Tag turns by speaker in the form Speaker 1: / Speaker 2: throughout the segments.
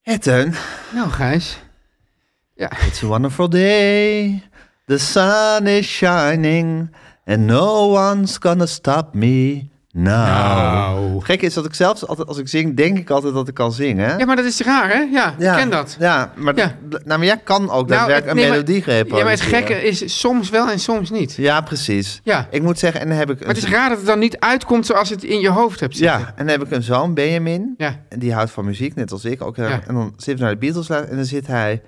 Speaker 1: Hey Teun,
Speaker 2: Nou, Gijs. Ja,
Speaker 1: it's a wonderful day. The sun is shining and no one's gonna stop me now.
Speaker 2: Nou.
Speaker 1: Gek is dat ik zelfs altijd als ik zing, denk ik altijd dat ik kan zingen. Hè?
Speaker 2: ja maar dat is raar, hè? Ja, ik ken dat.
Speaker 1: Ja, maar,
Speaker 2: Ja.
Speaker 1: Nou, maar jij kan ook
Speaker 2: Nou,
Speaker 1: daadwerkelijk
Speaker 2: nee,
Speaker 1: een
Speaker 2: maar-
Speaker 1: melodiegreep
Speaker 2: Ja, maar het
Speaker 1: produceren.
Speaker 2: gekke is soms wel en soms niet.
Speaker 1: Ja, precies.
Speaker 2: Ja.
Speaker 1: Ik moet zeggen, en dan heb ik... Een,
Speaker 2: Maar het is raar dat het dan niet uitkomt zoals het in je hoofd hebt
Speaker 1: ja,
Speaker 2: zitten.
Speaker 1: en dan heb ik een zoon, Benjamin.
Speaker 2: Ja.
Speaker 1: En die houdt van muziek, net als ik. Ook, heel
Speaker 2: Ja.
Speaker 1: erg. En dan zitten we naar de Beatles lu- en dan zit hij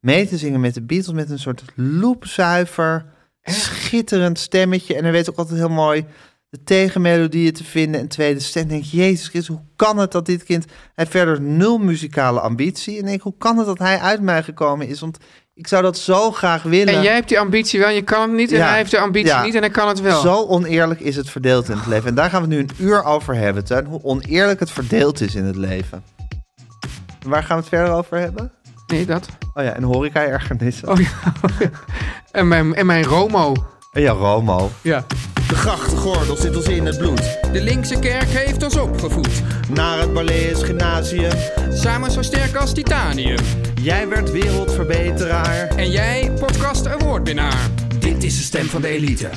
Speaker 1: mee te zingen met de Beatles met een soort loopzuiver, schitterend stemmetje. En hij weet ook altijd heel mooi de tegenmelodieën te vinden en tweede stem. En denk ik, jezus Christus, hoe kan het dat dit kind... Hij heeft verder nul muzikale ambitie. En ik denk, hoe kan het dat hij uit mij gekomen is? Want ik zou dat zo graag willen.
Speaker 2: En jij hebt die ambitie wel en je kan het niet. En
Speaker 1: Ja.
Speaker 2: hij heeft de ambitie
Speaker 1: Ja.
Speaker 2: niet en hij kan het wel.
Speaker 1: Zo oneerlijk is het verdeeld in het leven. En daar gaan we nu een uur over hebben, Tuin. Hoe oneerlijk het verdeeld is in het leven. En Waar gaan we het verder over hebben?
Speaker 2: Nee, dat.
Speaker 1: Oh ja, en horeca-ergernissen.
Speaker 2: Oh ja. en, mijn, en mijn Romo.
Speaker 1: En Oh ja, Romo.
Speaker 2: Ja.
Speaker 3: De grachtgordel zit ons in het bloed.
Speaker 4: De linkse kerk heeft ons opgevoed.
Speaker 3: Naar het Balees Gymnasium.
Speaker 4: Samen zo sterk als titanium.
Speaker 3: Jij werd wereldverbeteraar.
Speaker 4: En jij, podcast awardwinnaar. Dit is de stem van de elite.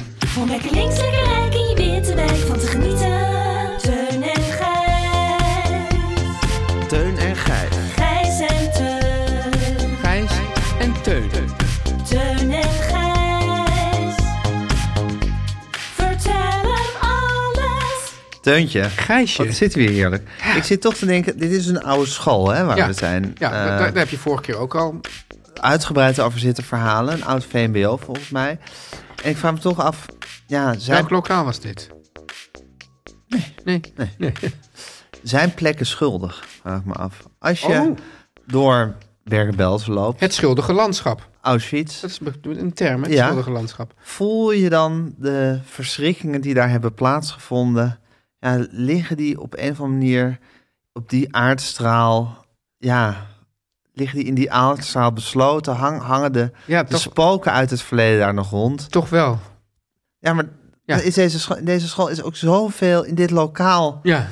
Speaker 5: Om lekker links, lekker rijk in je witte wijk van te genieten. Teun en Gijs.
Speaker 1: Teun en Gijs.
Speaker 5: Gijs en Teun.
Speaker 4: Gijs en Teun.
Speaker 1: Oh,
Speaker 5: Teun en Gijs. Vertel hem alles.
Speaker 1: Teuntje.
Speaker 2: Gijsje.
Speaker 1: Wat zitten we hier heerlijk. Ik zit toch te denken, dit is een oude school hè, waar
Speaker 2: Ja.
Speaker 1: we zijn.
Speaker 2: Ja,
Speaker 1: Eh,
Speaker 2: dat, dat heb je vorige keer ook al.
Speaker 1: uitgebreid over zitten verhalen. Een oud VMBO volgens mij. En ik vraag me toch af, ja, zijn,
Speaker 2: Welk lokaal was dit? Nee. Nee.
Speaker 1: zijn plekken schuldig? Vraag ik me af. Als je
Speaker 2: Oh.
Speaker 1: door Bergen-Belsen loopt,
Speaker 2: Het schuldige landschap.
Speaker 1: Auschwitz...
Speaker 2: Dat is be- een term, hè? Het
Speaker 1: Ja.
Speaker 2: schuldige landschap.
Speaker 1: Voel je dan de verschrikkingen die daar hebben plaatsgevonden? Ja, liggen die op een of andere manier op die aardstraal? Ja, liggen die in die aardstraal besloten? Hang, hangen de,
Speaker 2: Ja,
Speaker 1: de
Speaker 2: toch,
Speaker 1: spoken uit het verleden daar nog rond?
Speaker 2: toch wel.
Speaker 1: Ja, maar
Speaker 2: Ja.
Speaker 1: Is deze, scho- in deze school is ook zoveel, in dit lokaal,
Speaker 2: Ja,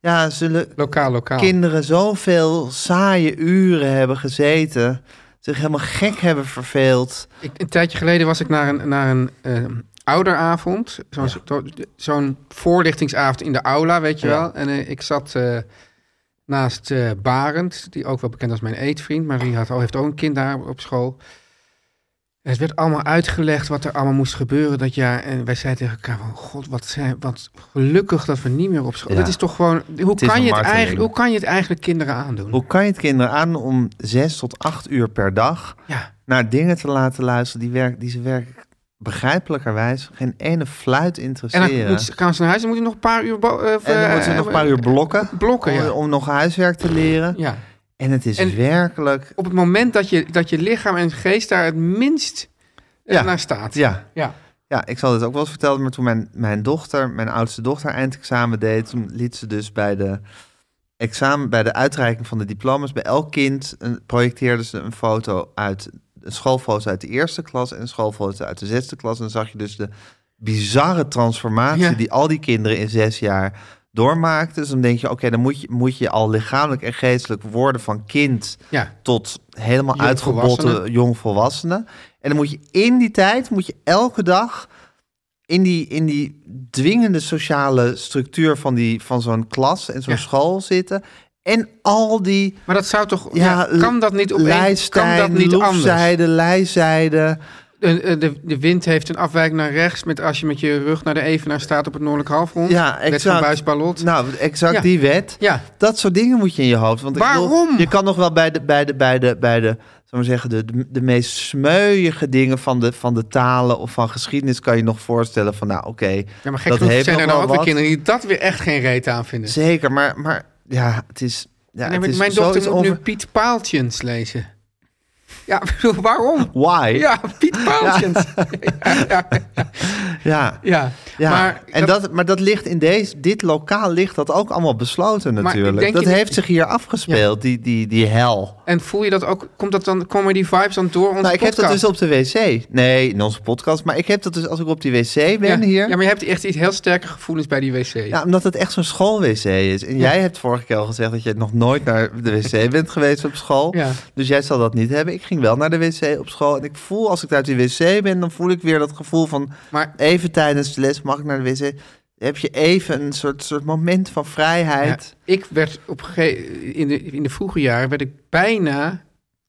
Speaker 1: ja, zullen
Speaker 2: lokaal, lokaal.
Speaker 1: kinderen zoveel saaie uren hebben gezeten, zich helemaal gek hebben verveeld.
Speaker 2: Ik, een tijdje geleden was ik naar een, naar een ehm, ouderavond. Zo'n zo- zo'n voorlichtingsavond in de aula, weet je
Speaker 1: Ja.
Speaker 2: wel. En eh, ik zat eh, naast eh, Barend, die ook wel bekend als mijn eetvriend. Maar die had, al- heeft ook een kind daar op school. En het werd allemaal uitgelegd wat er allemaal moest gebeuren dat jaar. En wij zeiden tegen elkaar van, god, wat, zijn, wat gelukkig dat we niet meer op school...
Speaker 1: Ja.
Speaker 2: Dat is toch gewoon... Hoe
Speaker 1: is
Speaker 2: kan,
Speaker 1: een
Speaker 2: je het
Speaker 1: marteling.
Speaker 2: eigenlijk, hoe kan je het eigenlijk kinderen aandoen?
Speaker 1: Hoe kan je het kinderen aan om zes tot acht uur per dag
Speaker 2: Ja.
Speaker 1: naar dingen te laten luisteren die, werk, die ze werk begrijpelijkerwijs geen ene fluit
Speaker 2: En
Speaker 1: interesseren?
Speaker 2: dan moeten ze- gaan ze naar huis en moeten nog een paar uur... bo- eh,
Speaker 1: En dan moeten ze nog een paar uur blokken
Speaker 2: blokken, ja.
Speaker 1: om, om nog huiswerk te leren.
Speaker 2: Ja.
Speaker 1: En het is
Speaker 2: En-
Speaker 1: werkelijk...
Speaker 2: op het moment dat je, dat je lichaam en geest daar het minst eh,
Speaker 1: Ja.
Speaker 2: naar staat.
Speaker 1: Ja,
Speaker 2: Ja.
Speaker 1: ja, ik zal dit ook wel eens vertellen, maar toen mijn, mijn dochter, mijn oudste dochter, eindexamen deed, toen liet ze dus bij de, examen, bij de uitreiking van de diploma's, bij elk kind een, projecteerde ze een foto uit, een schoolfoto uit de eerste klas en een schoolfoto uit de zesde klas. En dan zag je dus de bizarre transformatie
Speaker 2: Ja.
Speaker 1: die al die kinderen in zes jaar doormaakte. Dus dan denk je, oké, dan moet je, moet je al lichamelijk en geestelijk worden van kind
Speaker 2: Ja.
Speaker 1: tot helemaal
Speaker 2: Jong
Speaker 1: uitgebotte
Speaker 2: volwassene.
Speaker 1: jongvolwassenen. En dan moet je in die tijd, moet je elke dag in die, in die dwingende sociale structuur van, die, van zo'n klas en zo'n
Speaker 2: Ja.
Speaker 1: school zitten. En al die
Speaker 2: Maar dat zou toch...
Speaker 1: ja,
Speaker 2: Ja, kan dat niet op één... Kan dat niet anders?
Speaker 1: Loefzijde, lijzijde.
Speaker 2: De, eh, de, de wind heeft een afwijking naar rechts. Met, als je met je rug naar de evenaar staat op het noordelijk halfrond.
Speaker 1: Ja,
Speaker 2: Wet van
Speaker 1: exact.
Speaker 2: Buis-Ballot.
Speaker 1: Nou, exact
Speaker 2: Ja.
Speaker 1: die wet.
Speaker 2: Ja.
Speaker 1: Dat soort dingen moet je in je hoofd. Want ik bedoel,
Speaker 2: Waarom?
Speaker 1: je kan nog wel bij de, bij de, bij de, bij de, zal maar zeggen, de, de, de meest smeuïge dingen van de, van de talen of van geschiedenis kan je nog voorstellen van, nou oké,
Speaker 2: ja, maar gek
Speaker 1: dat
Speaker 2: genoeg
Speaker 1: heeft
Speaker 2: zijn
Speaker 1: nog
Speaker 2: er
Speaker 1: wel
Speaker 2: nou ook weer
Speaker 1: wat.
Speaker 2: kinderen die dat weer echt geen reet aan vinden.
Speaker 1: Zeker, maar, maar ja, het is, ja,
Speaker 2: Nee,
Speaker 1: het
Speaker 2: maar
Speaker 1: is
Speaker 2: mijn dochter
Speaker 1: zoiets
Speaker 2: moet nu
Speaker 1: over...
Speaker 2: Piet Paaltjens lezen. Ja, ik bedoel, waarom?
Speaker 1: Why?
Speaker 2: Ja, Piet Paaltjens. Ja, ja,
Speaker 1: ja.
Speaker 2: ja.
Speaker 1: Ja,
Speaker 2: Maar,
Speaker 1: en dat, maar dat ligt in deze, dit lokaal ligt dat ook allemaal besloten
Speaker 2: ik
Speaker 1: natuurlijk.
Speaker 2: denk
Speaker 1: Dat
Speaker 2: in-
Speaker 1: heeft zich hier afgespeeld, die, die, die hel.
Speaker 2: en voel je dat ook? Komt dat dan, komen die vibes dan door onze
Speaker 1: nou, ik heb dat
Speaker 2: podcast?
Speaker 1: dus op de wc. Nee, in onze podcast. Maar ik heb dat dus als ik op die wc ben
Speaker 2: ja.
Speaker 1: hier.
Speaker 2: Ja, maar je hebt echt iets heel sterke gevoelens bij die wc.
Speaker 1: Ja, omdat het echt zo'n schoolwc is. En jij hebt vorige keer al gezegd dat je nog nooit naar de wc bent geweest op school.
Speaker 2: Ja.
Speaker 1: Dus jij zal dat niet hebben. Ik ging wel naar de wc op school. En ik voel, als ik uit die wc ben, dan voel ik weer dat gevoel van...
Speaker 2: Maar-
Speaker 1: even tijdens de les mag ik naar de wc. Dan heb je even een soort, soort moment van vrijheid.
Speaker 2: Ja, ik werd op een gege- in, de, in de vroege jaren werd ik bijna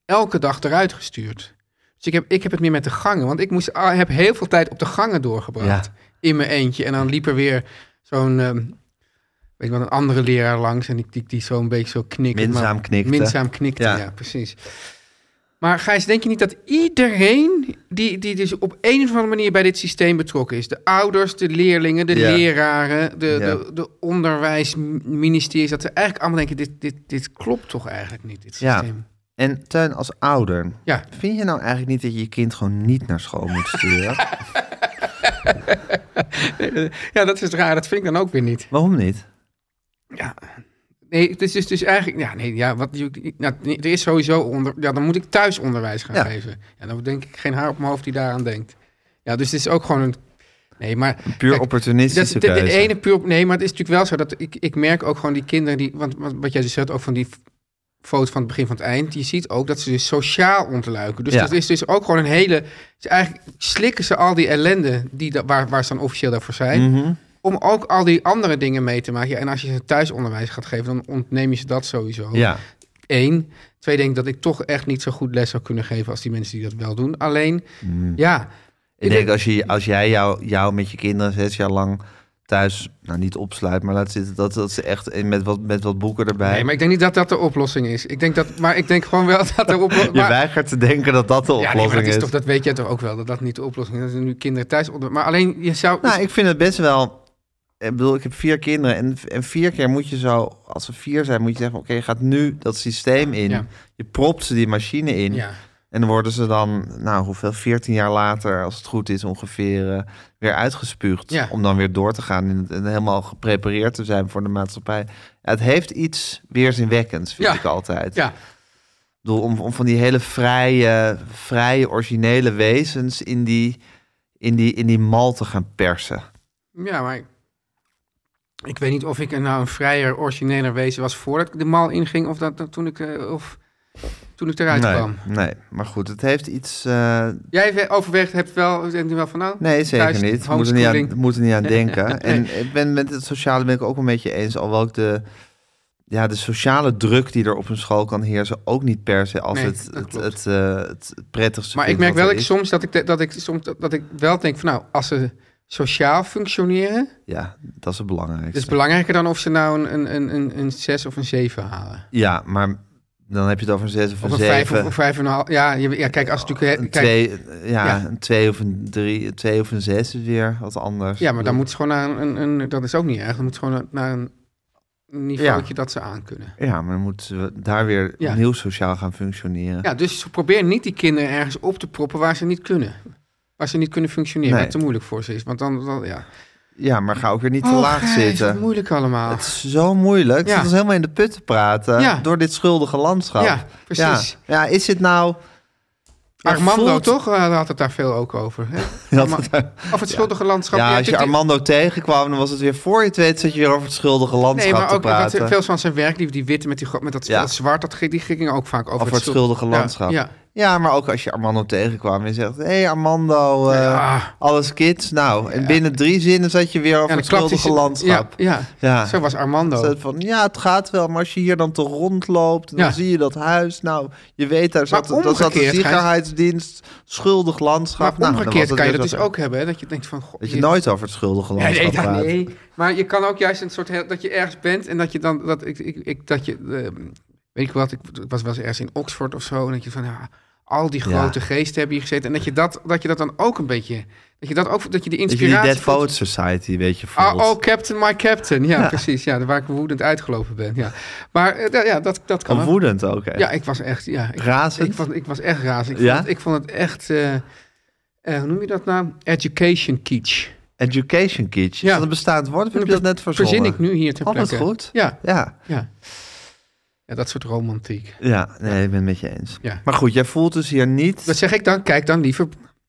Speaker 2: elke dag eruit gestuurd. Dus ik heb, ik heb het meer met de gangen. Want ik moest, ah, heb heel veel tijd op de gangen doorgebracht. In mijn eentje. En dan liep er weer zo'n ehm, weet je wel, een andere leraar langs. En die, die, die zo'n beetje zo knikte.
Speaker 1: Minzaam
Speaker 2: maar-
Speaker 1: knikte.
Speaker 2: Minzaam knikte,
Speaker 1: Ja.
Speaker 2: ja. precies. Maar Gijs, denk je niet dat iedereen die, die dus op een of andere manier bij dit systeem betrokken is... de ouders, de leerlingen, de
Speaker 1: Ja.
Speaker 2: leraren, de,
Speaker 1: Ja.
Speaker 2: de, de onderwijsministeries... dat ze eigenlijk allemaal denken, dit, dit, dit klopt toch eigenlijk niet, dit
Speaker 1: Ja.
Speaker 2: systeem.
Speaker 1: En Teun, als ouder,
Speaker 2: Ja.
Speaker 1: vind je nou eigenlijk niet dat je je kind gewoon niet naar school moet sturen?
Speaker 2: Ja, dat is raar, dat vind ik dan ook weer niet.
Speaker 1: Waarom niet?
Speaker 2: Ja. Nee, het is dus, dus eigenlijk... Ja, nee, ja, wat, je- nou, nee, er is sowieso onder... Ja, dan moet ik thuisonderwijs gaan
Speaker 1: Ja.
Speaker 2: geven. Ja, dan denk ik geen haar op mijn hoofd die daaraan denkt. Ja, dus het is ook gewoon een... Nee, maar...
Speaker 1: Puur
Speaker 2: Kijk, Dat is
Speaker 1: opportunistische
Speaker 2: de, de
Speaker 1: keuze.
Speaker 2: ene puur op. Nee, maar het is natuurlijk wel zo dat ik, ik merk ook gewoon die kinderen die. Want, want wat jij dus zegt ook van die f- foto van het begin van het eind. Je ziet ook dat ze dus sociaal ontluiken. Dus
Speaker 1: Ja.
Speaker 2: dat is dus ook gewoon een hele. Dus eigenlijk slikken ze al die ellende die, da- waar, waar ze dan officieel daarvoor zijn.
Speaker 1: Mhm.
Speaker 2: Om ook al die andere dingen mee te maken. Ja, en als je ze thuisonderwijs gaat geven, dan ontneem je ze dat sowieso.
Speaker 1: Ja.
Speaker 2: Eén. Twee, denk ik dat ik toch echt niet zo goed les zou kunnen geven als die mensen die dat wel doen. Alleen,
Speaker 1: Mm.
Speaker 2: ja.
Speaker 1: Ik denk, als, je, als jij jou, jou met je kinderen zes jaar lang thuis, nou niet opsluit, maar laat zitten, dat, dat ze echt in- met wat, met wat boeken erbij.
Speaker 2: Nee, maar ik denk niet dat dat de oplossing is. Ik denk dat, maar ik denk gewoon wel dat de oplossing.
Speaker 1: Je weigert te denken dat dat de
Speaker 2: ja,
Speaker 1: oplossing
Speaker 2: nee, maar dat,
Speaker 1: is.
Speaker 2: is toch, dat weet jij toch ook wel, dat dat niet de oplossing is. Dat er nu kinderen thuis onder. Maar alleen je zou.
Speaker 1: Nou, ik vind het best wel. Ik bedoel, ik heb vier kinderen en, en vier keer moet je zo, als ze vier zijn, moet je zeggen: oké, je gaat nu dat systeem in.
Speaker 2: Ja.
Speaker 1: Je propt ze die machine in.
Speaker 2: ja.
Speaker 1: En dan worden ze dan, nou hoeveel, 14 jaar later, als het goed is ongeveer, eh, weer uitgespuugd.
Speaker 2: Ja.
Speaker 1: Om dan weer door te gaan en, en helemaal geprepareerd te zijn voor de maatschappij. Ja, het heeft iets weerzinwekkends, vind
Speaker 2: Ja.
Speaker 1: ik altijd.
Speaker 2: ja.
Speaker 1: Ik bedoel, om, om van die hele vrije, vrije originele wezens in die, in, die, in die mal te gaan persen.
Speaker 2: Ja, maar ik- ik weet niet of ik een- nou een vrijer, origineler wezen was voordat ik de mal inging of dat, dat toen ik eh, of toen ik eruit
Speaker 1: nee,
Speaker 2: kwam.
Speaker 1: nee, maar goed, het heeft iets... eh,
Speaker 2: Jij we- overweegt hebt wel denkt u wel van nou?
Speaker 1: Nee, zeker
Speaker 2: thuis,
Speaker 1: niet. We moeten niet, aan,
Speaker 2: homeschooling.
Speaker 1: we moeten niet aan denken. En ik ben met het sociale ben ik ook een beetje eens. Alhoewel ik de, ja, de sociale druk die er op een school kan heersen... ook niet per se als
Speaker 2: Nee,
Speaker 1: het,
Speaker 2: dat
Speaker 1: het,
Speaker 2: klopt.
Speaker 1: het, eh, het prettigste
Speaker 2: Maar ik
Speaker 1: vind
Speaker 2: merk
Speaker 1: wat
Speaker 2: wel
Speaker 1: er
Speaker 2: ik
Speaker 1: is.
Speaker 2: soms dat ik, de- dat ik soms dat, dat ik wel denk van nou, als ze sociaal functioneren,
Speaker 1: Ja, dat is het belangrijkste.
Speaker 2: Het is belangrijker dan of ze nou een- een, een, een, een 6 of een 7 halen.
Speaker 1: ja, maar dan heb je het over een zes of een
Speaker 2: Of een 5
Speaker 1: zeven.
Speaker 2: of een 5,5. Ja, je- ja, kijk, als het natuurlijk.
Speaker 1: Een
Speaker 2: kijk,
Speaker 1: twee, ja,
Speaker 2: Ja.
Speaker 1: een twee of een drie, een twee of een zes is weer wat anders.
Speaker 2: ja, maar dan moet ze gewoon naar een, een, een- Dat is ook niet erg. Dan moet ze gewoon naar een niveautje dat ze aan kunnen.
Speaker 1: Ja, maar dan moeten we daar weer
Speaker 2: Ja.
Speaker 1: opnieuw sociaal gaan functioneren.
Speaker 2: Ja, dus probeer niet die kinderen ergens op te proppen waar ze niet kunnen. Waar ze niet kunnen functioneren.
Speaker 1: Nee.
Speaker 2: Waar het te moeilijk voor ze is. Want dan. dan ja.
Speaker 1: Ja, maar ga ook weer niet te
Speaker 2: Oh,
Speaker 1: laag
Speaker 2: Gijs,
Speaker 1: zitten.
Speaker 2: wat moeilijk allemaal.
Speaker 1: Het is zo moeilijk.
Speaker 2: Ja.
Speaker 1: Het is helemaal in de put te praten
Speaker 2: Ja.
Speaker 1: door dit schuldige landschap.
Speaker 2: Ja, precies.
Speaker 1: Ja, Ja, is het nou...
Speaker 2: Armando,
Speaker 1: voelt-
Speaker 2: toch? Hij had het daar veel ook over. Hè?
Speaker 1: had
Speaker 2: Arma-
Speaker 1: het daar-
Speaker 2: Of het schuldige landschap.
Speaker 1: Ja,
Speaker 2: Je
Speaker 1: als je
Speaker 2: hebt het-
Speaker 1: Armando tegenkwam, dan was het weer voor je het weet... zat je weer over het schuldige landschap
Speaker 2: Nee, maar
Speaker 1: te
Speaker 2: ook dat,
Speaker 1: praten.
Speaker 2: veel van zijn werk, die, die witte met, die, gro- met dat,
Speaker 1: Ja.
Speaker 2: dat zwart, dat, ging- die gingen ook vaak over,
Speaker 1: Over het schuldige
Speaker 2: schuld- ja,
Speaker 1: landschap.
Speaker 2: Ja,
Speaker 1: Ja, maar ook als je Armando tegenkwam en je zegt... Hé hey Armando, eh,
Speaker 2: Ja.
Speaker 1: alles kids. Nou, en binnen drie zinnen zat je weer over
Speaker 2: Ja,
Speaker 1: het
Speaker 2: dan klapt hij
Speaker 1: schuldige
Speaker 2: ze- ja,
Speaker 1: landschap.
Speaker 2: Ja,
Speaker 1: Ja.
Speaker 2: zo was Armando.
Speaker 1: Zo Van, ja, het gaat wel, maar als je hier dan toch rondloopt... dan
Speaker 2: Ja.
Speaker 1: zie je dat huis. Nou, je weet, daar zat, daar zat de
Speaker 2: omgekeerd, Gijs-
Speaker 1: ziekenheidsdienst, schuldig landschap.
Speaker 2: maar
Speaker 1: Nou, dan was
Speaker 2: omgekeerd
Speaker 1: het
Speaker 2: kan je
Speaker 1: weer
Speaker 2: dat
Speaker 1: zo-
Speaker 2: dus ook hebben, hè? dat je denkt van... God,
Speaker 1: Dat je
Speaker 2: hier-
Speaker 1: nooit over het schuldige
Speaker 2: Ja,
Speaker 1: landschap
Speaker 2: nee, dat
Speaker 1: praat.
Speaker 2: nee. Maar je kan ook juist een soort... heel- dat je ergens bent en dat je dan... Dat ik, ik, ik, dat je, eh, weet ik wat, ik was wel eens ergens in Oxford of zo... en dat je van, ja, al die
Speaker 1: Ja.
Speaker 2: grote geesten hebben hier gezeten... en dat je dat, dat je dat dan ook een beetje... dat je dat ook dat je die
Speaker 1: Dat je die
Speaker 2: inspiratie...
Speaker 1: Dead
Speaker 2: voelt.
Speaker 1: Poets Society een beetje voelt.
Speaker 2: Ah, oh, Captain, my Captain. Ja, precies. Ja, waar ik woedend uitgelopen ben. Ja. Maar eh, ja, ja, dat, dat kan
Speaker 1: Oh,
Speaker 2: ook.
Speaker 1: woedend ook, hè?
Speaker 2: Ja, ik was echt... Ja, ik,
Speaker 1: Razend?
Speaker 2: Ik was, ik was echt razend. Ik,
Speaker 1: Ja?
Speaker 2: vond, het, ik vond het echt... eh, eh, hoe noem je dat nou? Education kitsch.
Speaker 1: Education kitsch. Is
Speaker 2: Ja.
Speaker 1: dat een bestaand woord of heb je dat net verzonnen?
Speaker 2: Verzin ik nu hier ter
Speaker 1: Oh, wat
Speaker 2: plekke.
Speaker 1: goed.
Speaker 2: Ja,
Speaker 1: Ja,
Speaker 2: ja. Ja, dat soort romantiek.
Speaker 1: ja. Nee, ik ben het met je eens.
Speaker 2: Ja.
Speaker 1: Maar goed, jij voelt dus hier niet...
Speaker 2: Wat zeg ik dan? Kijk dan liever...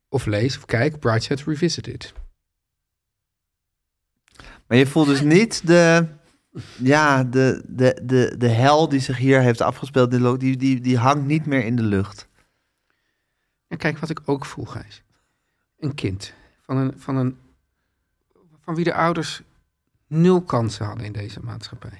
Speaker 2: Of lees of kijk Brideshead Revisited.
Speaker 1: Maar je voelt dus niet de... Ja, de, de, de, de hel die zich hier heeft afgespeeld, die, lo- die, die, die hangt niet meer in de lucht.
Speaker 2: En kijk wat ik ook voel, Gijs. Een kind. Van, een, van, een, van wie de ouders nul kansen hadden in deze maatschappij.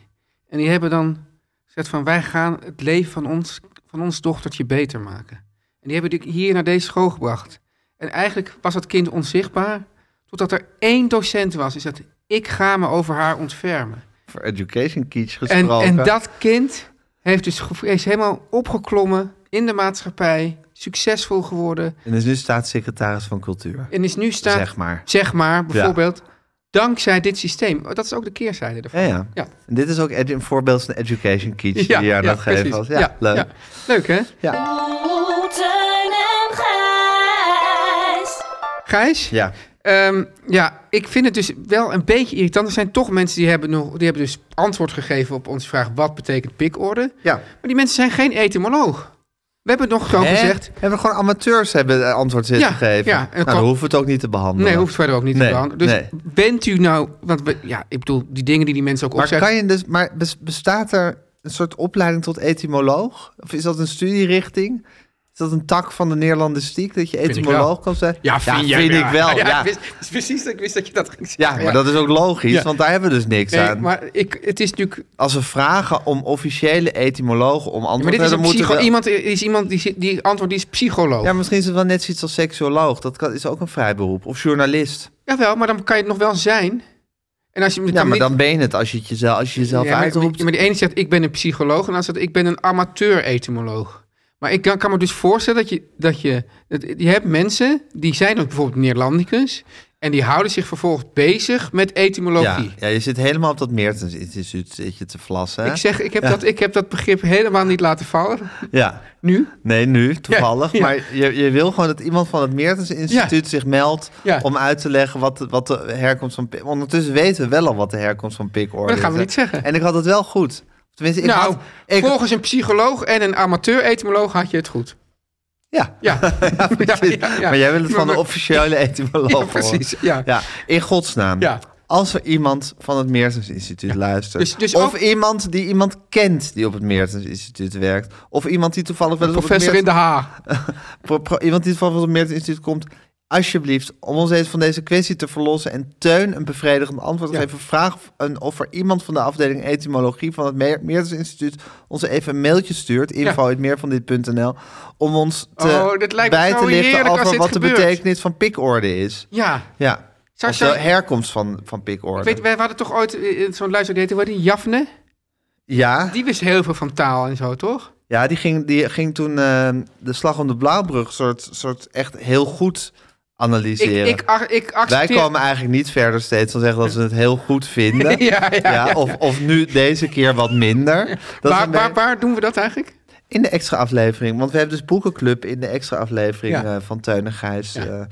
Speaker 2: En die hebben dan gezegd van wij gaan het leven van ons, van ons dochtertje beter maken. En die hebben die hier naar deze school gebracht. En eigenlijk was dat kind onzichtbaar. Totdat er één docent was die zei ik ga me over haar ontfermen.
Speaker 1: Voor education kitsch
Speaker 2: En,
Speaker 1: gesproken.
Speaker 2: en dat kind heeft dus, ge- is helemaal opgeklommen in de maatschappij. Succesvol geworden.
Speaker 1: En is nu staatssecretaris van cultuur,
Speaker 2: En is nu staat,
Speaker 1: zeg maar.
Speaker 2: zeg maar, bijvoorbeeld, dankzij dit systeem. Oh, Dat is ook de keerzijde ervan.
Speaker 1: Ja, ja.
Speaker 2: Ja,
Speaker 1: En dit is ook edu- een voorbeeld van education kitsch
Speaker 2: ja,
Speaker 1: die je aan
Speaker 2: ja,
Speaker 1: het geven
Speaker 2: precies.
Speaker 1: was. Eh, Ja, leuk.
Speaker 2: ja. Leuk, hè?
Speaker 5: Oeh, Oh, Teun en Gijs.
Speaker 2: Gijs?
Speaker 1: Ja.
Speaker 2: Ehm, ja, ik vind het dus wel een beetje irritant. Er zijn toch mensen die hebben, nog, die hebben dus antwoord gegeven op onze vraag... wat betekent pikorde?
Speaker 1: ja.
Speaker 2: Maar die mensen zijn geen etymoloog. We hebben het nog gewoon
Speaker 1: Hè?
Speaker 2: gezegd...
Speaker 1: Hebben we gewoon amateurs hebben eh, antwoord zitten
Speaker 2: Ja,
Speaker 1: geven.
Speaker 2: ja, en
Speaker 1: nou, dan
Speaker 2: kan-
Speaker 1: hoeven we het ook niet te behandelen.
Speaker 2: Nee, hoeft verder ook niet
Speaker 1: Nee,
Speaker 2: te behandelen. Dus
Speaker 1: nee.
Speaker 2: bent u nou... Want we- ja, ik bedoel, die dingen die die mensen ook
Speaker 1: maar,
Speaker 2: opzetten...
Speaker 1: kan je dus, maar bes- bestaat er een soort opleiding tot etymoloog? Of is dat een studierichting? Is dat een tak van de Neerlandistiek dat je
Speaker 2: ik
Speaker 1: etymoloog
Speaker 2: wel.
Speaker 1: kan zijn?
Speaker 2: Ja, vind, jij-
Speaker 1: vind
Speaker 2: ja.
Speaker 1: ik wel. Ja,
Speaker 2: Ja,
Speaker 1: ja.
Speaker 2: ik wist- precies, ik wist dat je dat ging zeggen.
Speaker 1: maar dat is ook logisch,
Speaker 2: Ja.
Speaker 1: want daar hebben we dus niks
Speaker 2: Nee,
Speaker 1: aan.
Speaker 2: maar ik, het is natuurlijk.
Speaker 1: Als we vragen om officiële etymologen om
Speaker 2: Maar
Speaker 1: antwoord
Speaker 2: dit is
Speaker 1: te
Speaker 2: een
Speaker 1: hebben, moeten
Speaker 2: psycho.
Speaker 1: we...
Speaker 2: Iemand is iemand die, zit- die antwoord die is psycholoog.
Speaker 1: Ja, misschien is het wel net zoiets als seksuoloog. Dat kan, is ook een vrij beroep. Of journalist.
Speaker 2: Jawel, maar dan kan je het nog wel zijn. En als je
Speaker 1: Ja, maar dan ben je het als je, het jezelf, als je jezelf
Speaker 2: Ja, maar,
Speaker 1: uitroept.
Speaker 2: maar die ene zegt ik ben een psycholoog en dan zegt ik ben een amateur etymoloog. Maar ik kan, kan me dus voorstellen dat je, dat je, dat, je hebt mensen die zijn ook bijvoorbeeld Neerlandicus en die houden zich vervolgens bezig met etymologie.
Speaker 1: Ja, ja, je zit helemaal op dat Meertens Instituut zit je te vlassen. hè?
Speaker 2: Ik zeg, ik heb, dat, ik heb dat begrip helemaal niet laten vallen.
Speaker 1: Ja,
Speaker 2: Nu?
Speaker 1: nee, nu, toevallig.
Speaker 2: Ja, ja.
Speaker 1: Maar je, je wil gewoon dat iemand van het Meertens Instituut zich meldt...
Speaker 2: Ja.
Speaker 1: om uit te leggen wat de, wat de herkomst van... pik- Ondertussen weten we wel al wat de herkomst van pikorde is.
Speaker 2: Maar dat gaan we
Speaker 1: hè?
Speaker 2: niet zeggen.
Speaker 1: En ik had het wel goed. Tenminste, ik
Speaker 2: nou,
Speaker 1: had... Ik,
Speaker 2: volgens een psycholoog en een amateur-etymoloog had je het goed.
Speaker 1: ja.
Speaker 2: Ja, ja,
Speaker 1: precies.
Speaker 2: ja, ja.
Speaker 1: Maar jij wil het van
Speaker 2: Maar-
Speaker 1: de officiële etymoloog
Speaker 2: Ja,
Speaker 1: horen.
Speaker 2: precies, ja.
Speaker 1: ja. In godsnaam.
Speaker 2: Ja.
Speaker 1: Als er iemand van het Meertens Instituut luistert.
Speaker 2: Dus- dus
Speaker 1: of
Speaker 2: ook-
Speaker 1: iemand die iemand kent die op het Meertens Instituut werkt. Of iemand die toevallig wel eens op het
Speaker 2: Professor in
Speaker 1: Meertens-
Speaker 2: de Haag.
Speaker 1: Pro- pro- iemand die van het Meertens Instituut komt. Alsjeblieft, om ons even van deze kwestie te verlossen en Teun een bevredigend antwoord te
Speaker 2: Ja.
Speaker 1: geven, vraag of, een, of er iemand van de afdeling etymologie van het Meer- Meertens Instituut ons even een mailtje stuurt, info.meervandit.nl, om ons te,
Speaker 2: Oh, dit lijkt me
Speaker 1: bij
Speaker 2: zo
Speaker 1: te lichten
Speaker 2: heerlijk als
Speaker 1: over
Speaker 2: dit
Speaker 1: wat
Speaker 2: gebeurt.
Speaker 1: de betekenis van pikorde is.
Speaker 2: Ja.
Speaker 1: Ja,
Speaker 2: Zou-
Speaker 1: of
Speaker 2: zou-
Speaker 1: de herkomst van, van pikorde.
Speaker 2: Weet, wij hadden toch ooit eh, zo'n luister die heette, hoe heet die? Jafne?
Speaker 1: ja,
Speaker 2: Die wist heel veel van taal en zo, toch?
Speaker 1: ja die, ging, die ging toen eh, de slag om de Blauwbrug soort, soort echt heel goed analyseren.
Speaker 2: Ik, ik, ach- ik
Speaker 1: Wij
Speaker 2: accepteer...
Speaker 1: komen eigenlijk niet verder steeds dan zeggen dat ze het heel goed vinden.
Speaker 2: Ja, ja, ja, ja.
Speaker 1: Of, of nu deze keer wat minder. Dat is een
Speaker 2: waar,
Speaker 1: beetje-
Speaker 2: waar, waar doen we dat eigenlijk?
Speaker 1: In de extra aflevering. Want we hebben dus Boekenclub in de extra aflevering
Speaker 2: Ja.
Speaker 1: eh, van Teun en Gijs.
Speaker 2: Ja.
Speaker 1: eh,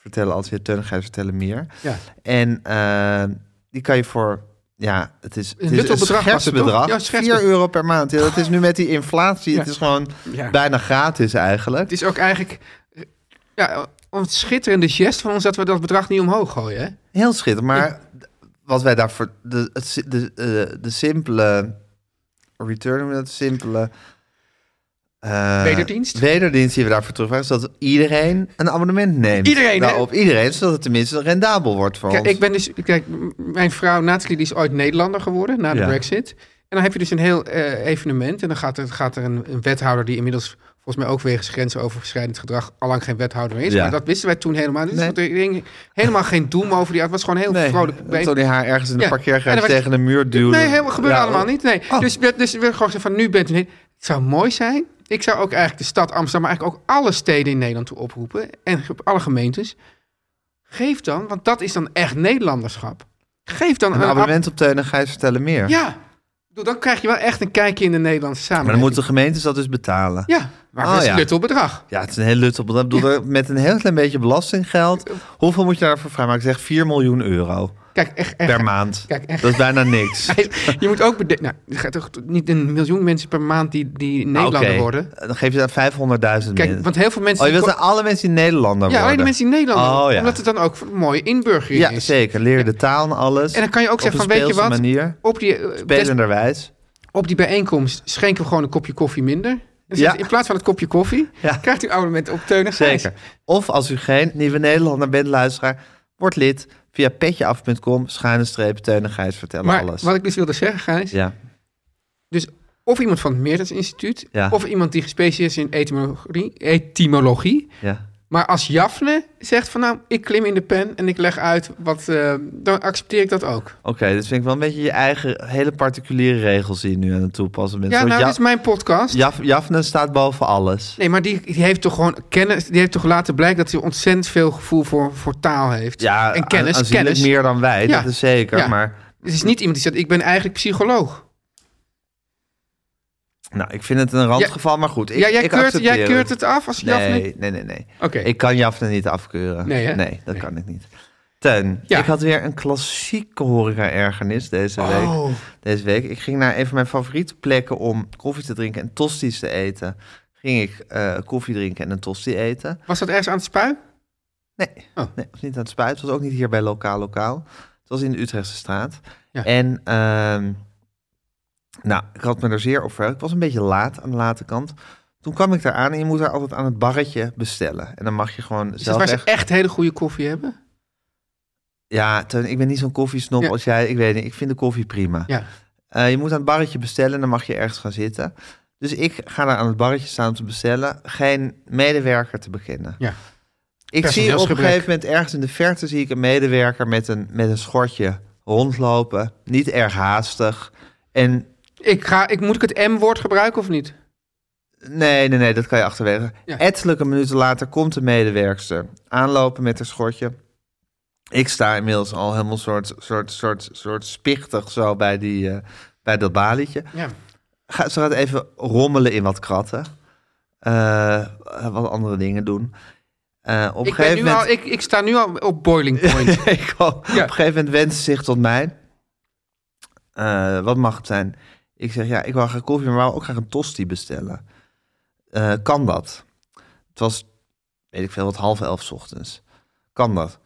Speaker 1: vertellen als weer Teun en Gijs vertellen meer.
Speaker 2: Ja.
Speaker 1: En eh, die kan je voor... Ja, het is, het is
Speaker 2: luttel
Speaker 1: een
Speaker 2: bedrag was het,
Speaker 1: schertsbedrag.
Speaker 2: toch? Ja, scherts-
Speaker 1: 4 euro per maand. Ja, dat is nu met die inflatie.
Speaker 2: Ja.
Speaker 1: Het is gewoon
Speaker 2: Ja.
Speaker 1: bijna gratis eigenlijk.
Speaker 2: Het is ook eigenlijk eh, Ja, een schitterende gest van ons dat we dat bedrag niet omhoog gooien. Hè?
Speaker 1: Heel schitterend. Maar wat wij daarvoor. De, het, si- de, eh, de simpele. Return, noemen we dat simpele. eh,
Speaker 2: Wederdienst?
Speaker 1: Wederdienst die we daarvoor terugvragen. Is dat iedereen een abonnement neemt.
Speaker 2: Iedereen, hè?
Speaker 1: Daarop iedereen, zodat het tenminste rendabel wordt voor
Speaker 2: Kijk,
Speaker 1: ons.
Speaker 2: ik ben dus, kijk, m- mijn vrouw Nathalie die is ooit Nederlander geworden na de
Speaker 1: Ja.
Speaker 2: Brexit. En dan heb je dus een heel eh, evenement. En dan gaat er, gaat er een, een wethouder die inmiddels volgens mij ook wegens grensoverschrijdend gedrag allang geen wethouder meer is.
Speaker 1: Ja.
Speaker 2: Maar dat wisten wij toen helemaal niet. Dus
Speaker 1: Nee.
Speaker 2: er ging helemaal geen doem over die. Het was gewoon heel
Speaker 1: Nee,
Speaker 2: vrolijk. bij-
Speaker 1: Tony haar ergens in de
Speaker 2: Ja. En
Speaker 1: parkeergarage
Speaker 2: dan werd-
Speaker 1: tegen de muur duwde.
Speaker 2: Nee, helemaal gebeurde
Speaker 1: Ja,
Speaker 2: allemaal niet. Nee.
Speaker 1: Oh.
Speaker 2: Dus, we- dus we gewoon zeggen van nu bent u. Het zou mooi zijn. Ik zou ook eigenlijk de stad Amsterdam, maar eigenlijk ook alle steden in Nederland toe oproepen. En ge- alle gemeentes. Geef dan, want dat is dan echt Nederlanderschap. Geef dan
Speaker 1: Een
Speaker 2: ab-
Speaker 1: abonnement op Teun en Gijs vertellen meer.
Speaker 2: Ah, Ja. Ik bedoel, Dan krijg je wel echt een kijkje in de Nederlandse
Speaker 1: Maar dan
Speaker 2: samenleving.
Speaker 1: moeten de gemeentes dat dus betalen. Ja,
Speaker 2: Ja, maar
Speaker 1: Oh,
Speaker 2: dat is
Speaker 1: ja.
Speaker 2: een luttel bedrag.
Speaker 1: het is een heel lut op. Ik bedoel, Met een heel klein beetje belastinggeld. Hoeveel moet je daarvoor vrijmaken? Ik zeg 4 miljoen euro
Speaker 2: Kijk, echt. echt
Speaker 1: per maand.
Speaker 2: Kijk, echt.
Speaker 1: Dat is bijna niks.
Speaker 2: Je moet ook bedenken, nou, er gaat toch niet een miljoen mensen per maand die, die Nederlander
Speaker 1: Nou, Oké,
Speaker 2: worden.
Speaker 1: Dan geef je daar 500.000
Speaker 2: Kijk,
Speaker 1: mensen.
Speaker 2: want heel veel mensen...
Speaker 1: Oh, je
Speaker 2: die
Speaker 1: wilt
Speaker 2: ko-
Speaker 1: dat alle mensen die Nederlander
Speaker 2: ja,
Speaker 1: worden?
Speaker 2: alleen de mensen die Nederlander
Speaker 1: Oh,
Speaker 2: worden.
Speaker 1: ja.
Speaker 2: Omdat het dan ook een mooie inburgering
Speaker 1: Ja,
Speaker 2: is.
Speaker 1: zeker. Leer de taal en alles.
Speaker 2: En dan kan je ook
Speaker 1: op
Speaker 2: zeggen
Speaker 1: een
Speaker 2: van, weet je
Speaker 1: speelse
Speaker 2: wat?
Speaker 1: manier.
Speaker 2: Op die, eh, des-
Speaker 1: Spelenderwijs.
Speaker 2: op die bijeenkomst schenken we gewoon een kopje koffie minder. En dan zegt
Speaker 1: Ja.
Speaker 2: hij, in plaats van het kopje koffie,
Speaker 1: Ja.
Speaker 2: krijgt u een abonnement op Teun en Gijs.
Speaker 1: Zeker. Of als u geen nieuwe Nederlander bent, luisteraar, word lid via petjeaf.com, schuine streep, Teun en Gijs vertellen
Speaker 2: Maar
Speaker 1: alles.
Speaker 2: wat ik dus wilde zeggen, Gijs,
Speaker 1: Ja,
Speaker 2: Dus of iemand van het Meertens Instituut,
Speaker 1: Ja.
Speaker 2: of iemand die gespecialiseerd is in etymologie, etymologie.
Speaker 1: ja.
Speaker 2: Maar als Jafne zegt van nou, ik klim in de pen en ik leg uit wat, eh, dan accepteer ik dat ook.
Speaker 1: Oké, dus vind ik wel een beetje je eigen hele particuliere regels die je nu aan het toepassen bent.
Speaker 2: Ja,
Speaker 1: Zo,
Speaker 2: nou,
Speaker 1: Ja-
Speaker 2: dit is mijn podcast.
Speaker 1: Jaf- Jafne staat boven alles.
Speaker 2: Nee, maar die, die heeft toch gewoon kennis, die heeft toch laten blijken dat hij ontzettend veel gevoel voor, voor taal heeft.
Speaker 1: Ja,
Speaker 2: en kennis,
Speaker 1: aan- aanzienlijk
Speaker 2: kennis.
Speaker 1: meer dan wij,
Speaker 2: Ja.
Speaker 1: dat is zeker.
Speaker 2: Ja.
Speaker 1: Maar
Speaker 2: Het is niet iemand die zegt, ik ben eigenlijk psycholoog.
Speaker 1: nou, ik vind het een randgeval, maar goed. Ik,
Speaker 2: ja, jij,
Speaker 1: ik
Speaker 2: keurt,
Speaker 1: accepteer
Speaker 2: jij keurt het af als Jafne...
Speaker 1: Nee, nee, nee, nee.
Speaker 2: Oké,
Speaker 1: Ik kan Jafne niet afkeuren.
Speaker 2: Nee, hè?
Speaker 1: dat
Speaker 2: Nee.
Speaker 1: kan ik niet. Teun,
Speaker 2: Ja.
Speaker 1: ik had weer een klassieke horeca-ergernis deze week.
Speaker 2: Oh.
Speaker 1: Deze week. Ik ging naar een van mijn favoriete plekken om koffie te drinken en tosti's te eten. Ging ik eh, koffie drinken en een tosti eten.
Speaker 2: was dat ergens aan het spui?
Speaker 1: Nee,
Speaker 2: Oh.
Speaker 1: nee het was niet aan het spuiten. Het was ook niet hier bij Lokaal Lokaal. Het was in de Utrechtse straat.
Speaker 2: Ja.
Speaker 1: En ehm, nou, ik had me er zeer op verheugd. Ik was een beetje laat aan de late kant. Toen kwam ik daar aan en je moet daar altijd aan het barretje bestellen. En dan mag je gewoon
Speaker 2: Is Dus dat
Speaker 1: zelf
Speaker 2: waar
Speaker 1: echt...
Speaker 2: ze echt hele goede koffie hebben?
Speaker 1: Ja, Teun, ik ben niet zo'n koffiesnop
Speaker 2: Ja.
Speaker 1: als jij. Ik weet niet, ik vind de koffie prima.
Speaker 2: Ja.
Speaker 1: Eh, je moet aan het barretje bestellen en dan mag je ergens gaan zitten. Dus ik ga daar aan het barretje staan om te bestellen. Geen medewerker te bekennen.
Speaker 2: Ja.
Speaker 1: Ik zie op een
Speaker 2: Personeelsgebrek.
Speaker 1: gegeven moment ergens in de verte zie ik een medewerker met een, met een schortje rondlopen. Niet erg haastig. En
Speaker 2: Ik ga, ik, moet ik het M-woord gebruiken of niet?
Speaker 1: nee, nee, nee, dat kan je achterwege.
Speaker 2: Ja.
Speaker 1: Ettelijke minuten later komt de medewerkster aanlopen met haar schortje. Ik sta inmiddels al helemaal soort, soort, soort, soort spichtig zo bij, die, eh, bij dat balietje.
Speaker 2: Ja.
Speaker 1: Ga, ze gaat even rommelen in wat kratten. Eh, wat andere dingen doen. Eh, op een
Speaker 2: Ik, ben
Speaker 1: gegeven
Speaker 2: nu
Speaker 1: moment...
Speaker 2: al, ik, ik sta nu al op boiling point.
Speaker 1: ik hoop-
Speaker 2: Ja.
Speaker 1: Op een gegeven moment wenst ze zich tot mij. Eh, wat mag het zijn? Ik zeg, ja, ik wil graag koffie, maar ik wil ook graag een tosti bestellen. Eh, kan dat? Het was, weet ik veel, wat half elf 's ochtends. Kan dat?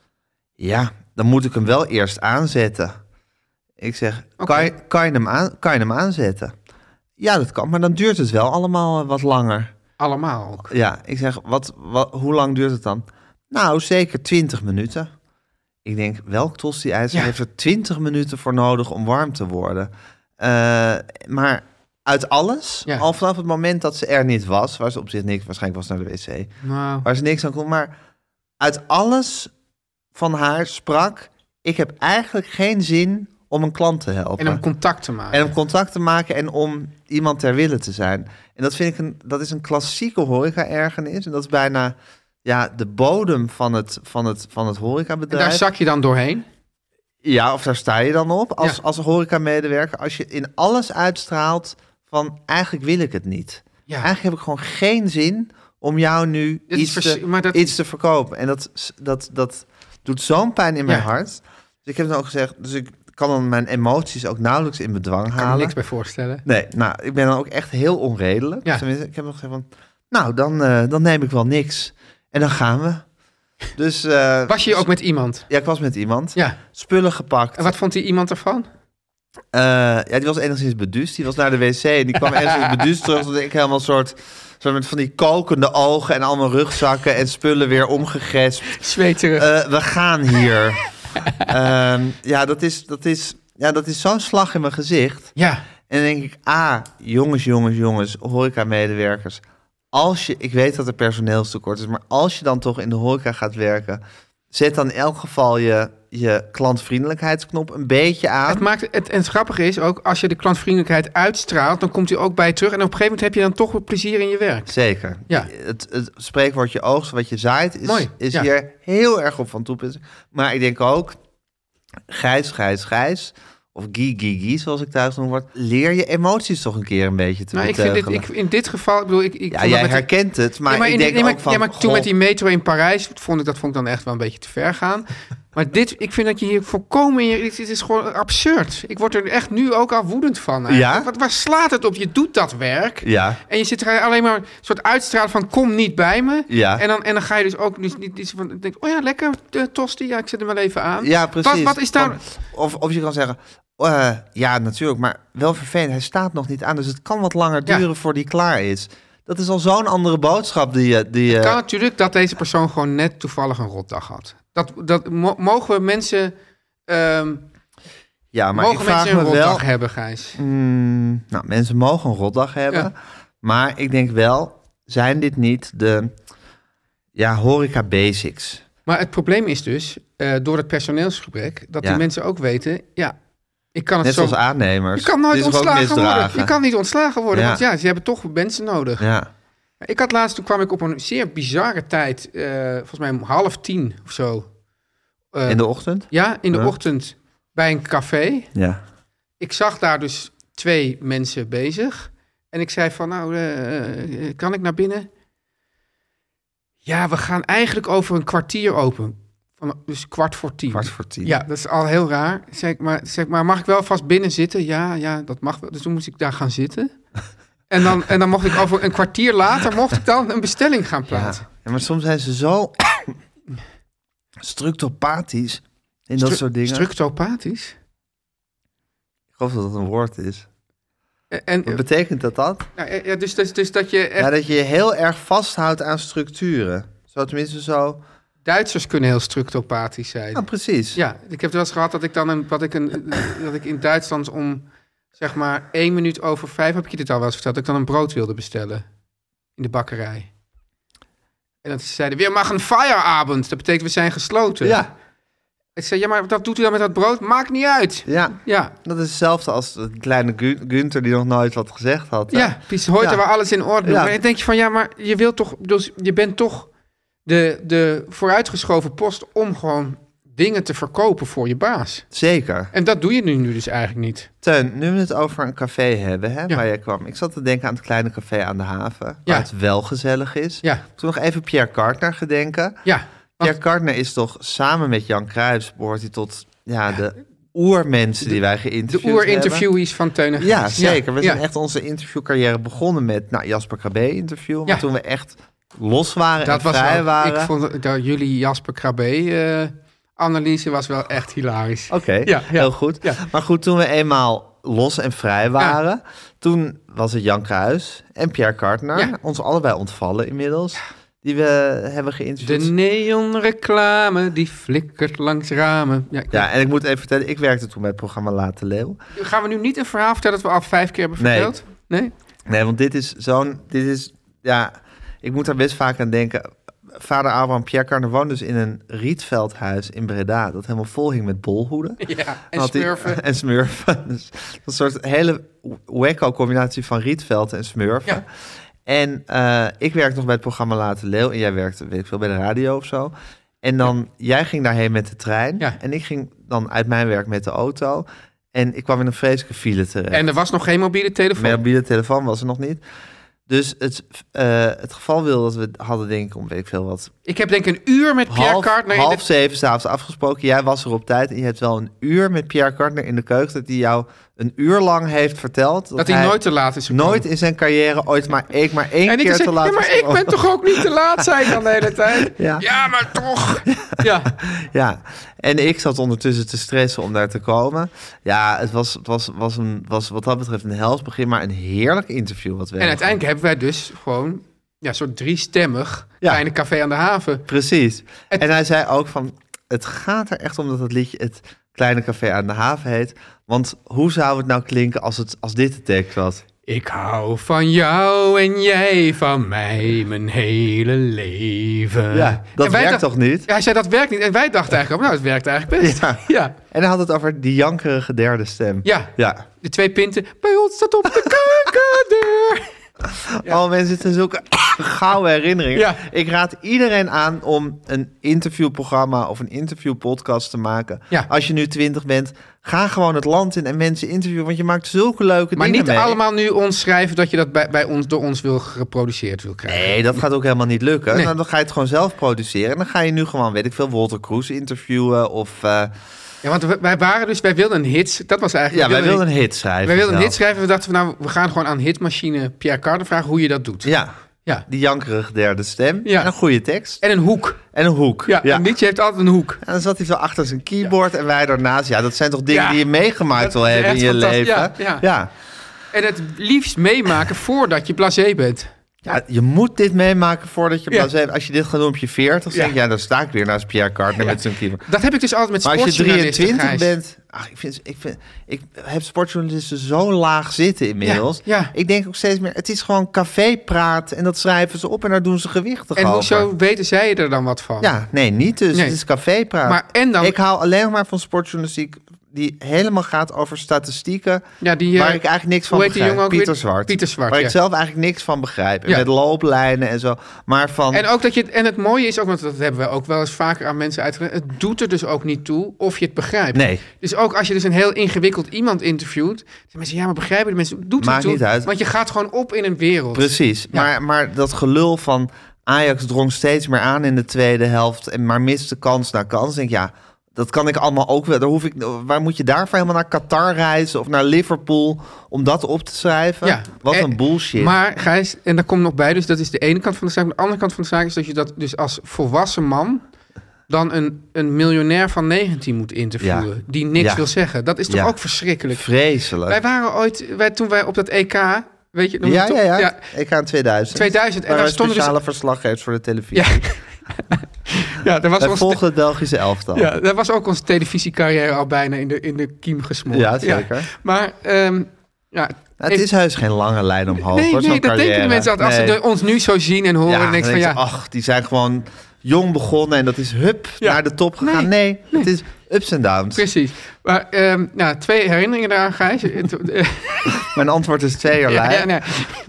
Speaker 1: Ja, dan moet ik hem wel eerst aanzetten. Ik zeg, kan, je, kan, je hem aan, kan je hem aanzetten? Ja, dat kan, maar dan duurt het wel allemaal eh, wat langer.
Speaker 2: Allemaal ook.
Speaker 1: Ja, ik zeg, wat, wat, hoe lang duurt het dan? Nou, zeker 20 minuten. Ik denk, welk tosti-ijzer
Speaker 2: Ja.
Speaker 1: heeft er 20 minuten voor nodig om warm te worden? Eh, maar uit alles,
Speaker 2: Ja.
Speaker 1: al vanaf het moment dat ze er niet was, waar ze op zich niks, waarschijnlijk was ze naar de wc,
Speaker 2: Nou,
Speaker 1: waar ze niks aan kon, maar uit alles van haar sprak, ik heb eigenlijk geen zin om een klant te helpen.
Speaker 2: en om contact te maken.
Speaker 1: En om contact te maken en om iemand ter wille te zijn. En dat vind ik een, dat is een klassieke horeca-ergernis. En dat is bijna ja, de bodem van het, van het, van het
Speaker 2: En
Speaker 1: horecabedrijf.
Speaker 2: daar zak je dan doorheen.
Speaker 1: Ja, of daar sta je dan op als,
Speaker 2: Ja.
Speaker 1: als horeca-medewerker. Als je in alles uitstraalt van eigenlijk wil ik het niet.
Speaker 2: Ja.
Speaker 1: Eigenlijk heb ik gewoon geen zin om jou nu
Speaker 2: Dit is
Speaker 1: iets
Speaker 2: vers-
Speaker 1: te,
Speaker 2: maar dat-
Speaker 1: iets te verkopen. En dat, dat, dat doet zo'n pijn in mijn
Speaker 2: Ja.
Speaker 1: hart. Dus ik heb dan ook gezegd, dus ik kan dan mijn emoties ook nauwelijks in bedwang
Speaker 2: Ik kan me
Speaker 1: halen.
Speaker 2: niks bij voorstellen.
Speaker 1: Nee, nou, ik ben dan ook echt heel onredelijk.
Speaker 2: Ja.
Speaker 1: Tenminste, ik heb nog gezegd van... Nou, dan, eh, dan neem ik wel niks. En dan gaan we. Dus eh,
Speaker 2: Was je ook met iemand?
Speaker 1: ja, ik was met iemand.
Speaker 2: Ja.
Speaker 1: Spullen gepakt.
Speaker 2: En wat vond die iemand ervan?
Speaker 1: Eh, ja, die was enigszins beduusd. Die was naar de wc en die kwam enigszins beduusd terug. Toen ik helemaal soort, soort met van die kokende ogen en al mijn rugzakken en spullen weer omgegespt.
Speaker 2: Zweterig.
Speaker 1: Eh, we gaan hier. Ehm, ja, dat is, dat is, ja, dat is zo'n slag in mijn gezicht.
Speaker 2: ja.
Speaker 1: En dan denk ik, ah, jongens, jongens, jongens, horeca-medewerkers. Als je, ik weet dat er personeelstekort is, maar als je dan toch in de horeca gaat werken, zet dan in elk geval je, je klantvriendelijkheidsknop een beetje aan.
Speaker 2: Het maakt het, en het grappige is ook, als je de klantvriendelijkheid uitstraalt, dan komt hij ook bij je terug. En op een gegeven moment heb je dan toch weer plezier in je werk.
Speaker 1: Zeker.
Speaker 2: Ja.
Speaker 1: Het, het spreekwoordje oogst, wat je zaait, is,
Speaker 2: Mooi,
Speaker 1: is
Speaker 2: ja.
Speaker 1: hier heel erg op van toepassing. Maar ik denk ook, grijs, grijs, grijs, of gie, gie, gie, zoals ik thuis noemd word, leer je emoties toch een keer een beetje te
Speaker 2: Nou, ik vind dit,
Speaker 1: beteugelen.
Speaker 2: ik, in dit geval, ik bedoel, ik, ik
Speaker 1: ja,
Speaker 2: vond dat
Speaker 1: jij
Speaker 2: met die-
Speaker 1: herkent het, maar,
Speaker 2: Ja,
Speaker 1: ik
Speaker 2: in-
Speaker 1: denk
Speaker 2: nee, maar-
Speaker 1: ook van...
Speaker 2: ja, maar toen
Speaker 1: goh,
Speaker 2: met die metro in Parijs, vond ik, dat vond ik dan echt wel een beetje te ver gaan. Maar dit, ik vind dat je hier volkomen... in je- Dit, dit is gewoon absurd. Ik word er echt nu ook al woedend van. eigenlijk.
Speaker 1: Ja?
Speaker 2: Wat, waar slaat het op? Je doet dat werk.
Speaker 1: Ja,
Speaker 2: En je zit er alleen maar een soort uitstralen van kom niet bij me.
Speaker 1: Ja.
Speaker 2: En, dan, en dan ga je dus ook dus niet iets van denk, oh ja, lekker de tosti. Ja, ik zet hem wel even aan.
Speaker 1: ja, precies.
Speaker 2: Wat, wat is daar?
Speaker 1: Of, of je kan zeggen... eh, ja, natuurlijk, maar wel vervelend. Hij staat nog niet aan, dus het kan wat langer
Speaker 2: Ja.
Speaker 1: duren voor die klaar is. Dat is al zo'n andere boodschap die je... Die, eh, je-
Speaker 2: kan natuurlijk dat deze persoon gewoon net toevallig een rotdag had. Dat, dat mo- mogen we mensen, ehm,
Speaker 1: ja, maar ik
Speaker 2: mogen
Speaker 1: vraag
Speaker 2: mensen een
Speaker 1: me wel...
Speaker 2: rotdag hebben, Gijs?
Speaker 1: Mm, nou, mensen mogen een rotdag hebben.
Speaker 2: Ja.
Speaker 1: Maar ik denk wel, zijn dit niet de ja, horeca basics?
Speaker 2: Maar het probleem is dus, eh, door het personeelsgebrek, dat
Speaker 1: Ja.
Speaker 2: die mensen ook weten, ja, ik kan het
Speaker 1: Net
Speaker 2: zo...
Speaker 1: zoals aannemers.
Speaker 2: je kan
Speaker 1: Dit
Speaker 2: nooit
Speaker 1: is ook
Speaker 2: ontslagen worden.
Speaker 1: misdragen.
Speaker 2: Je kan niet ontslagen worden,
Speaker 1: Ja.
Speaker 2: want ja, ze hebben toch mensen nodig.
Speaker 1: Ja,
Speaker 2: Ik had laatst, toen kwam ik op een zeer bizarre tijd, eh, volgens mij om half tien of zo. eh,
Speaker 1: in de ochtend?
Speaker 2: Ja, in de
Speaker 1: Ja.
Speaker 2: ochtend bij een café.
Speaker 1: Ja.
Speaker 2: Ik zag daar dus twee mensen bezig. En ik zei van, nou, eh, eh, kan ik naar binnen? Ja, we gaan eigenlijk over een kwartier open. Van, dus kwart voor tien.
Speaker 1: Kwart voor tien.
Speaker 2: Ja, dat is al heel raar. Zeg ik maar, zeg ik maar, mag ik wel vast binnen zitten? Ja, ja, dat mag wel. Dus toen moest ik daar gaan zitten. En dan, en dan mocht ik over een kwartier later mocht ik dan een bestelling gaan
Speaker 1: Ja.
Speaker 2: plaatsen.
Speaker 1: Ja, maar soms zijn ze zo structopathisch in dat
Speaker 2: Stru-
Speaker 1: soort dingen.
Speaker 2: Structopathisch.
Speaker 1: Ik geloof dat dat een woord is.
Speaker 2: En, en-
Speaker 1: Wat betekent dat dat?
Speaker 2: nou, eh, ja, dus, dus, dus dat je echt...
Speaker 1: Ja, dat je je heel erg vasthoudt aan structuren. Zo tenminste zo...
Speaker 2: Duitsers kunnen heel structopathisch zijn.
Speaker 1: Ja, precies.
Speaker 2: Ja, ik heb het wel eens gehad dat ik dan een, wat ik een, dat ik in Duitsland om zeg maar één minuut over vijf heb ik je dit al wel eens verteld dat ik dan een brood wilde bestellen in de bakkerij. En dat ze zeiden weer mag een fireabend. Dat betekent we zijn gesloten.
Speaker 1: ja.
Speaker 2: Ik zei ja, maar dat doet u dan met dat brood? Maakt niet uit.
Speaker 1: ja.
Speaker 2: Ja,
Speaker 1: Dat is hetzelfde als de kleine Gun- Gunther die nog nooit wat gezegd had. hè?
Speaker 2: ja. Pies hoort
Speaker 1: Ja.
Speaker 2: er waar alles in orde.
Speaker 1: Ja.
Speaker 2: Maar dan denk je van ja, maar je wilt toch, dus je bent toch de, de vooruitgeschoven post om gewoon dingen te verkopen voor je baas.
Speaker 1: Zeker.
Speaker 2: En dat doe je nu, nu dus eigenlijk niet.
Speaker 1: Teun, nu we het over een café hebben, hè,
Speaker 2: Ja.
Speaker 1: waar jij kwam. Ik zat te denken aan het kleine café aan de haven, waar
Speaker 2: Ja.
Speaker 1: het wel gezellig is.
Speaker 2: Ja,
Speaker 1: Toen nog even Pierre Kartner gedenken.
Speaker 2: ja.
Speaker 1: Pierre Kartner is toch samen met Jan Cruijffs, behoort hij tot ja, de oermensen die wij geïnterviewd
Speaker 2: De
Speaker 1: hebben.
Speaker 2: oerinterviewees van Teun en
Speaker 1: Ja,
Speaker 2: Gijs.
Speaker 1: zeker. We
Speaker 2: ja.
Speaker 1: zijn echt onze interviewcarrière begonnen met nou, Jasper Krabbe-interview. Maar
Speaker 2: Ja.
Speaker 1: toen we echt los waren
Speaker 2: dat
Speaker 1: en
Speaker 2: was
Speaker 1: vrij
Speaker 2: wel,
Speaker 1: waren...
Speaker 2: Ik vond dat jullie Jasper Krabbe-analyse was wel echt hilarisch.
Speaker 1: Oké,
Speaker 2: Ja, ja.
Speaker 1: heel goed.
Speaker 2: Ja.
Speaker 1: Maar goed, toen we eenmaal los en vrij waren... toen was het Jan Kruis en Pierre Kartner...
Speaker 2: Ja.
Speaker 1: ons allebei ontvallen inmiddels... die we hebben
Speaker 2: De
Speaker 1: geïnterviewd.
Speaker 2: neonreclame die flikkert langs ramen. Ja, ik-
Speaker 1: ja, en ik moet even vertellen, ik werkte toen bij het programma Late Leeuw.
Speaker 2: Gaan we nu niet een verhaal vertellen dat we al vijf keer hebben
Speaker 1: Nee.
Speaker 2: verteld? Nee.
Speaker 1: Nee, want dit is zo'n... Dit is... Ja, ik moet daar best vaak aan denken. Vader Abraham Pierre Kartner woonde dus in een rietveldhuis in Breda... dat helemaal vol hing met bolhoeden.
Speaker 2: Ja, en
Speaker 1: Dan had hij-
Speaker 2: smurfen.
Speaker 1: en smurfen. Dus een soort hele wacko combinatie van Rietveld en smurfen.
Speaker 2: Ja.
Speaker 1: En eh, ik werk nog bij het programma Late Leeuw. En jij werkte, weet ik veel, bij de radio of zo. En dan, jij ging daarheen met de trein.
Speaker 2: Ja.
Speaker 1: En ik ging dan uit mijn werk met de auto. En ik kwam in een vreselijke file terecht.
Speaker 2: En er was nog geen mobiele telefoon.
Speaker 1: Mijn mobiele telefoon was er nog niet. Dus het, eh, het geval wil dat we hadden, denk ik, om weet ik veel wat.
Speaker 2: Ik heb denk ik een uur met Pierre
Speaker 1: half
Speaker 2: Kartner in
Speaker 1: half
Speaker 2: de...
Speaker 1: zeven s'avonds afgesproken. Jij was er op tijd. En je hebt wel een uur met Pierre Kartner in de keuken. Dat hij jou een uur lang heeft verteld.
Speaker 2: Dat hij nooit te laat is gekomen.
Speaker 1: nooit in zijn carrière ooit maar, ik maar één
Speaker 2: en ik
Speaker 1: keer
Speaker 2: zei,
Speaker 1: te laat
Speaker 2: ja, maar
Speaker 1: is
Speaker 2: ik ben
Speaker 1: gekomen."
Speaker 2: toch ook niet te laat, zei ik dan de hele tijd.
Speaker 1: Ja.
Speaker 2: ja maar toch. Ja.
Speaker 1: Ja, en ik zat ondertussen te stressen om daar te komen. Ja, het was, het was, was, een, was wat dat betreft een hels begin, maar een heerlijk interview wat we
Speaker 2: En
Speaker 1: hebben
Speaker 2: uiteindelijk hebben wij dus gewoon ja, een soort driestemmig
Speaker 1: Ja.
Speaker 2: kleine café aan de haven.
Speaker 1: Precies.
Speaker 2: Het-
Speaker 1: En hij zei ook van, het gaat er echt om dat het liedje het kleine café aan de haven heet. Want hoe zou het nou klinken als, het, als dit de tekst was?
Speaker 2: Ik hou van jou en jij van mij mijn hele leven.
Speaker 1: ja, dat
Speaker 2: En wij
Speaker 1: werkt
Speaker 2: dacht-
Speaker 1: toch niet?
Speaker 2: Ja, hij zei dat werkt niet. En wij dachten eigenlijk, ook, nou, het werkt eigenlijk best.
Speaker 1: Ja.
Speaker 2: ja.
Speaker 1: En hij had het over die jankerige derde stem.
Speaker 2: Ja.
Speaker 1: Ja.
Speaker 2: De twee pinten. Bij ons staat op de keukendeur.
Speaker 1: Al mensen zitten zulke gouden herinneringen.
Speaker 2: Ja.
Speaker 1: Ik raad iedereen aan om een interviewprogramma of een interviewpodcast te maken.
Speaker 2: Ja.
Speaker 1: Als je nu twintig bent, ga gewoon het land in en mensen interviewen. Want je maakt zulke leuke
Speaker 2: Maar
Speaker 1: dingen
Speaker 2: niet
Speaker 1: mee.
Speaker 2: allemaal nu ons schrijven dat je dat bij, bij ons, door ons wil geproduceerd wil krijgen.
Speaker 1: Nee, dat gaat ook helemaal niet lukken.
Speaker 2: Nee.
Speaker 1: Nou, dan ga je het gewoon zelf produceren. En dan ga je nu gewoon, weet ik veel, Walter Cruz interviewen. Of eh,
Speaker 2: Ja, want we- wij waren dus, wij wilden een hit. Dat was eigenlijk.
Speaker 1: ja, wij wilden een hit schrijven.
Speaker 2: wij wilden een
Speaker 1: zelf.
Speaker 2: hit schrijven. We dachten van nou, we gaan gewoon aan hitmachine Pierre Carden vragen hoe je dat doet.
Speaker 1: Ja,
Speaker 2: Ja.
Speaker 1: die jankerige derde stem.
Speaker 2: Ja.
Speaker 1: En een goede tekst.
Speaker 2: En een hoek.
Speaker 1: En een hoek.
Speaker 2: Ja, een liedje heeft altijd een hoek.
Speaker 1: En dan zat hij zo achter zijn keyboard en wij daarnaast. Ja, dat zijn toch dingen
Speaker 2: Ja.
Speaker 1: die je meegemaakt
Speaker 2: Dat
Speaker 1: wil
Speaker 2: is
Speaker 1: hebben in
Speaker 2: echt
Speaker 1: je leven.
Speaker 2: fantastisch.
Speaker 1: Ja,
Speaker 2: Ja,
Speaker 1: ja.
Speaker 2: ja. En het liefst meemaken voordat je blasé bent.
Speaker 1: je moet dit meemaken voordat je...
Speaker 2: Ja.
Speaker 1: blasé- Als je dit gaat doen op je 40,
Speaker 2: Ja.
Speaker 1: denk je... Ja, dan sta ik weer naast Pierre Cardin met zijn keyboard.
Speaker 2: Dat heb ik dus altijd met
Speaker 1: Maar als je
Speaker 2: sportjournalisten,
Speaker 1: 23
Speaker 2: Gijs.
Speaker 1: bent... Ach, ik, vind, ik, vind, ik heb sportjournalisten zo laag zitten inmiddels.
Speaker 2: Ja, ja.
Speaker 1: Ik denk ook steeds meer... Het is gewoon cafépraat en dat schrijven ze op en daar doen ze gewichtig
Speaker 2: En
Speaker 1: over.
Speaker 2: hoezo weten zij er dan wat van?
Speaker 1: Ja, nee, niet dus.
Speaker 2: Nee.
Speaker 1: Het is cafépraat.
Speaker 2: Maar en dan-
Speaker 1: Ik hou alleen nog maar van sportjournalistiek die helemaal gaat over statistieken...
Speaker 2: Ja, die, eh,
Speaker 1: waar ik eigenlijk niks van
Speaker 2: hoe heet die
Speaker 1: begrijp.
Speaker 2: jongen ook
Speaker 1: Pieter
Speaker 2: weer?
Speaker 1: Zwart.
Speaker 2: Pieter Zwart,
Speaker 1: Waar
Speaker 2: ja.
Speaker 1: ik zelf eigenlijk niks van begrijp. En
Speaker 2: Ja.
Speaker 1: Met looplijnen en zo. Maar van...
Speaker 2: En, ook dat je het, en het mooie is ook, want dat hebben we ook wel eens vaker aan mensen uitgelegd. Het doet er dus ook niet toe of je het begrijpt.
Speaker 1: Nee.
Speaker 2: Dus ook als je dus een heel ingewikkeld iemand interviewt. zeggen mensen, ja, maar begrijpen de mensen? Doet
Speaker 1: Maakt
Speaker 2: het toe,
Speaker 1: niet uit.
Speaker 2: Want je gaat gewoon op in een wereld.
Speaker 1: Precies. Maar, maar dat gelul van Ajax drong steeds meer aan in de tweede helft. En maar miste kans na kans. Denk ik, ja, dat kan ik allemaal ook wel. Daar hoef ik, waar moet je daarvoor helemaal naar Qatar reizen of naar Liverpool om dat op te schrijven?
Speaker 2: Ja.
Speaker 1: Wat
Speaker 2: En-
Speaker 1: een bullshit.
Speaker 2: Eh, Maar Gijs, en daar komt nog bij, dus dat is de ene kant van de zaak. Maar De andere kant van de zaak is dat je dat dus als volwassen man dan een, een miljonair van 19 moet interviewen.
Speaker 1: Ja.
Speaker 2: Die niks
Speaker 1: Ja.
Speaker 2: wil zeggen. Dat is toch
Speaker 1: Ja.
Speaker 2: ook verschrikkelijk.
Speaker 1: Vreselijk.
Speaker 2: Wij waren ooit, wij, toen wij op dat EK, weet je, nog
Speaker 1: ja,
Speaker 2: toch?
Speaker 1: ja, ja, Ik ga in 2000.
Speaker 2: 2000. En
Speaker 1: Waar
Speaker 2: daar
Speaker 1: wij
Speaker 2: stonden dus-
Speaker 1: speciale verslaggevers voor de televisie.
Speaker 2: Ja. ja, er was
Speaker 1: Wij
Speaker 2: ons
Speaker 1: volgen het Belgische elftal.
Speaker 2: Ja, daar was ook onze televisiecarrière al bijna in de, in de kiem gesmoord.
Speaker 1: Ja, zeker.
Speaker 2: Maar ehm, ja,
Speaker 1: Nou, het is heus geen lange lijn omhoog.
Speaker 2: nee,
Speaker 1: hoor, zo'n
Speaker 2: nee, dat denken
Speaker 1: carrière.
Speaker 2: de mensen altijd. Als
Speaker 1: Nee.
Speaker 2: ze de- ons nu zo zien en horen,
Speaker 1: Ja,
Speaker 2: dan denk
Speaker 1: dan
Speaker 2: ik van ja,
Speaker 1: denk je, ach, die zijn gewoon jong begonnen en dat is hup
Speaker 2: Ja.
Speaker 1: naar de top gegaan. Nee, het is ups en downs.
Speaker 2: precies. Maar ehm, nou, twee herinneringen daaraan, Gijs. Het- eh,
Speaker 1: Mijn antwoord is twee jaar
Speaker 2: ja, ja, nee.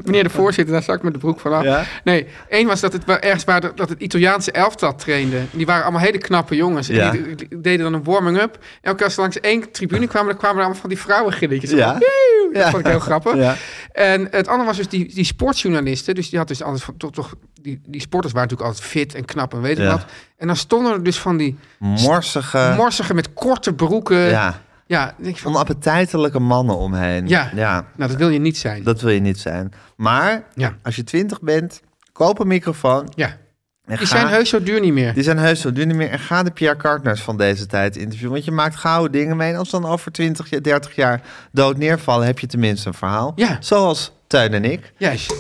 Speaker 2: Meneer de voorzitter, daar zak ik met de broek vanaf.
Speaker 1: Ja.
Speaker 2: Nee, één was dat het wel ergens waar dat het Italiaanse elftal trainde. Die waren allemaal hele knappe jongens. En
Speaker 1: Ja.
Speaker 2: die, die deden dan een warming-up. En Elke keer als ze langs één tribune kwamen, dan kwamen er allemaal van die vrouwengilletjes.
Speaker 1: Ja.
Speaker 2: Woehoe! Dat
Speaker 1: Ja.
Speaker 2: vond ik heel grappig.
Speaker 1: Ja.
Speaker 2: En het andere was dus die, die sportjournalisten. Dus die had dus altijd van, toch, toch, die, die sporters waren natuurlijk altijd fit en knap en weet ik
Speaker 1: Ja.
Speaker 2: wat. En dan stonden er dus van die
Speaker 1: Morsige,
Speaker 2: morsigen met korte broeken. Ja,
Speaker 1: ja,
Speaker 2: dan denk je van,
Speaker 1: onappetitelijke mannen omheen.
Speaker 2: Ja. nou dat wil je niet zijn.
Speaker 1: dat wil je niet zijn. Maar
Speaker 2: Ja.
Speaker 1: als je twintig bent, koop een microfoon.
Speaker 2: ja.
Speaker 1: En
Speaker 2: Die
Speaker 1: ga,
Speaker 2: zijn heus zo duur niet meer.
Speaker 1: die zijn heus zo duur niet meer. En ga de Pierre Kartners van deze tijd interviewen. Want je maakt gouden dingen mee. En als ze dan over 20, ja, 30 jaar dood neervallen, heb je tenminste een verhaal.
Speaker 2: Ja.
Speaker 1: Zoals Teun en ik.
Speaker 2: Juist.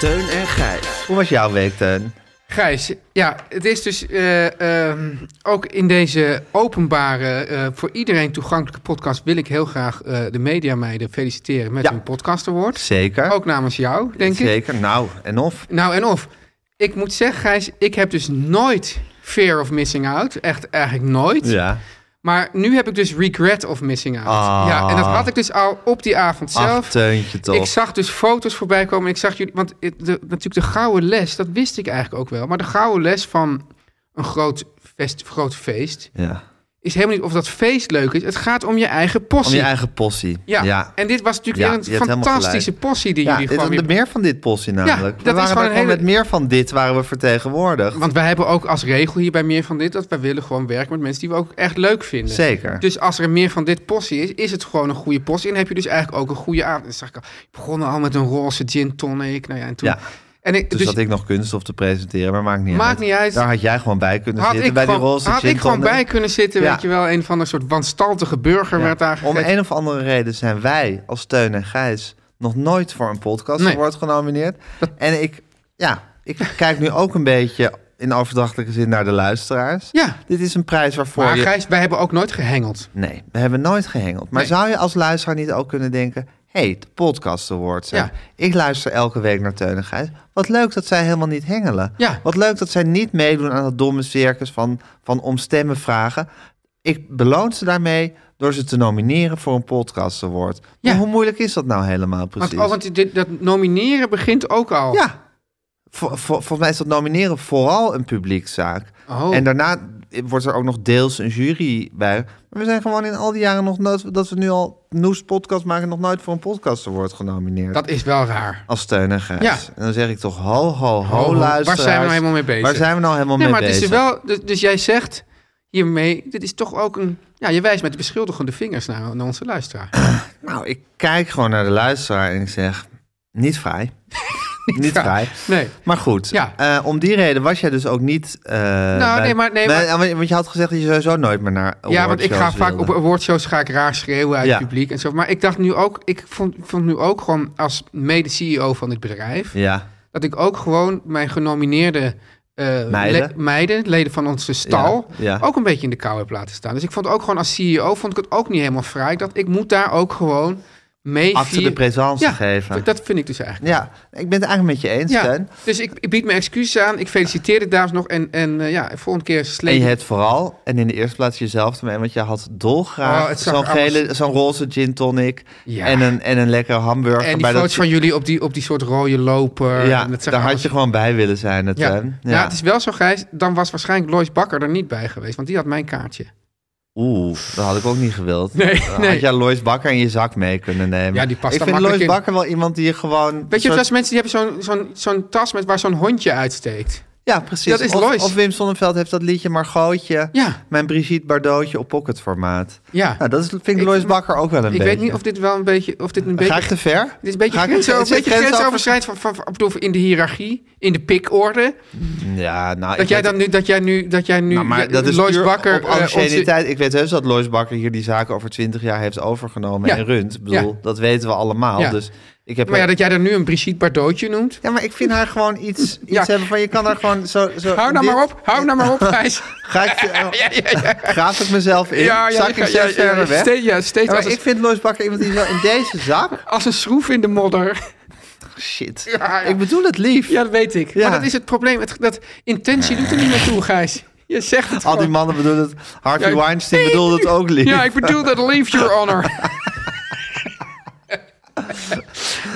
Speaker 3: Teun en Gijs.
Speaker 1: Hoe was jouw week, Teun?
Speaker 2: Gijs, ja, het is dus eh, ehm, ook in deze openbare, eh, voor iedereen toegankelijke podcast wil ik heel graag eh de mediameiden feliciteren met
Speaker 1: Ja.
Speaker 2: hun podcast award.
Speaker 1: Zeker.
Speaker 2: Ook namens jou, denk ik.
Speaker 1: Zeker. Nou, en of?
Speaker 2: Nou en of. Ik moet zeggen, Gijs, ik heb dus nooit fear of missing out. Echt eigenlijk nooit.
Speaker 1: Ja.
Speaker 2: Maar nu heb ik dus regret of missing out.
Speaker 1: Ah.
Speaker 2: Ja, en dat had ik dus al op die avond zelf.
Speaker 1: Ach, Teuntje toch.
Speaker 2: Ik zag dus foto's voorbij komen. en Ik zag jullie, want het- de, natuurlijk de gouden les, dat wist ik eigenlijk ook wel. Maar de gouden les van een groot, fest, groot feest
Speaker 1: Ja.
Speaker 2: is helemaal niet of dat feest leuk is. Het gaat om je eigen possie.
Speaker 1: Om je eigen possie.
Speaker 2: Ja.
Speaker 1: ja.
Speaker 2: en dit was natuurlijk
Speaker 1: Ja, je
Speaker 2: weer
Speaker 1: hebt
Speaker 2: een
Speaker 1: helemaal
Speaker 2: fantastische
Speaker 1: gelijk.
Speaker 2: possie die
Speaker 1: Ja,
Speaker 2: jullie
Speaker 1: dit-
Speaker 2: gewoon weer...
Speaker 1: de meer van dit possie namelijk.
Speaker 2: dat
Speaker 1: we
Speaker 2: is
Speaker 1: waren
Speaker 2: gewoon
Speaker 1: daar
Speaker 2: een
Speaker 1: gewoon
Speaker 2: hele-
Speaker 1: met meer van dit waren we vertegenwoordigd.
Speaker 2: Want wij hebben ook als regel hier bij meer van dit... dat wij willen gewoon werken met mensen die we ook echt leuk vinden.
Speaker 1: Zeker.
Speaker 2: Dus als er meer van dit possie is, is het gewoon een goede possie. En heb je dus eigenlijk ook een goede avond. Dan zag ik al, ik begon al met een roze gin tonic. Nou ja, en toen...
Speaker 1: Ja.
Speaker 2: En ik,
Speaker 1: Dus,
Speaker 2: dus
Speaker 1: dat ik nog kunststof te presenteren, maar maakt niet uit.
Speaker 2: maakt niet uit.
Speaker 1: Daar had jij gewoon bij kunnen
Speaker 2: Had
Speaker 1: zitten
Speaker 2: ik,
Speaker 1: bij Dus die
Speaker 2: gewoon,
Speaker 1: roze
Speaker 2: had
Speaker 1: gin
Speaker 2: ik gewoon
Speaker 1: tonic.
Speaker 2: bij kunnen zitten,
Speaker 1: Ja.
Speaker 2: weet je wel. Een van een soort wanstaltige burger
Speaker 1: Ja.
Speaker 2: werd daar
Speaker 1: Om
Speaker 2: gegeten.
Speaker 1: een of andere reden zijn wij als Teun en Gijs nog nooit voor een podcast
Speaker 2: Nee.
Speaker 1: award genomineerd. En ik, ja, ik kijk nu ook een beetje in overdrachtelijke zin naar de luisteraars.
Speaker 2: Ja,
Speaker 1: Dit is een prijs waarvoor
Speaker 2: maar
Speaker 1: je...
Speaker 2: Gijs, wij hebben ook nooit gehengeld.
Speaker 1: Nee, we hebben nooit gehengeld. Maar
Speaker 2: Nee.
Speaker 1: zou je als luisteraar niet ook kunnen denken... hey, de podcast award zijn.
Speaker 2: Ja.
Speaker 1: Ik luister elke week naar Teun en Gijs. Wat leuk dat zij helemaal niet hengelen.
Speaker 2: Ja.
Speaker 1: Wat leuk dat zij niet meedoen aan dat domme circus van, van om stemmen vragen. Ik beloon ze daarmee door ze te nomineren voor een podcast award.
Speaker 2: Ja.
Speaker 1: Maar hoe moeilijk is dat nou helemaal precies?
Speaker 2: Want, oh, want dit, dat nomineren begint ook al.
Speaker 1: Ja. Vo- vo- volgens mij is dat nomineren vooral een publiekzaak.
Speaker 2: Oh.
Speaker 1: En daarna wordt er ook nog deels een jury bij. Maar we zijn gewoon in al die jaren nog nooit... dat we nu al Noes podcast maken... nog nooit voor een podcast wordt genomineerd.
Speaker 2: Dat is wel raar.
Speaker 1: Als steun en gijs.
Speaker 2: Ja.
Speaker 1: En dan zeg ik toch ho, ho,
Speaker 2: Ho, ho.
Speaker 1: ho, luisteraars.
Speaker 2: Waar zijn we nou helemaal mee bezig?
Speaker 1: Waar zijn we nou helemaal
Speaker 2: Nee,
Speaker 1: mee
Speaker 2: maar het is er
Speaker 1: bezig?
Speaker 2: wel. Dus, dus jij zegt hiermee. Dit is toch ook een. Ja, je wijst met de beschuldigende vingers naar, naar onze luisteraar.
Speaker 1: Nou, ik kijk gewoon naar de luisteraar en ik zeg... niet vrij. niet,
Speaker 2: vrij.
Speaker 1: vrij.
Speaker 2: Nee.
Speaker 1: Maar goed,
Speaker 2: Ja. Nou,
Speaker 1: eh, om die reden was jij dus ook niet... eh, bij-
Speaker 2: nee, maar- nee,
Speaker 1: Bij- Want je had gezegd dat je sowieso nooit meer naar
Speaker 2: Ja, want ik ga
Speaker 1: awardshows
Speaker 2: vaak
Speaker 1: wilde.
Speaker 2: op awardshows ga ik raar schreeuwen uit
Speaker 1: Ja.
Speaker 2: het publiek en zo. Maar ik dacht nu ook. Ik vond, vond nu ook gewoon als mede-CEO van dit bedrijf.
Speaker 1: Ja,
Speaker 2: dat ik ook gewoon mijn genomineerde eh,
Speaker 1: Meiden.
Speaker 2: le- meiden, leden van onze stal,
Speaker 1: Ja, ja.
Speaker 2: ook een beetje in de kou heb laten staan. Dus ik vond ook gewoon als CEO vond ik het ook niet helemaal fraai. Ik dacht, ik moet daar ook gewoon mee
Speaker 1: acte de
Speaker 2: vier-
Speaker 1: présence
Speaker 2: Ja,
Speaker 1: geven.
Speaker 2: Dat vind ik dus eigenlijk.
Speaker 1: Ja, ik ben het eigenlijk met je eens,
Speaker 2: Ja,
Speaker 1: Teun.
Speaker 2: dus ik, ik bied mijn excuses aan. Ik feliciteer de dames nog. En, en eh, ja, volgende keer
Speaker 1: En je
Speaker 2: sleep
Speaker 1: hebt vooral, en in de eerste plaats jezelf ermee, want je had dolgraag
Speaker 2: Oh, het zag
Speaker 1: zo'n
Speaker 2: er allemaal-
Speaker 1: gele, zo'n roze gin tonic
Speaker 2: Ja.
Speaker 1: en, een, en een lekkere hamburger.
Speaker 2: En die
Speaker 1: bij
Speaker 2: foto's
Speaker 1: dat,
Speaker 2: van jullie op die, op die soort rode loper.
Speaker 1: ja,
Speaker 2: en dat zag
Speaker 1: daar had
Speaker 2: alles-
Speaker 1: je gewoon bij willen zijn, hè,
Speaker 2: ja.
Speaker 1: Teun.
Speaker 2: Ja. het is wel zo, Gijs. Dan was waarschijnlijk Lois Bakker er niet bij geweest. Want die had mijn kaartje.
Speaker 1: Oeh, dat had ik ook niet gewild.
Speaker 2: Nee,
Speaker 1: Dan
Speaker 2: nee.
Speaker 1: Had jij Lois Bakker in je zak mee kunnen nemen.
Speaker 2: Ja, die past
Speaker 1: Ik
Speaker 2: daar
Speaker 1: vind Lois
Speaker 2: makkelijk in.
Speaker 1: Bakker wel iemand die je gewoon...
Speaker 2: Weet je,
Speaker 1: soort-
Speaker 2: wel eens mensen die hebben zo'n zo'n zo'n tas met waar zo'n hondje uitsteekt.
Speaker 1: Ja, precies.
Speaker 2: Dat is
Speaker 1: of,
Speaker 2: Lois.
Speaker 1: of Wim Sonneveld heeft dat liedje Margotje,
Speaker 2: Ja,
Speaker 1: mijn Brigitte Bardotje op pocketformaat.
Speaker 2: ja.
Speaker 1: Nou, dat is, vind ik,
Speaker 2: Ik-
Speaker 1: Lois Bakker ook wel een
Speaker 2: ik
Speaker 1: beetje.
Speaker 2: weet niet of dit wel een beetje, of dit een beetje,
Speaker 1: Ga ik te ver?
Speaker 2: dit is een beetje,
Speaker 1: ga ik-
Speaker 2: grenso-
Speaker 1: is
Speaker 2: een
Speaker 1: het
Speaker 2: beetje
Speaker 1: grensover-
Speaker 2: grensoverschrijdend van, van, van, ik bedoel, in de hiërarchie, in de pikorde.
Speaker 1: Ja, nou... ik
Speaker 2: Dat jij
Speaker 1: weet-
Speaker 2: dan nu, dat jij nu, dat jij nu,
Speaker 1: Nou, maar
Speaker 2: ja,
Speaker 1: dat is
Speaker 2: Lois
Speaker 1: puur
Speaker 2: Bakker,
Speaker 1: op
Speaker 2: eh, onze-
Speaker 1: anciëniteit. Ik weet heus dat Lois Bakker hier die zaken over twintig jaar heeft overgenomen
Speaker 2: Ja.
Speaker 1: en runt. Ik bedoel,
Speaker 2: Ja.
Speaker 1: dat weten we allemaal.
Speaker 2: Ja.
Speaker 1: Dus ik heb...
Speaker 2: maar ja, dat jij dan nu een Brigitte Bardotje noemt.
Speaker 1: Ja, maar ik vind haar gewoon iets, iets
Speaker 2: Ja.
Speaker 1: hebben van... Je kan haar gewoon zo... zo
Speaker 2: Hou nou
Speaker 1: dit-
Speaker 2: maar op, hou nou maar op, Gijs.
Speaker 1: Ga ik,
Speaker 2: Ja, ja, ja.
Speaker 1: graaf ik mezelf in?
Speaker 2: Ja, ja,
Speaker 1: zak ik
Speaker 2: ja, ja,
Speaker 1: steeds
Speaker 2: ja,
Speaker 1: verder weg?
Speaker 2: steeds- ja, steeds
Speaker 1: Ja, maar
Speaker 2: als,
Speaker 1: ik
Speaker 2: een,
Speaker 1: vind Lois Bakker iemand die zo in deze zak...
Speaker 2: als een schroef in de modder.
Speaker 1: Shit.
Speaker 2: Ja, ja.
Speaker 1: Ik bedoel het lief.
Speaker 2: Ja, dat weet ik.
Speaker 1: Ja.
Speaker 2: Maar dat is het probleem. Het, dat intentie doet er niet naartoe, Gijs. Je zegt het
Speaker 1: Al die
Speaker 2: gewoon.
Speaker 1: mannen bedoelen het. Harvey
Speaker 2: Ja, ik-
Speaker 1: Weinstein bedoelde het ook lief.
Speaker 2: Ja, ik bedoel dat leave your honor.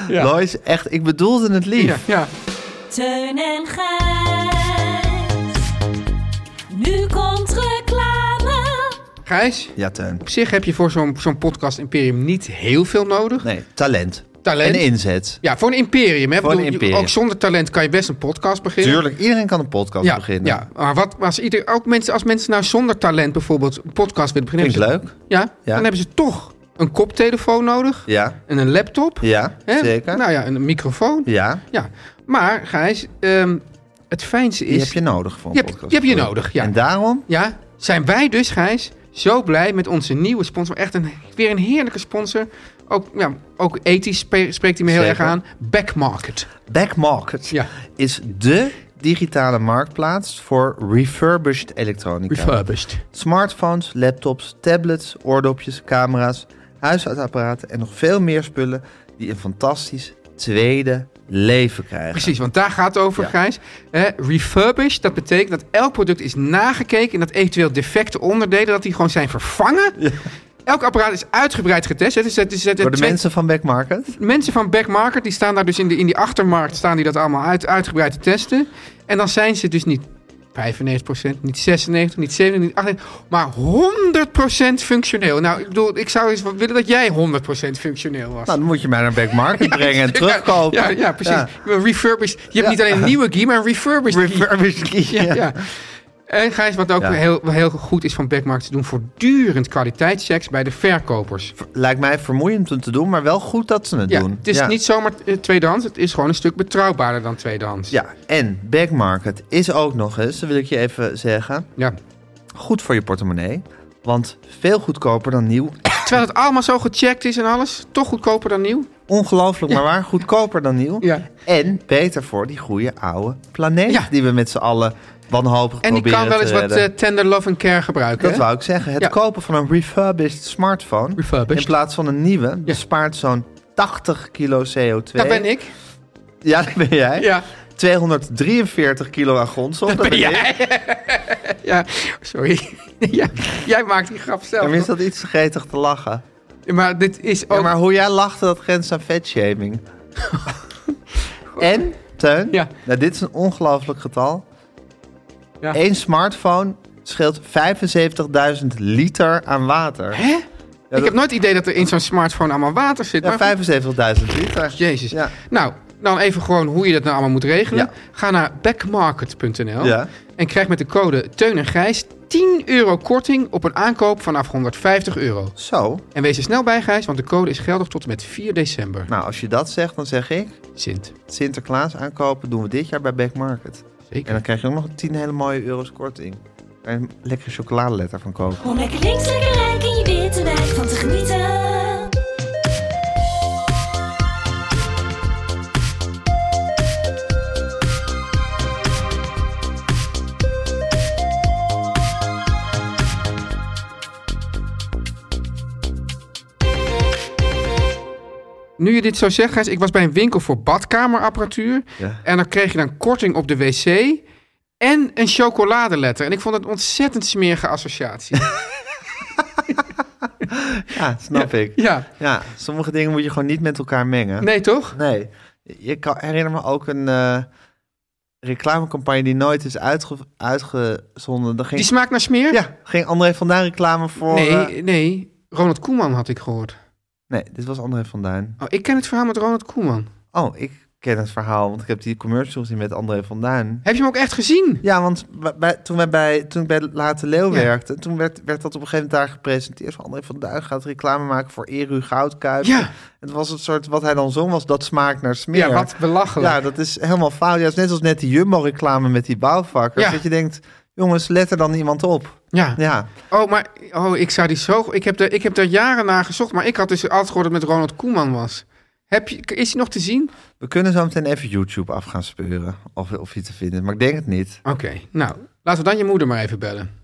Speaker 2: ja.
Speaker 1: Lois, echt, ik bedoelde het lief.
Speaker 2: Ja, ja.
Speaker 5: Teun en Gijs. Nu komt reclame.
Speaker 2: Gijs,
Speaker 1: Ja, Teun.
Speaker 2: op zich heb je voor zo'n zo'n podcast imperium niet heel veel nodig.
Speaker 1: Nee, talent.
Speaker 2: Talent.
Speaker 1: En inzet.
Speaker 2: Ja, voor een imperium. Hè? Ik
Speaker 1: Voor een
Speaker 2: bedoel, je-
Speaker 1: imperium.
Speaker 2: Ook zonder talent kan je best een podcast beginnen.
Speaker 1: Tuurlijk, iedereen kan een podcast
Speaker 2: Ja,
Speaker 1: beginnen.
Speaker 2: ja, maar wat, als, ieder, ook mensen, als mensen nou zonder talent bijvoorbeeld een podcast willen beginnen...
Speaker 1: Klinkt
Speaker 2: hebben ze- Ja,
Speaker 1: Ja.
Speaker 2: dan hebben ze toch een koptelefoon nodig
Speaker 1: Ja,
Speaker 2: en een laptop.
Speaker 1: ja
Speaker 2: hè?
Speaker 1: zeker.
Speaker 2: Nou ja, en een microfoon.
Speaker 1: ja,
Speaker 2: Ja, maar Gijs, ehm, het fijnste
Speaker 1: die
Speaker 2: is...
Speaker 1: heb je nodig voor een
Speaker 2: Je hebt-
Speaker 1: podcast.
Speaker 2: die heb je nodig, ja.
Speaker 1: En daarom,
Speaker 2: Ja, zijn wij dus, Gijs, zo blij met onze nieuwe sponsor. Echt een, weer een heerlijke sponsor. Ook, ja, ook ethisch spe- spreekt hij me heel
Speaker 1: Zeker.
Speaker 2: erg aan. Backmarket.
Speaker 1: Backmarket
Speaker 2: Ja.
Speaker 1: is de digitale marktplaats voor refurbished elektronica.
Speaker 2: Refurbished.
Speaker 1: Smartphones, laptops, tablets, oordopjes, camera's, huishoudapparaten en nog veel meer spullen die een fantastisch tweede leven krijgen.
Speaker 2: Precies, want daar gaat het over,
Speaker 1: Ja.
Speaker 2: Gijs. Eh, refurbished, dat betekent dat elk product is nagekeken... en dat eventueel defecte onderdelen, dat die gewoon zijn vervangen. Elk apparaat is uitgebreid getest. Het is, het is, het is
Speaker 1: Door de
Speaker 2: twee-
Speaker 1: mensen van Backmarket?
Speaker 2: mensen van Backmarket, die staan daar dus in, de, in die achtermarkt, staan die dat allemaal uit, uitgebreid te testen. En dan zijn ze dus niet 95%, niet 96, niet 97, niet 98, maar 100% functioneel. Nou, ik bedoel, ik zou eens wat willen dat jij 100% functioneel was.
Speaker 1: Nou, dan moet je mij naar Back Market brengen en terugkopen.
Speaker 2: Ja, ja, precies. Refurbished. Je hebt
Speaker 1: Ja.
Speaker 2: niet alleen een nieuwe key, maar een refurbished key.
Speaker 1: Refurbished key,
Speaker 2: Ja,
Speaker 1: ja.
Speaker 2: ja. En Gijs, wat ook
Speaker 1: Ja.
Speaker 2: heel, heel goed is van Backmarket, ze doen voortdurend kwaliteitschecks bij de verkopers.
Speaker 1: Lijkt mij vermoeiend om te doen, maar wel goed dat ze het
Speaker 2: Ja,
Speaker 1: doen.
Speaker 2: het is niet zomaar eh, tweedehands, het is gewoon een stuk betrouwbaarder dan tweedehands.
Speaker 1: Ja, en Back Market is ook nog eens, dat wil ik je even zeggen,
Speaker 2: ja.
Speaker 1: goed voor je portemonnee. Want veel goedkoper dan nieuw.
Speaker 2: Terwijl het allemaal zo gecheckt is en alles, toch goedkoper dan nieuw.
Speaker 1: Ongelooflijk, maar waar? Goedkoper dan nieuw.
Speaker 2: Ja.
Speaker 1: En beter voor die goede oude planeet
Speaker 2: Ja.
Speaker 1: die we met z'n allen wanhopig
Speaker 2: En die
Speaker 1: proberen
Speaker 2: kan wel eens
Speaker 1: te
Speaker 2: wat
Speaker 1: redden.
Speaker 2: eh, tender love and care gebruiken.
Speaker 1: Dat
Speaker 2: hè?
Speaker 1: wou ik zeggen. Het
Speaker 2: Ja.
Speaker 1: kopen van een refurbished smartphone
Speaker 2: Refurbished.
Speaker 1: in plaats van een nieuwe
Speaker 2: Ja.
Speaker 1: bespaart zo'n 80 kilo CO2.
Speaker 2: Dat ben ik.
Speaker 1: Ja, dat ben jij.
Speaker 2: Ja.
Speaker 1: 243 kilo aan grondstof. Dat, ben jij. Ik.
Speaker 2: Ja, sorry. ja, jij maakt die grap zelf.
Speaker 1: Dan is
Speaker 2: toch?
Speaker 1: dat iets gretig te lachen.
Speaker 2: Maar dit is ook...
Speaker 1: Ja, maar hoe jij lachte, dat grenst aan vetshaming. en, Teun,
Speaker 2: Ja.
Speaker 1: nou, dit is een ongelooflijk getal.
Speaker 2: Ja.
Speaker 1: Eén smartphone scheelt 75.000 liter aan water.
Speaker 2: Hè? ik
Speaker 1: dat-
Speaker 2: heb nooit het idee dat er in zo'n smartphone allemaal water zit. maar
Speaker 1: Ja, 75.000 liter.
Speaker 2: Jezus.
Speaker 1: Ja.
Speaker 2: Nou, dan even gewoon hoe je dat nou allemaal moet regelen.
Speaker 1: Ja.
Speaker 2: Ga naar backmarket.nl
Speaker 1: Ja.
Speaker 2: en krijg met de code Teun en Gijs 10 euro korting op een aankoop vanaf 150 euro.
Speaker 1: Zo.
Speaker 2: En wees er snel bij, Gijs, want de code is geldig tot en met 4 december.
Speaker 1: Nou, als je dat zegt, dan zeg ik...
Speaker 2: Sint.
Speaker 1: Sinterklaas aankopen doen we dit jaar bij Back Market. En
Speaker 2: Zeker.
Speaker 1: dan krijg je ook nog 10 hele mooie euro's korting. Daar kan je een lekkere chocoladeletter van kopen.
Speaker 5: Om lekker links, lekker rijk in je witte wijk van te genieten.
Speaker 2: Nu je dit zo zegt, Gijs, ik was bij een winkel voor badkamerapparatuur.
Speaker 1: Ja.
Speaker 2: En dan kreeg je dan korting op de wc en een chocoladeletter. En ik vond het een ontzettend smerige associatie.
Speaker 1: Ja, snap ik.
Speaker 2: ja,
Speaker 1: Ja, sommige dingen moet je gewoon niet met elkaar mengen.
Speaker 2: nee toch?
Speaker 1: Nee. Je kan, herinner me ook een eh, reclamecampagne die nooit is uitge- uitgezonden. Daar
Speaker 2: Die
Speaker 1: ging,
Speaker 2: smaakt naar smeer?
Speaker 1: ja, ging André van Duin reclame voor... eh,
Speaker 2: Nee, nee. Ronald Koeman had ik gehoord.
Speaker 1: nee, dit was André van Duin.
Speaker 2: Oh, ik ken het verhaal met Ronald Koeman.
Speaker 1: Oh, ik ken het verhaal, want ik heb die commercial gezien met André van Duin.
Speaker 2: Heb je hem ook echt gezien?
Speaker 1: Ja, want bij- bij- toen, wij bij, toen ik bij Late Leeuw
Speaker 2: Ja.
Speaker 1: werkte, toen werd, werd dat op een gegeven moment daar gepresenteerd. Van André van Duin gaat reclame maken voor Eru Goudkuip.
Speaker 2: Ja.
Speaker 1: Het was het soort, wat hij dan zong was, dat smaakt naar smeer.
Speaker 2: Ja, wat belachelijk.
Speaker 1: Ja, dat is helemaal fout. Ja, het is net als net die Jumbo-reclame met die bouwvakkers.
Speaker 2: Ja.
Speaker 1: Dat je denkt, jongens, let er dan iemand op.
Speaker 2: Ja.
Speaker 1: Ja,
Speaker 2: Oh, maar oh, ik zou die zo... Ik heb, de, ik heb daar jaren naar gezocht, maar ik had dus altijd gehoord dat het met Ronald Koeman was. Heb je, is hij nog te zien?
Speaker 1: we kunnen zo meteen even YouTube af gaan speuren. Of, of je te vinden, maar ik denk het niet.
Speaker 2: Oké, nou, laten we dan je moeder maar even bellen.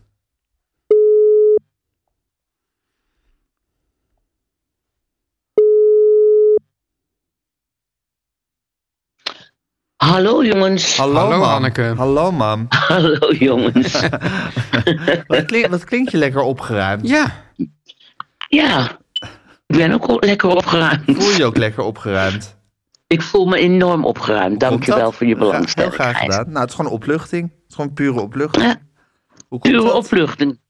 Speaker 6: Hallo jongens.
Speaker 1: Hallo,
Speaker 2: Hallo,
Speaker 1: mam.
Speaker 2: Hanneke.
Speaker 1: Hallo, mam.
Speaker 6: Hallo jongens.
Speaker 1: Wat, klink- wat klinkt je lekker opgeruimd?
Speaker 2: Ja,
Speaker 6: ja, ik ben ook al lekker opgeruimd.
Speaker 1: Voel je je ook lekker opgeruimd?
Speaker 6: Ik voel me enorm opgeruimd.
Speaker 1: Komt dat?
Speaker 6: Dankjewel voor je
Speaker 1: Gra-
Speaker 6: belangstelling.
Speaker 1: Heel graag
Speaker 6: Gijs.
Speaker 1: gedaan. Nou, het is gewoon opluchting. Het is gewoon pure opluchting.
Speaker 6: Ja.
Speaker 1: Hoe komt
Speaker 6: Pure
Speaker 1: dat?
Speaker 6: opluchting.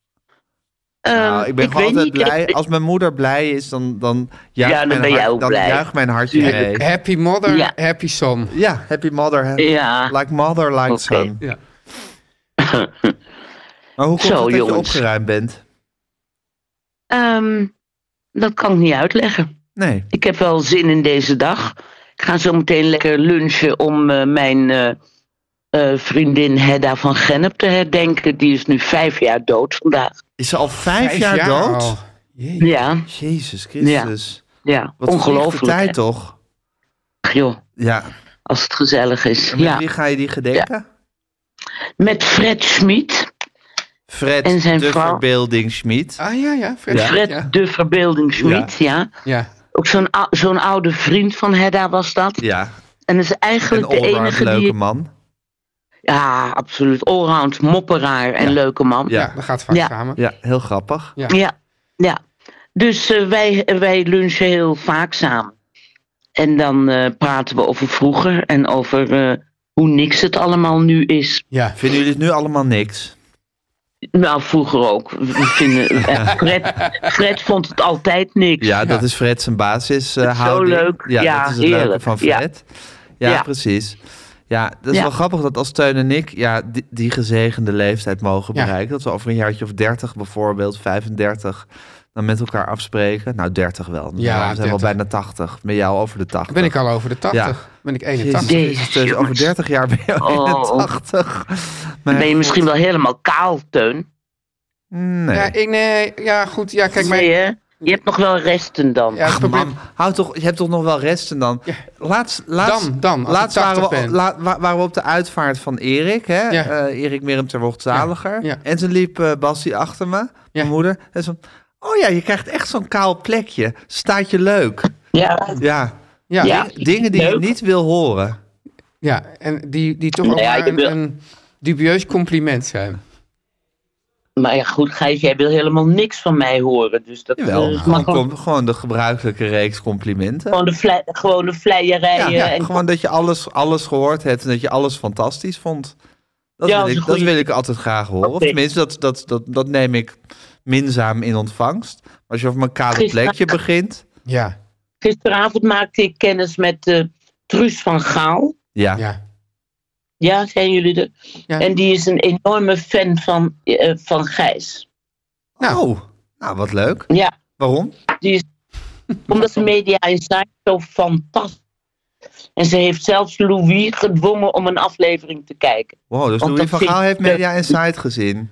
Speaker 1: Nou,
Speaker 6: Ehm,
Speaker 1: ik ben gewoon
Speaker 6: weet
Speaker 1: altijd
Speaker 6: niet,
Speaker 1: blij.
Speaker 6: ik-
Speaker 1: Als mijn moeder blij is, dan, dan, juicht,
Speaker 6: dan
Speaker 1: mijn
Speaker 6: ben jij ook
Speaker 1: dan
Speaker 6: blij.
Speaker 1: juicht mijn hartje
Speaker 6: Ja.
Speaker 1: mee.
Speaker 2: happy mother,
Speaker 6: Ja.
Speaker 2: happy son.
Speaker 1: Ja, happy mother. hè.
Speaker 6: ja,
Speaker 1: Like mother, like
Speaker 6: Oké.
Speaker 1: son.
Speaker 2: Ja.
Speaker 1: Maar hoe komt
Speaker 6: Zo,
Speaker 1: het dat je
Speaker 6: jongens.
Speaker 1: opgeruimd bent?
Speaker 6: ehm, dat kan ik niet uitleggen.
Speaker 1: Nee.
Speaker 6: Ik heb wel zin in deze dag. Ik ga zo meteen lekker lunchen om eh, mijn eh, eh, vriendin Hedda van Gennep te herdenken. Die is nu vijf jaar dood vandaag.
Speaker 1: Is ze al vijf, jaar, dood?
Speaker 2: al. Jee.
Speaker 6: Ja,
Speaker 1: Jezus Christus.
Speaker 6: ja.
Speaker 1: Wat
Speaker 6: ongelooflijk.
Speaker 1: vliegt de tijd
Speaker 6: hè?
Speaker 1: toch?
Speaker 6: Joh,
Speaker 1: Ja.
Speaker 6: als het gezellig is.
Speaker 1: En met
Speaker 6: Ja.
Speaker 1: wie ga je die gedenken?
Speaker 6: Met Fred Schmid.
Speaker 1: Fred
Speaker 6: En zijn
Speaker 1: de
Speaker 6: vrouw.
Speaker 1: verbeelding Schmid.
Speaker 2: Ah ja, ja, Fred.
Speaker 1: Ja.
Speaker 6: Fred
Speaker 2: Ja.
Speaker 6: de Verbeelding Schmid, ja.
Speaker 2: ja.
Speaker 6: Ook zo'n, ou- zo'n oude vriend van Hedda was dat.
Speaker 1: Ja,
Speaker 6: En is
Speaker 1: een
Speaker 6: eigenlijk de
Speaker 1: allround
Speaker 6: enige die...
Speaker 1: leuke man.
Speaker 6: Ja, absoluut. Allround, mopperaar en leuke man.
Speaker 1: Ja.
Speaker 2: Ja, dat gaat vaak
Speaker 6: Ja.
Speaker 2: samen.
Speaker 1: Ja, heel grappig.
Speaker 6: Ja, ja. Dus eh, wij, wij lunchen heel vaak samen. En dan eh, praten we over vroeger en over eh, hoe niks het allemaal nu is.
Speaker 2: Ja.
Speaker 1: Vinden jullie het nu allemaal niks?
Speaker 6: Nou, vroeger ook. We vinden, eh, Fred, Fred vond het altijd niks.
Speaker 1: Ja, dat is Fred zijn basis. eh,
Speaker 6: Het is zo
Speaker 1: houding.
Speaker 6: leuk.
Speaker 1: Ja,
Speaker 6: Ja,
Speaker 1: dat is het leuke
Speaker 6: heerlijk.
Speaker 1: van
Speaker 6: Ja.
Speaker 1: Fred. Ja,
Speaker 6: Ja.
Speaker 1: precies. Ja, dat is
Speaker 6: Ja.
Speaker 1: wel grappig dat als Teun en ik ja, die, die gezegende leeftijd mogen
Speaker 2: Ja.
Speaker 1: bereiken. Dat we over een jaartje of 30 bijvoorbeeld, 35, dan met elkaar afspreken. Nou, 30 wel. Dan
Speaker 2: Ja,
Speaker 1: zijn we zijn wel
Speaker 2: 30.
Speaker 1: bijna 80. Met jou over de 80.
Speaker 2: Ben ik al over de 80? Ben ik
Speaker 1: Jezus,
Speaker 2: 81?
Speaker 6: Nee,
Speaker 1: Jezus, Teun, over
Speaker 6: jongens.
Speaker 1: 30 jaar ben je al in de
Speaker 6: Oh.
Speaker 1: 80.
Speaker 6: Dan ben je
Speaker 1: Maar-
Speaker 6: misschien wel helemaal kaal, Teun.
Speaker 1: Nee.
Speaker 2: Ja, ik, nee, ja, goed. Ja, kijk, maar.
Speaker 6: Nee, hè? Je hebt nog wel resten dan.
Speaker 2: Ja, het probleem-
Speaker 1: Mam, hou toch, je hebt toch nog wel resten dan?
Speaker 2: Ja.
Speaker 1: Laatst, laatst,
Speaker 2: Dan, dan, als
Speaker 1: laatst
Speaker 2: ik
Speaker 1: waren,
Speaker 2: 80
Speaker 1: we,
Speaker 2: ben.
Speaker 1: la- wa- waren we op de uitvaart van Erik, hè?
Speaker 2: Ja.
Speaker 1: Eh, Erik Merum ter Wocht Zaliger.
Speaker 2: Ja, ja.
Speaker 1: En toen liep eh Bassie achter me, mijn moeder. En zo, oh ja, je krijgt echt zo'n kaal plekje. Staat je leuk.
Speaker 6: Ja,
Speaker 1: Ja,
Speaker 2: Ja,
Speaker 6: Ja.
Speaker 1: Ding- dingen die je
Speaker 6: Leuk.
Speaker 1: niet wil horen.
Speaker 2: ja, en die, die toch ook
Speaker 6: Nou ja,
Speaker 2: maar
Speaker 6: je
Speaker 2: een,
Speaker 6: wil-
Speaker 2: een dubieus compliment zijn.
Speaker 6: maar ja, goed, Gijs, jij wil helemaal niks van mij horen. Dus dat
Speaker 1: Jawel,
Speaker 6: eh,
Speaker 1: gewoon,
Speaker 6: mag ook
Speaker 1: kom- gewoon de gebruikelijke reeks complimenten.
Speaker 6: gewoon de, vle gewoon de
Speaker 1: Ja,
Speaker 6: vleierijen.
Speaker 1: ja,
Speaker 6: eh, en
Speaker 1: gewoon dat je alles, alles gehoord hebt en dat je alles fantastisch vond. Dat,
Speaker 6: Ja,
Speaker 1: wil,
Speaker 6: dat
Speaker 1: ik,
Speaker 6: is een
Speaker 1: dat
Speaker 6: goeie.
Speaker 1: wil ik altijd graag horen. Of
Speaker 6: Oké.
Speaker 1: tenminste, dat, dat, dat, dat neem ik minzaam in ontvangst. Maar als je over mijn kale
Speaker 6: Gisteren-
Speaker 1: plekje begint.
Speaker 2: Ja,
Speaker 6: Gisteravond maakte ik kennis met eh, Truus van Gaal.
Speaker 1: Ja,
Speaker 2: ja.
Speaker 6: Ja, zijn jullie er?
Speaker 2: Ja.
Speaker 6: En die is een enorme fan van, eh, van Gijs.
Speaker 2: Nou.
Speaker 1: Oh, nou wat leuk.
Speaker 6: Ja,
Speaker 1: Waarom?
Speaker 6: die is, omdat de media insight zo fantastisch is. En ze heeft zelfs Louis gedwongen om een aflevering te kijken.
Speaker 1: Wow, dus
Speaker 6: Want
Speaker 1: Louis
Speaker 6: dat
Speaker 1: van
Speaker 6: vind
Speaker 1: Gaal
Speaker 6: ik-
Speaker 1: heeft Media Insight gezien.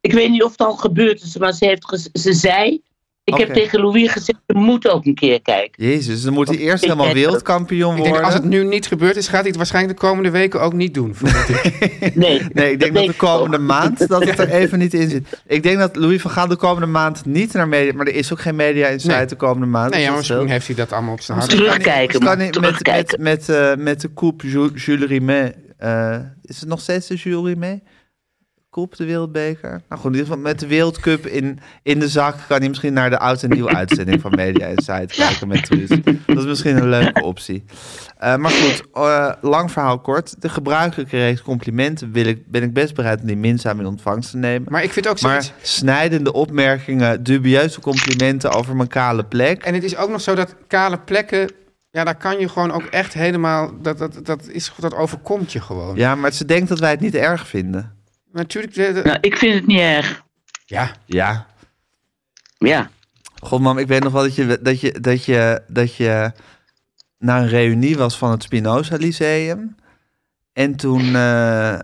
Speaker 6: Ik weet niet of het al gebeurd is, maar ze, heeft gez- ze zei... Ik heb
Speaker 1: Oké.
Speaker 6: tegen Louis gezegd, je moet ook een keer kijken.
Speaker 1: Jezus, dan moet hij eerst
Speaker 6: vind
Speaker 1: helemaal
Speaker 6: jij dat-
Speaker 1: wereldkampioen
Speaker 2: Ik denk,
Speaker 1: worden.
Speaker 2: als het nu niet gebeurd is, gaat hij het waarschijnlijk de komende weken ook niet doen. vermoed ik.
Speaker 6: Nee,
Speaker 1: Nee, ik denk dat de
Speaker 6: ook.
Speaker 1: komende maand dat het er even niet in zit. Ik denk dat Louis van Gaal de komende maand niet naar media... Maar er is ook geen Media Insight
Speaker 2: Nee.
Speaker 1: de komende maand.
Speaker 2: Nee,
Speaker 1: dus
Speaker 2: ja, maar
Speaker 1: dat scheelt.
Speaker 2: misschien heeft hij dat allemaal op zijn hart.
Speaker 6: Terugkijken,
Speaker 1: Het Dus kan
Speaker 6: man,
Speaker 1: niet met, met,
Speaker 6: terugkijken.
Speaker 1: met, eh, met de coupe Ju- Jules Rimet. eh, is het nog steeds de Jules Rimet? Coupe, de wereldbeker? Nou goed, in ieder geval met de wereldcup in, in de zak... kan hij misschien naar de oud en nieuwe uitzending van Media Insight kijken met Truus. Dat is misschien een leuke optie. Eh, maar goed, eh, lang verhaal kort. De gebruikelijke reeks complimenten wil ik, ben ik best bereid... om die minzaam in ontvangst te nemen.
Speaker 2: Maar ik vind ook zoiets.
Speaker 1: Maar snijdende opmerkingen, dubieuze complimenten over mijn kale plek...
Speaker 2: En het is ook nog zo dat kale plekken. Ja, daar kan je gewoon ook echt helemaal. Dat, dat, dat, is, dat overkomt je gewoon.
Speaker 1: Ja, maar ze denkt dat wij het niet erg vinden.
Speaker 2: Natuurlijk. de- de-
Speaker 6: Nou, ik vind het niet erg.
Speaker 2: ja.
Speaker 1: Ja.
Speaker 6: Ja,
Speaker 1: God, mam, ik weet nog wel dat je, dat je, dat je, dat je naar een reunie was van het Spinoza Lyceum. En toen, eh,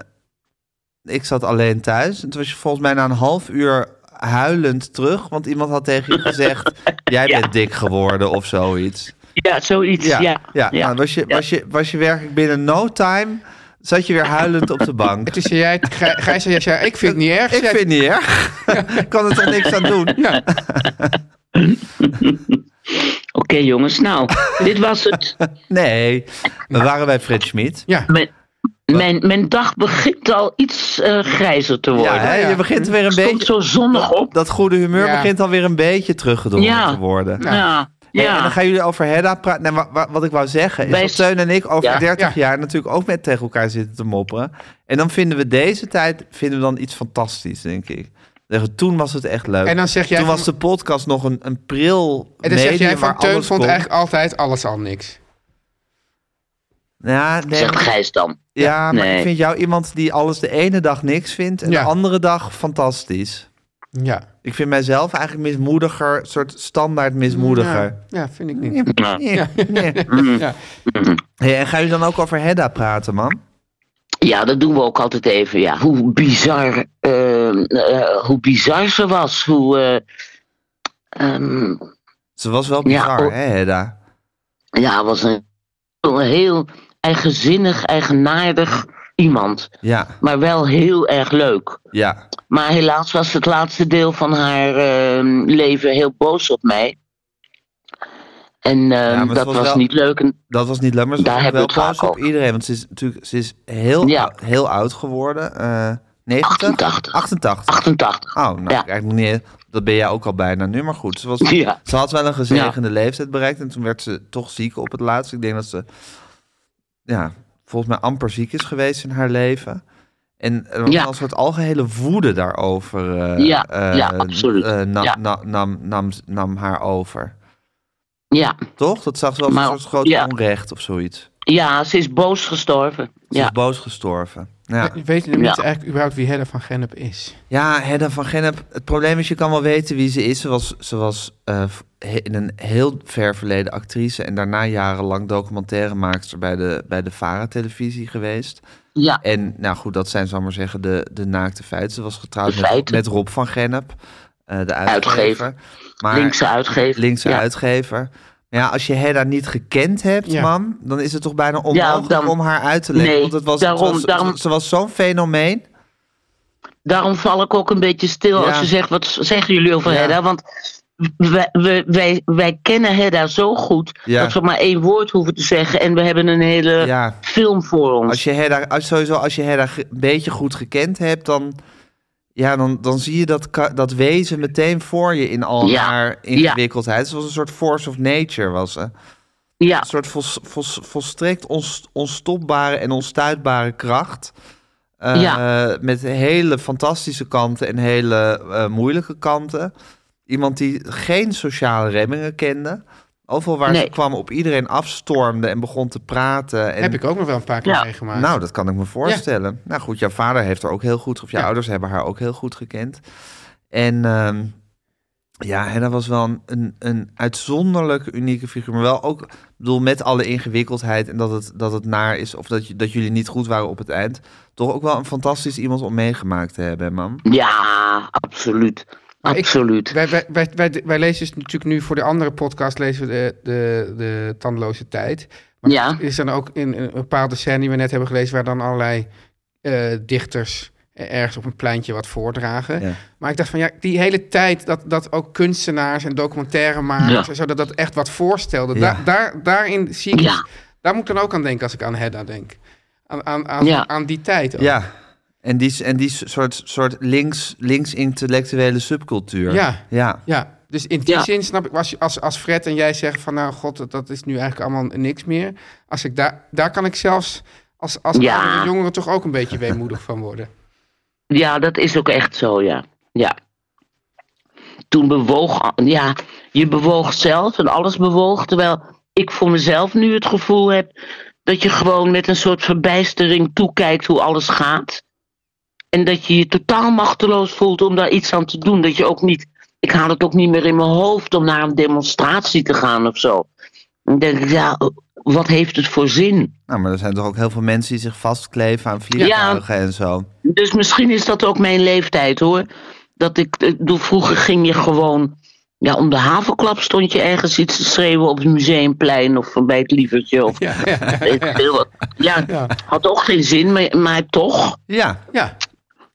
Speaker 1: ik zat alleen thuis. En toen was je volgens mij na een half uur huilend terug. Want iemand had tegen je gezegd, jij
Speaker 6: Ja.
Speaker 1: bent dik geworden of zoiets.
Speaker 6: ja zoiets. Ja,
Speaker 1: ja. nou, was, je,
Speaker 6: ja.
Speaker 1: Was, je, was je werkelijk binnen no time, zat je weer huilend op de bank.
Speaker 2: Het is jij, Gij- Gijs, jij zei, ik vind het niet erg.
Speaker 1: Ik
Speaker 2: Jij-
Speaker 1: vind het niet erg. Ik kan er toch niks aan doen.
Speaker 2: ja.
Speaker 6: Oké jongens, nou, dit was het.
Speaker 1: Nee, we waren bij Fred Schmid.
Speaker 2: ja.
Speaker 6: Mijn, mijn, mijn dag begint al iets eh, grijzer te worden.
Speaker 1: Ja, hè,
Speaker 2: ja.
Speaker 1: je begint weer een
Speaker 6: het stond
Speaker 1: beetje...
Speaker 6: zo zonnig op.
Speaker 1: Dat goede humeur
Speaker 2: Ja.
Speaker 1: begint alweer een beetje teruggedrongen
Speaker 6: Ja.
Speaker 1: te worden.
Speaker 6: Ja, ja.
Speaker 1: Hey, en dan gaan jullie over Hedda praten. Nee, wa- wa- wat ik wou zeggen is
Speaker 6: Wij
Speaker 1: dat
Speaker 6: s-
Speaker 1: Teun en ik over
Speaker 6: Ja.
Speaker 1: 30
Speaker 2: Ja.
Speaker 1: jaar natuurlijk ook met tegen elkaar zitten te mopperen. En dan vinden we deze tijd vinden we dan iets fantastisch, denk ik. Zeggen, Toen was het echt leuk.
Speaker 2: En dan zeg jij
Speaker 1: Toen
Speaker 2: van-
Speaker 1: was de podcast nog een, een pril
Speaker 2: En dan zeg
Speaker 1: medium
Speaker 2: jij van
Speaker 1: waar
Speaker 2: Teun
Speaker 1: alles
Speaker 2: vond
Speaker 1: kon.
Speaker 2: eigenlijk altijd alles al niks.
Speaker 1: Ja, nee,
Speaker 6: Zegt Gijs dan.
Speaker 1: ja, maar
Speaker 6: Nee.
Speaker 1: ik vind jou iemand die alles de ene dag niks vindt... en
Speaker 2: Ja.
Speaker 1: de andere dag fantastisch.
Speaker 2: Ja.
Speaker 1: Ik vind mijzelf eigenlijk mismoediger, soort standaard mismoediger.
Speaker 2: Ja, ja, vind ik niet.
Speaker 6: Ja. Mm.
Speaker 1: Nee, nee.
Speaker 2: Ja.
Speaker 1: Hey, en gaan jullie dan ook over Hedda praten, man?
Speaker 6: Ja, dat doen we ook altijd even. Ja. Hoe, bizar, eh, eh, hoe bizar ze was. Hoe, eh, ehm,
Speaker 1: Ze was wel
Speaker 6: Ja,
Speaker 1: bizar,
Speaker 6: oh.
Speaker 1: hè, Hedda?
Speaker 6: ja, was een, een heel eigenzinnig, eigenaardig iemand.
Speaker 1: Ja,
Speaker 6: Maar wel heel erg leuk.
Speaker 1: ja.
Speaker 6: Maar helaas was het laatste deel van haar ehm, leven heel boos op mij. En ehm,
Speaker 1: maar ze
Speaker 6: dat
Speaker 1: was
Speaker 6: was,
Speaker 1: wel-
Speaker 6: niet leuk. En,
Speaker 1: Dat was niet leuk, maar ze
Speaker 6: Daar
Speaker 1: was
Speaker 6: hebben
Speaker 1: wel
Speaker 6: we het
Speaker 1: boos
Speaker 6: vaak
Speaker 1: op
Speaker 6: over.
Speaker 1: iedereen. Want ze is natuurlijk ze is heel,
Speaker 6: Ja.
Speaker 1: ou- heel oud geworden. eh 90?
Speaker 6: 88.
Speaker 1: 88.
Speaker 6: 88.
Speaker 1: Oh, nou,
Speaker 6: Ja.
Speaker 1: eigenlijk niet, dat ben jij ook al bijna nu. Maar goed, ze, was,
Speaker 6: Ja.
Speaker 1: ze had wel een gezegende leeftijd bereikt. En toen werd ze toch ziek op het laatst. Ik denk dat ze ja, volgens mij amper ziek is geweest in haar leven. En eh, er was
Speaker 6: Ja.
Speaker 1: een soort algehele woede daarover. eh,
Speaker 6: Ja,
Speaker 1: eh,
Speaker 6: ja, absoluut.
Speaker 1: eh, nam,
Speaker 6: Ja.
Speaker 1: na- nam, nam, nam haar over.
Speaker 6: Ja.
Speaker 1: Toch? Dat zag ze als
Speaker 6: Maar-
Speaker 1: een soort groot
Speaker 6: ja.
Speaker 1: onrecht of zoiets.
Speaker 6: ja, ze is boos gestorven.
Speaker 1: Ze is
Speaker 6: Ja.
Speaker 1: boos gestorven. Ja.
Speaker 2: We weten nog niet
Speaker 6: Ja.
Speaker 2: eigenlijk überhaupt wie Hedda van Gennep is.
Speaker 1: Ja, Hedda van Gennep. Het probleem is, je kan wel weten wie ze is. Ze was, ze was eh, he- in een heel ver verleden actrice... en daarna jarenlang documentairemaakster bij de, bij de VARA-televisie geweest.
Speaker 6: Ja.
Speaker 1: En nou goed, dat zijn, zal ik maar zeggen, de, de naakte feiten. Ze was getrouwd
Speaker 6: De
Speaker 1: met,
Speaker 6: feiten.
Speaker 1: met Rob van Gennep, eh, de uitgever.
Speaker 6: Uitgever.
Speaker 1: Maar,
Speaker 6: linkse uitgever.
Speaker 1: linkse
Speaker 6: ja.
Speaker 1: uitgever. Maar Ja, als je Hedda niet gekend hebt,
Speaker 2: Ja.
Speaker 1: mam, dan is het toch bijna onmogelijk
Speaker 6: dan-
Speaker 1: om haar uit te leggen.
Speaker 6: Nee,
Speaker 1: want het was,
Speaker 6: daarom-
Speaker 1: het was-
Speaker 6: daarom-
Speaker 1: ze was zo'n fenomeen.
Speaker 6: Daarom val ik ook een beetje stil
Speaker 1: Ja.
Speaker 6: als je zegt, wat zeggen jullie over
Speaker 1: Ja.
Speaker 6: Hedda? Want wij, we- wij, wij kennen Hedda zo goed,
Speaker 1: Ja.
Speaker 6: dat we maar één woord hoeven te zeggen. En we hebben een hele
Speaker 1: Ja.
Speaker 6: film voor ons.
Speaker 1: Als je Hedda, als, sowieso als je Hedda ge- een beetje goed gekend hebt, dan, ja, dan, dan zie je dat, ka- dat wezen meteen voor je in al
Speaker 6: Ja,
Speaker 1: haar ingewikkeldheid. Ze was een soort force of nature, was ze.
Speaker 6: ja,
Speaker 1: Een soort vols- vols- volstrekt ons- onstopbare en onstuitbare kracht. Eh,
Speaker 6: Ja.
Speaker 1: Met hele fantastische kanten en hele eh, moeilijke kanten. Iemand die geen sociale remmingen kende. Overal waar ze
Speaker 6: Nee.
Speaker 1: kwam op iedereen afstormde en begon te praten. En
Speaker 2: Heb ik ook nog wel een paar keer
Speaker 6: Ja.
Speaker 2: meegemaakt.
Speaker 1: nou, dat kan ik me voorstellen. Nou goed, jouw vader heeft haar ook heel goed, of jouw
Speaker 2: Ja.
Speaker 1: ouders hebben haar ook heel goed gekend. En ehm ja, Hedda was wel een- een, een uitzonderlijk unieke figuur. Maar wel ook, ik bedoel, met alle ingewikkeldheid en dat het, dat het naar is, of dat, je- dat jullie niet goed waren op het eind. Toch ook wel een fantastisch iemand om meegemaakt te hebben, man.
Speaker 6: ja, absoluut.
Speaker 2: Maar ik-
Speaker 6: absoluut.
Speaker 2: Wij, wij, wij, wij, wij lezen dus natuurlijk nu voor de andere podcast lezen we de, de, de tandeloze tijd. Maar
Speaker 6: Ja.
Speaker 2: er is dan ook in een bepaalde scène die we net hebben gelezen... waar dan allerlei eh, dichters ergens op een pleintje wat voordragen.
Speaker 1: Ja.
Speaker 2: Maar ik dacht van ja, die hele tijd dat, dat ook kunstenaars en documentairemakers...
Speaker 6: Ja.
Speaker 2: en zo, dat dat echt wat voorstelde.
Speaker 1: Ja.
Speaker 2: Da- daar, daarin zie ik... dus-
Speaker 6: Ja.
Speaker 2: Daar moet ik dan ook aan denken als ik aan Hedda denk. Aan, aan, aan,
Speaker 6: Ja.
Speaker 2: aan die tijd ook.
Speaker 1: Ja, en die, en die soort, soort links, links-intellectuele subcultuur.
Speaker 2: Ja.
Speaker 1: ja.
Speaker 2: Ja, dus in die
Speaker 6: Ja.
Speaker 2: zin snap ik, als, als, als Fred en jij zeggen van nou god, dat, dat is nu eigenlijk allemaal niks meer. Als ik daar, daar kan ik zelfs als, als
Speaker 6: Ja.
Speaker 2: oudere jongeren toch ook een beetje weemoedig van worden.
Speaker 6: Ja, dat is ook echt zo, ja. ja. Toen bewoog, ja, je bewoog zelf en alles bewoog. Terwijl ik voor mezelf nu het gevoel heb dat je gewoon met een soort verbijstering toekijkt hoe alles gaat. En dat je je totaal machteloos voelt om daar iets aan te doen. Dat je ook niet, ik haal het ook niet meer in mijn hoofd om naar een demonstratie te gaan of zo. Dan denk ik, ja, wat heeft het voor zin?
Speaker 1: Nou, maar er zijn toch ook heel veel mensen die zich vastkleven aan vliegtuigen en zo.
Speaker 6: Dus misschien is dat ook mijn leeftijd hoor. Dat ik, ik bedoel, vroeger ging je gewoon. Ja, om de havenklap stond je ergens iets te schreeuwen op het museumplein of bij het lievertje. Of
Speaker 2: Ja, ja,
Speaker 6: weet ik veel wat. Ja,
Speaker 2: Ja.
Speaker 6: had ook geen zin, maar, maar toch.
Speaker 1: Ja,
Speaker 2: ja.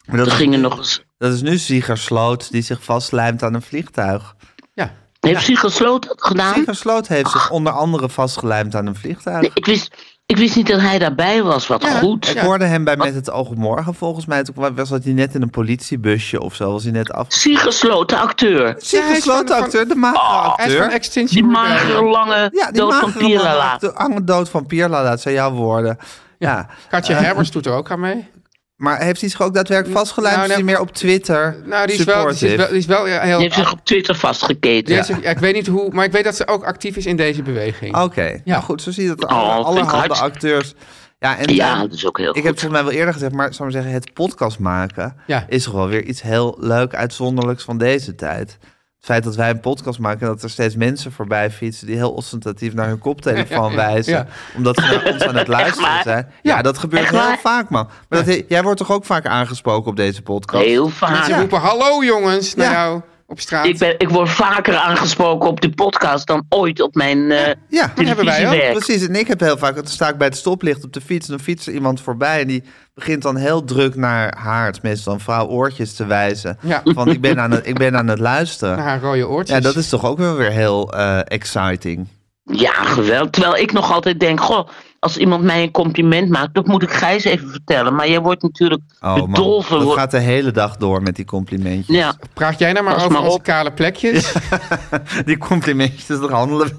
Speaker 1: maar dat
Speaker 6: Er
Speaker 1: is
Speaker 6: gingen nog eens.
Speaker 1: Dat is nu Siegersloot die zich vastlijmt aan een vliegtuig.
Speaker 2: ja.
Speaker 6: Heeft zich gesloten dat gedaan?
Speaker 1: Siegersloot heeft zich onder andere vastgelijmd aan een vliegtuig.
Speaker 6: Ah. Nee, ik, wist, ik wist niet dat hij daarbij was. Wat
Speaker 2: Ja,
Speaker 6: goed.
Speaker 1: Ik hoorde hem bij Met het Oog op Morgen volgens mij. Toen was dat hij net in een politiebusje of zo. Was hij net af.
Speaker 6: Siegesloten acteur.
Speaker 1: Siegersloot,
Speaker 2: van-
Speaker 1: acteur, de
Speaker 2: Oh, Hij is van
Speaker 1: maagdacteur.
Speaker 6: Ah, Die
Speaker 2: Extinction
Speaker 6: magere,
Speaker 2: Rebellion.
Speaker 6: lange dood van
Speaker 1: magere
Speaker 6: Pierlala.
Speaker 1: maagd- De arme dood van Pierlala, dat zijn jouw woorden. Ja.
Speaker 2: Katja Herbers doet er ook aan mee.
Speaker 1: Maar heeft hij zich ook daadwerkelijk vastgelijmd?
Speaker 2: Nou,
Speaker 1: is hij
Speaker 2: nou,
Speaker 1: meer op Twitter
Speaker 2: Nou, die is wel, die is
Speaker 1: supportive?
Speaker 2: wel, die is wel ja, heel...
Speaker 6: Die heeft zich op Twitter
Speaker 2: die
Speaker 6: vastgeketen.
Speaker 2: heeft zich- ja, ik weet niet hoe, maar ik weet dat ze ook actief is in deze beweging.
Speaker 1: Oké, nou goed, zo zie je dat alle,
Speaker 6: Oh,
Speaker 1: allerhande
Speaker 6: vind ik hartst-
Speaker 1: acteurs... Ja, en
Speaker 6: Ja,
Speaker 1: en
Speaker 6: dat is ook heel
Speaker 1: Ik
Speaker 6: goed.
Speaker 1: heb het volgens mij wel eerder gezegd, maar ik zou maar zeggen, het podcast maken
Speaker 2: Ja.
Speaker 1: is gewoon weer iets heel leuk uitzonderlijks van deze tijd. Het feit dat wij een podcast maken en dat er steeds mensen voorbij fietsen die heel ostentatief naar hun koptelefoon wijzen,
Speaker 2: Ja.
Speaker 1: omdat ze naar ons aan het luisteren
Speaker 6: waar?
Speaker 1: zijn. Ja, dat gebeurt
Speaker 6: Echt
Speaker 1: heel
Speaker 6: waar?
Speaker 1: vaak, man. Maar dat, jij wordt toch ook vaak aangesproken op deze podcast?
Speaker 6: Heel
Speaker 2: Ze
Speaker 6: vaak.
Speaker 2: roepen hallo jongens naar
Speaker 1: Ja.
Speaker 2: jou op straat.
Speaker 6: Ik, ben, ik word vaker aangesproken op die podcast dan ooit op mijn eh
Speaker 1: Ja,
Speaker 2: Dat hebben wij ook.
Speaker 6: televisiewerk.
Speaker 1: Precies, en ik heb heel vaak, dan sta ik bij het stoplicht op de fiets... en dan fietst er iemand voorbij en die begint dan heel druk naar haar... het is meestal een vrouw, oortjes te wijzen.
Speaker 2: Ja.
Speaker 1: Van, ik ben aan het, ik ben aan het luisteren.
Speaker 6: Nou,
Speaker 2: Naar haar rode oortjes.
Speaker 1: Ja, dat is toch ook wel weer heel eh, exciting.
Speaker 6: Ja, geweldig. Terwijl ik nog altijd denk, goh, als iemand mij een compliment maakt, dat moet ik Gijs even vertellen. Maar jij wordt natuurlijk
Speaker 1: Oh man,
Speaker 6: bedolven.
Speaker 1: dat
Speaker 6: wordt-
Speaker 1: gaat de hele dag door met die complimentjes.
Speaker 6: Ja,
Speaker 2: Praat jij nou maar
Speaker 6: Pas
Speaker 2: over
Speaker 6: maar
Speaker 2: onze
Speaker 6: op.
Speaker 2: kale plekjes?
Speaker 1: Die complimentjes, dat handelen we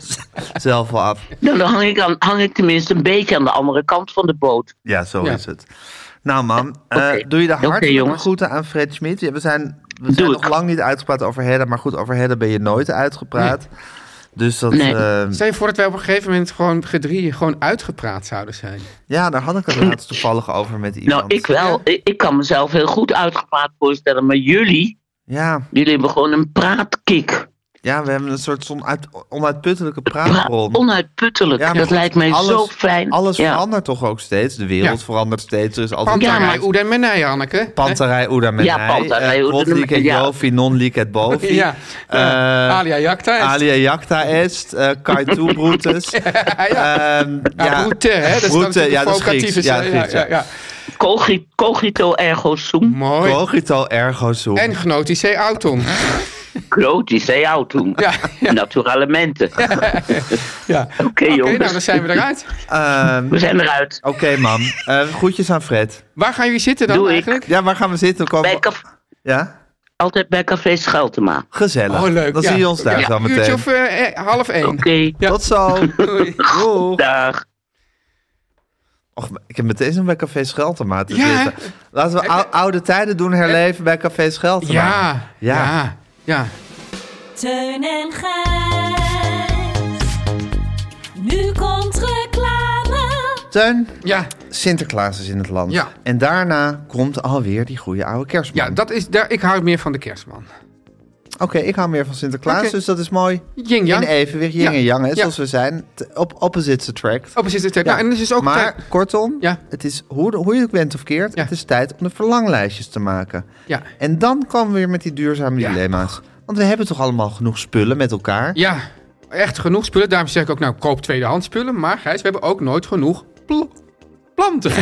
Speaker 1: zelf wel af.
Speaker 6: nou, dan hang ik, aan, hang ik tenminste een beetje aan de andere kant van de boot.
Speaker 1: Ja, zo
Speaker 2: Ja.
Speaker 1: is het. Nou man, eh,
Speaker 6: Oké.
Speaker 1: doe je de
Speaker 6: Oké,
Speaker 1: hartelijke
Speaker 6: jongens.
Speaker 1: groeten aan Fred Schmidt. Ja, we zijn, we
Speaker 6: Doe
Speaker 1: zijn
Speaker 6: ik.
Speaker 1: nog lang niet uitgepraat over Hedda. Maar goed, over Hedda ben je nooit uitgepraat. Dus dat...
Speaker 6: Nee.
Speaker 1: eh,
Speaker 2: Stel je voor dat wij op een gegeven moment gewoon gedrieën gewoon uitgepraat zouden zijn.
Speaker 1: ja, daar had ik het laatst toevallig over met iemand.
Speaker 6: Nou, ik wel. Ik, ik kan mezelf heel goed uitgepraat voorstellen. Maar jullie,
Speaker 1: Ja,
Speaker 6: jullie hebben gewoon een praatkick.
Speaker 1: ja, we hebben een soort onuit, onuitputtelijke
Speaker 6: Pra-
Speaker 1: praatbron.
Speaker 6: onuitputtelijk.
Speaker 1: Ja, maar
Speaker 6: dat
Speaker 1: goed,
Speaker 6: lijkt mij
Speaker 1: alles-
Speaker 6: zo fijn.
Speaker 1: Alles
Speaker 6: ja.
Speaker 1: verandert toch ook steeds. De wereld
Speaker 2: Ja.
Speaker 1: verandert steeds. Er is altijd
Speaker 2: Pantarij,
Speaker 6: Ja,
Speaker 2: ja,
Speaker 6: maar-
Speaker 2: maar... Oeden Menij, Anneke.
Speaker 1: Pantarij Oeda Menai.
Speaker 6: Ja, Pantarij
Speaker 1: eh,
Speaker 6: Oeda
Speaker 1: Potlik
Speaker 6: Menai,
Speaker 1: et
Speaker 6: ja. Ah,
Speaker 1: Jovi, non liek et bovi.
Speaker 2: Ja.
Speaker 1: Eh,
Speaker 2: Alia Jacta. is-
Speaker 1: Alia Jacta est, eh Kai Tu Brutus.
Speaker 2: ja, ja.
Speaker 1: Ehm,
Speaker 2: Ja, Route, hè? Dat is
Speaker 1: Route,
Speaker 2: dan dus,
Speaker 1: ja,
Speaker 2: ja,
Speaker 1: dat is
Speaker 2: vocatieve
Speaker 1: Grieks. Ja,
Speaker 2: zin.
Speaker 1: Grieks, ja.
Speaker 6: Cogi- Cogito ergo sum.
Speaker 2: Mooi.
Speaker 1: Cogito ergo sum.
Speaker 2: En genotische auton.
Speaker 6: Crotice autum.
Speaker 2: Ja, ja,
Speaker 6: Naturalemente. Oké,
Speaker 2: ja. Oké,
Speaker 6: jongens.
Speaker 2: nou, dan zijn we eruit. Oh.
Speaker 1: Ehm,
Speaker 6: We zijn eruit.
Speaker 1: Oké, mam. Eh, groetjes aan Fred.
Speaker 2: Waar gaan jullie zitten dan
Speaker 6: Doe ik.
Speaker 2: eigenlijk?
Speaker 1: Ja, waar gaan we zitten? Komen
Speaker 6: Bij
Speaker 1: we-
Speaker 6: caf-
Speaker 1: Ja?
Speaker 6: altijd bij Café Scheltema.
Speaker 1: Gezellig.
Speaker 2: Oh, leuk,
Speaker 1: Dan
Speaker 2: ja.
Speaker 1: zie je ons daar
Speaker 2: Ja,
Speaker 1: zo
Speaker 2: een uurtje
Speaker 1: meteen.
Speaker 2: of eh, eh, half één.
Speaker 6: Oké,
Speaker 2: ja.
Speaker 1: Tot zo.
Speaker 2: Doei.
Speaker 1: Doeg.
Speaker 6: dag.
Speaker 1: Och, maar ik heb meteen zin bij Café Scheltema te
Speaker 2: Ja, hè?
Speaker 1: zitten. Laten we ou- oude tijden doen herleven bij Café Scheltema.
Speaker 2: Ja,
Speaker 1: Ja.
Speaker 2: ja, ja.
Speaker 5: Teun en Gijs. Nu komt reclame.
Speaker 1: Teun,
Speaker 2: Ja,
Speaker 1: Sinterklaas is in het land.
Speaker 2: Ja.
Speaker 1: En daarna komt alweer die goede oude kerstman.
Speaker 2: ja dat is, daar, ik hou meer van de kerstman.
Speaker 1: Oké, ik hou meer van Sinterklaas,
Speaker 2: Oké.
Speaker 1: dus dat is mooi.
Speaker 2: Yin
Speaker 1: In
Speaker 2: Yang.
Speaker 1: evenwicht, yin
Speaker 2: Ja.
Speaker 1: en yang, hè,
Speaker 2: Ja.
Speaker 1: zoals we zijn. T- Op opposites attract.
Speaker 2: Oh, precies. Ja.
Speaker 1: Ja.
Speaker 2: Nou, en het is ook
Speaker 1: maar
Speaker 2: tijd-
Speaker 1: kortom,
Speaker 2: Ja.
Speaker 1: het is, hoe, hoe je het bent of keert,
Speaker 2: Ja.
Speaker 1: het is tijd om de verlanglijstjes te maken.
Speaker 2: Ja.
Speaker 1: En dan komen we weer met die duurzame
Speaker 2: Ja.
Speaker 1: dilemma's. Want we hebben toch allemaal genoeg spullen met elkaar?
Speaker 2: Ja, echt genoeg spullen. Daarom zeg ik ook, nou, koop tweedehands spullen. Maar Gijs, we hebben ook nooit genoeg pl- planten.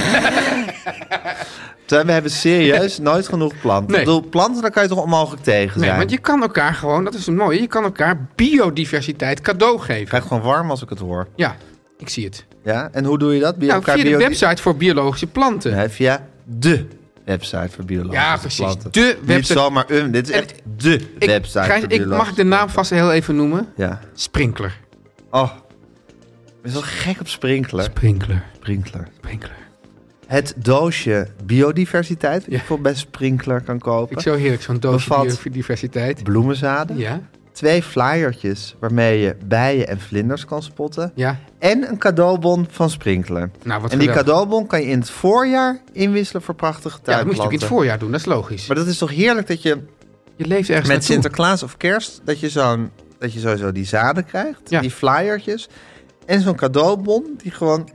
Speaker 1: Terwijl We hebben serieus nooit genoeg planten.
Speaker 2: Nee.
Speaker 1: Ik bedoel, planten, daar kan je toch onmogelijk tegen
Speaker 2: Nee,
Speaker 1: zijn?
Speaker 2: want je kan elkaar gewoon, dat is het mooie, je kan elkaar biodiversiteit cadeau
Speaker 1: Ik
Speaker 2: geven.
Speaker 1: krijg gewoon warm als ik het hoor.
Speaker 2: Ja, ik zie het.
Speaker 1: Ja? En hoe doe je dat? Bij
Speaker 2: Nou,
Speaker 1: elkaar
Speaker 2: via de
Speaker 1: bio-
Speaker 2: website voor biologische planten.
Speaker 1: Nee, via de website voor biologische
Speaker 2: Ja, precies.
Speaker 1: planten.
Speaker 2: De
Speaker 1: Niet
Speaker 2: website.
Speaker 1: zomaar een, dit is
Speaker 2: En
Speaker 1: echt de
Speaker 2: Ik,
Speaker 1: website
Speaker 2: Gijs,
Speaker 1: voor
Speaker 2: ik mag ik
Speaker 1: biologische
Speaker 2: de naam vast heel even noemen.
Speaker 1: Ja.
Speaker 2: Sprinkler.
Speaker 1: Oh, ik ben zo gek op sprinkler.
Speaker 2: Sprinkler.
Speaker 1: Sprinkler.
Speaker 2: Sprinkler.
Speaker 1: Het doosje biodiversiteit, wat je
Speaker 2: Ja.
Speaker 1: bijvoorbeeld bij Sprinkler kan kopen.
Speaker 2: Ik zo heerlijk, zo'n doosje
Speaker 1: Bevat-
Speaker 2: biodiversiteit.
Speaker 1: Bloemenzaden.
Speaker 2: Ja,
Speaker 1: Twee flyertjes waarmee je bijen en vlinders kan spotten.
Speaker 2: ja.
Speaker 1: En een cadeaubon van Sprinkler.
Speaker 2: Nou, wat
Speaker 1: en die
Speaker 2: geweldig.
Speaker 1: cadeaubon kan je in het voorjaar inwisselen voor prachtige
Speaker 2: Ja, dat moet
Speaker 1: tuinplanten.
Speaker 2: je natuurlijk in het voorjaar doen, dat is logisch.
Speaker 1: Maar dat is toch heerlijk dat je
Speaker 2: Je leeft ergens
Speaker 1: met
Speaker 2: naartoe.
Speaker 1: Sinterklaas of kerst... dat je, zo'n, dat je sowieso die zaden krijgt,
Speaker 2: Ja.
Speaker 1: die flyertjes... en zo'n cadeaubon die gewoon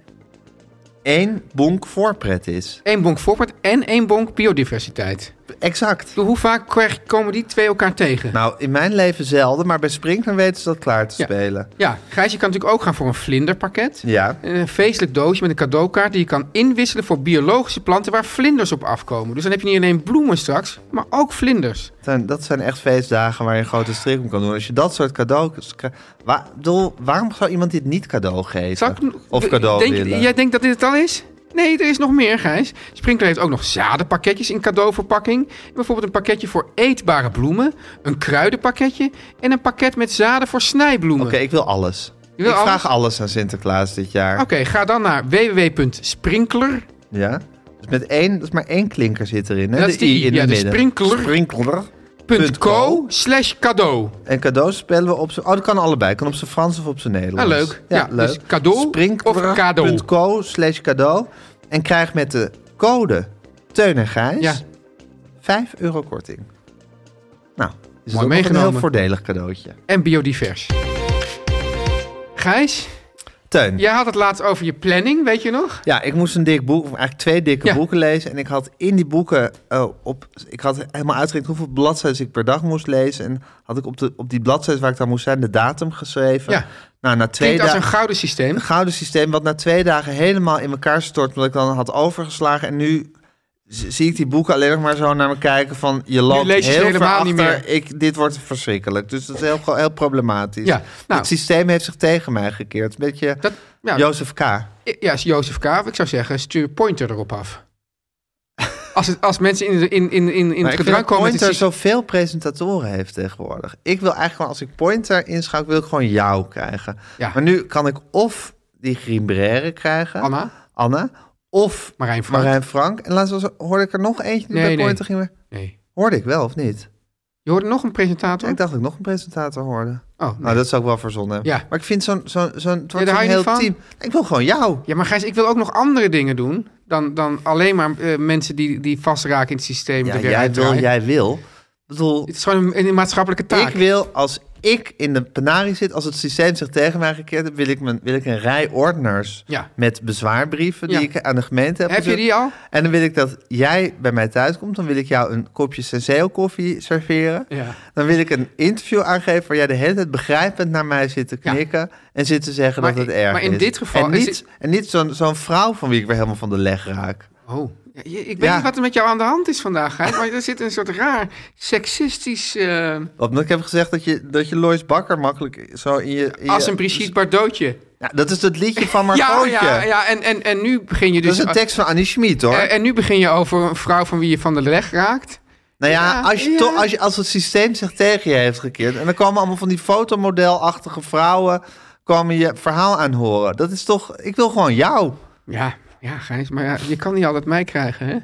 Speaker 1: één bonk voorpret is.
Speaker 2: Eén bonk voorpret en één bonk biodiversiteit.
Speaker 1: Exact.
Speaker 2: Ik bedoel, Hoe vaak krijg- komen die twee elkaar tegen?
Speaker 1: Nou, in mijn leven zelden, maar bij Sprinkler weten ze dat klaar te
Speaker 2: Ja.
Speaker 1: spelen.
Speaker 2: Ja, Gijs, je kan natuurlijk ook gaan voor een vlinderpakket.
Speaker 1: Ja.
Speaker 2: Een feestelijk doosje met een cadeaukaart die je kan inwisselen voor biologische planten waar vlinders op afkomen. Dus dan heb je niet alleen bloemen straks, maar ook vlinders.
Speaker 1: Zijn- Dat zijn echt feestdagen waar je een grote strik om kan doen. Als je dat soort cadeaus... krijgt- Wa- bedoel, waarom zou iemand dit niet cadeau geven?
Speaker 2: Zal ik-
Speaker 1: of cadeau
Speaker 2: denk, je-
Speaker 1: willen?
Speaker 2: Jij denkt dat dit het al is? Nee, er is nog meer, Gijs. Sprinkler heeft ook nog zadenpakketjes in cadeauverpakking. Bijvoorbeeld een pakketje voor eetbare bloemen, een kruidenpakketje en een pakket met zaden voor snijbloemen.
Speaker 1: Oké, ik wil alles.
Speaker 2: Je wil
Speaker 1: ik
Speaker 2: alles?
Speaker 1: vraag alles aan Sinterklaas dit jaar.
Speaker 2: Oké, ga dan naar www.sprinkler.
Speaker 1: Ja? Dus met één, dat is maar één klinker zit erin. Hè?
Speaker 2: Dat is de
Speaker 1: I
Speaker 2: I,
Speaker 1: in
Speaker 2: ja,
Speaker 1: het
Speaker 2: de
Speaker 1: midden.
Speaker 2: sprinkler.
Speaker 1: Sprinkler.
Speaker 2: .co slash cadeau.
Speaker 1: En cadeaus spellen we op z'n... Oh, dat kan allebei. Kan op z'n Frans of op z'n Nederlands.
Speaker 2: Ah, leuk. Ja, dus cadeau of cadeau.
Speaker 1: Sprinkler.co slash cadeau. En krijg met de code Teun en Gijs
Speaker 2: Ja.
Speaker 1: 5 euro korting. Nou, is het ook
Speaker 2: Mooi
Speaker 1: nog een
Speaker 2: meegenomen.
Speaker 1: heel voordelig cadeautje.
Speaker 2: En biodivers. Gijs,
Speaker 1: Teun.
Speaker 2: jij had het laatst over je planning, weet je nog?
Speaker 1: Ja, ik moest een dik boek, of eigenlijk twee dikke
Speaker 2: Ja.
Speaker 1: boeken lezen. En ik had in die boeken eh, op. Ik had helemaal uitgerekend hoeveel bladzijden ik per dag moest lezen. En had ik op, de, op die bladzijden waar ik dan moest zijn, de datum geschreven.
Speaker 2: Ja.
Speaker 1: Nou, na twee
Speaker 2: Klinkt als een
Speaker 1: dagen.
Speaker 2: gouden systeem.
Speaker 1: Een gouden systeem, wat na twee dagen helemaal in elkaar stort. Omdat ik dan had overgeslagen. En nu z- zie ik die boeken alleen nog maar zo naar me kijken. Van je loopt
Speaker 2: lees je ze
Speaker 1: heel
Speaker 2: helemaal
Speaker 1: ver
Speaker 2: niet
Speaker 1: achter. Ik, dit wordt verschrikkelijk. Dus dat is heel, heel problematisch.
Speaker 2: Ja, nou.
Speaker 1: Het systeem heeft zich tegen mij gekeerd. Een beetje
Speaker 2: Dat, Ja,
Speaker 1: Jozef K.
Speaker 2: Ja, is Jozef K. Ik zou zeggen, stuur Pointer erop af. Als, het, als mensen in, de- in, in, in, in
Speaker 1: Maar
Speaker 2: het
Speaker 1: ik vind
Speaker 2: gedrang
Speaker 1: dat
Speaker 2: komen... met het
Speaker 1: Pointer
Speaker 2: zie-
Speaker 1: zoveel presentatoren heeft tegenwoordig. Ik wil eigenlijk gewoon, als ik Pointer inschuik, wil ik gewoon jou krijgen.
Speaker 2: Ja.
Speaker 1: Maar nu kan ik of die Grimbrere krijgen,
Speaker 2: Anna?
Speaker 1: Anna, of
Speaker 2: Marijn Frank?
Speaker 1: Marijn Frank. En laatst was, er- hoorde ik er nog eentje die
Speaker 2: Nee,
Speaker 1: bij
Speaker 2: nee.
Speaker 1: Pointer ging. werken.
Speaker 2: Nee.
Speaker 1: Hoorde ik wel of niet?
Speaker 2: Je hoorde nog een presentator?
Speaker 1: Ja, ik dacht dat ik nog een presentator hoorde.
Speaker 2: Oh, nee.
Speaker 1: Nou, dat zou ik wel verzonnen hebben.
Speaker 2: Ja.
Speaker 1: Maar ik vind zo'n zo'n zo'n het wordt zo'n
Speaker 2: daar hou je
Speaker 1: heel
Speaker 2: niet
Speaker 1: team.
Speaker 2: van?
Speaker 1: Ik wil gewoon jou.
Speaker 2: Ja, maar Gijs, ik wil ook nog andere dingen doen... dan, dan alleen maar eh, mensen die, die vastraken in het systeem.
Speaker 1: Ja,
Speaker 2: er weer
Speaker 1: jij wil,
Speaker 2: uitdraaien.
Speaker 1: jij wil. Ik bedoel,
Speaker 2: Het is gewoon een, een maatschappelijke taak.
Speaker 1: ik wil als ik in de penarie zit, als het systeem zich tegen mij gekeerd heeft, wil ik, mijn, wil ik een rij ordners
Speaker 2: Ja.
Speaker 1: met bezwaarbrieven die
Speaker 2: Ja.
Speaker 1: ik aan de gemeente heb.
Speaker 2: Heb je
Speaker 1: gezet.
Speaker 2: die al?
Speaker 1: En dan wil ik dat jij bij mij thuis komt. Dan wil ik jou een kopje senseo koffie serveren.
Speaker 2: Ja.
Speaker 1: Dan wil ik een interview aangeven waar jij de hele tijd begrijpend naar mij zit te
Speaker 2: Ja.
Speaker 1: knikken en zit te zeggen
Speaker 2: Maar
Speaker 1: dat het
Speaker 2: in-
Speaker 1: erg
Speaker 2: maar in
Speaker 1: is.
Speaker 2: dit geval
Speaker 1: en
Speaker 2: is
Speaker 1: niet,
Speaker 2: het-
Speaker 1: en niet zo'n zo'n vrouw van wie ik weer helemaal van de leg raak.
Speaker 2: Oh, ja, je- ik weet
Speaker 1: Ja.
Speaker 2: niet wat er met jou aan de hand is vandaag, Gijs, maar er zit een soort raar seksistisch... eh,
Speaker 1: Want ik heb gezegd dat je, dat je Lois Bakker makkelijk zo in je... in
Speaker 2: als
Speaker 1: je-
Speaker 2: een Brigitte Bardotje.
Speaker 1: Ja, dat is dat liedje van
Speaker 2: Ja,
Speaker 1: Margootje.
Speaker 2: ja, ja en, en, en nu begin je
Speaker 1: Dat
Speaker 2: dus...
Speaker 1: is een tekst van Annie Schmid, hoor.
Speaker 2: eh, en nu begin je over een vrouw van wie je van de leg raakt.
Speaker 1: nou ja,
Speaker 2: ja,
Speaker 1: als, je
Speaker 2: ja.
Speaker 1: toch- als, je, als het systeem zich tegen je heeft gekeerd... en dan komen allemaal van die fotomodelachtige vrouwen... komen je verhaal aan horen. Dat is toch... Ik wil gewoon jou.
Speaker 2: Ja, ja Gijs, maar ja, je kan niet altijd mij krijgen, hè?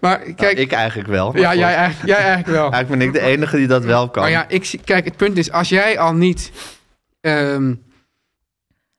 Speaker 2: Maar kijk...
Speaker 1: Kijk, ik eigenlijk wel. maar
Speaker 2: ja,
Speaker 1: goed.
Speaker 2: jij, eigenlijk- jij eigenlijk wel.
Speaker 1: Eigenlijk ben ik de enige die dat wel kan.
Speaker 2: Maar ja, ik, zie- kijk, het punt is, als jij al niet... ehm,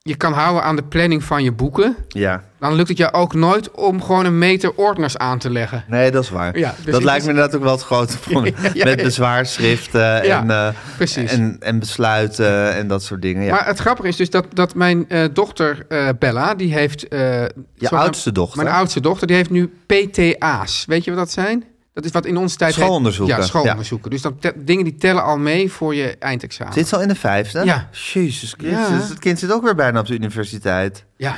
Speaker 2: je kan houden aan de planning van je boeken...
Speaker 1: ja.
Speaker 2: dan lukt het jou ook nooit om gewoon een meter ordners aan te leggen.
Speaker 1: Nee, dat is waar.
Speaker 2: Ja, dus
Speaker 1: dat
Speaker 2: ik-
Speaker 1: lijkt me inderdaad ook wel het grote probleem.
Speaker 2: Ja, ja,
Speaker 1: Met
Speaker 2: ja.
Speaker 1: bezwaarschriften en, eh,
Speaker 2: precies.
Speaker 1: en, en besluiten en dat soort dingen. Ja.
Speaker 2: Maar het grappige is dus dat, dat mijn eh, dochter eh, Bella, die heeft... eh,
Speaker 1: je
Speaker 2: zogenaamd-
Speaker 1: oudste dochter.
Speaker 2: Mijn oudste dochter, die heeft nu PTA's. Weet je wat dat zijn? Dat is wat in onze tijd... heet-
Speaker 1: Schoolonderzoeken.
Speaker 2: Ja, schoolonderzoeken. Dus dat te- dingen die tellen al mee voor je eindexamen.
Speaker 1: Zit ze al in de vijfde?
Speaker 2: Ja.
Speaker 1: Jezus Christus.
Speaker 2: Ja.
Speaker 1: Het kind zit ook weer bijna op de universiteit.
Speaker 2: Ja.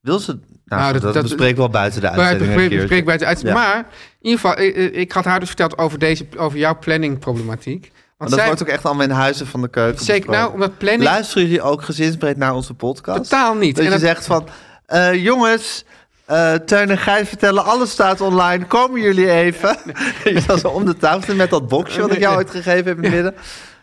Speaker 1: Wil ze... Nou,
Speaker 2: Nou,
Speaker 1: goed,
Speaker 2: dat-
Speaker 1: dat,
Speaker 2: dat-
Speaker 1: bespreken we wel buiten de
Speaker 2: Maar
Speaker 1: uitzending. een
Speaker 2: bespreek,
Speaker 1: keertje.
Speaker 2: bespreek bij het uit.
Speaker 1: Ja.
Speaker 2: Maar in ieder geval, eh, eh, ik had haar dus verteld over, deze, over jouw planningproblematiek. Want,
Speaker 1: Want dat wordt ook echt allemaal in huizen van de keuken
Speaker 2: Zeker nou,
Speaker 1: besproken.
Speaker 2: omdat planning...
Speaker 1: Luisteren jullie ook gezinsbreed naar onze podcast?
Speaker 2: Totaal niet.
Speaker 1: Dat
Speaker 2: En
Speaker 1: je
Speaker 2: dat-
Speaker 1: zegt van... eh, jongens, eh Teun en Gijs vertellen, alles staat online. Komen jullie even? Je zat zo om de tafel met dat boxje wat ik jou ooit gegeven heb in het midden.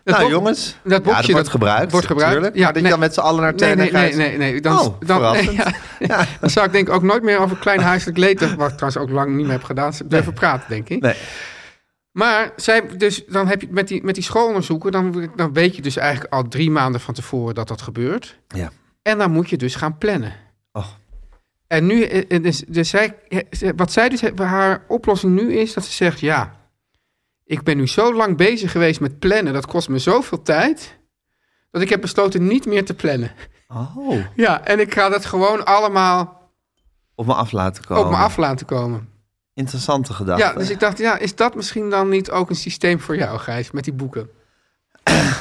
Speaker 1: nou
Speaker 2: bo-
Speaker 1: jongens,
Speaker 2: dat boxje,
Speaker 1: ja, dat wordt
Speaker 2: dat
Speaker 1: gebruikt.
Speaker 2: wordt gebruikt.
Speaker 1: natuurlijk.
Speaker 2: Ja,
Speaker 1: Maar dat
Speaker 2: nee.
Speaker 1: je dan met z'n allen naar
Speaker 2: Nee,
Speaker 1: Teun
Speaker 2: nee,
Speaker 1: en Gijs...
Speaker 2: nee, nee, nee. Dan,
Speaker 1: Oh,
Speaker 2: dan, nee,
Speaker 1: verrassend.
Speaker 2: ja. dan zou ik denk ik ook nooit meer over klein huiselijk leed, wat ik trouwens ook lang niet meer heb gedaan, blijven praten, denk ik.
Speaker 1: Nee.
Speaker 2: Maar zij, dus dan heb je met die, met die schoolonderzoeken, dan, dan weet je dus eigenlijk al drie maanden van tevoren dat dat gebeurt.
Speaker 1: Ja.
Speaker 2: En dan moet je dus gaan plannen.
Speaker 1: Oh.
Speaker 2: En nu, eh, eh, dus, dus zij, eh, ze- wat zij dus, haar oplossing nu is dat ze zegt, ja, ik ben nu zo lang bezig geweest met plannen, dat kost me zoveel tijd, dat ik heb besloten niet meer te plannen.
Speaker 1: Oh,
Speaker 2: Ja, en ik ga dat gewoon allemaal
Speaker 1: op me af laten komen.
Speaker 2: op me af laten komen.
Speaker 1: Interessante gedachte.
Speaker 2: Ja, dus ik dacht, ja, is dat misschien dan niet ook een systeem voor jou, Gijs, met die boeken?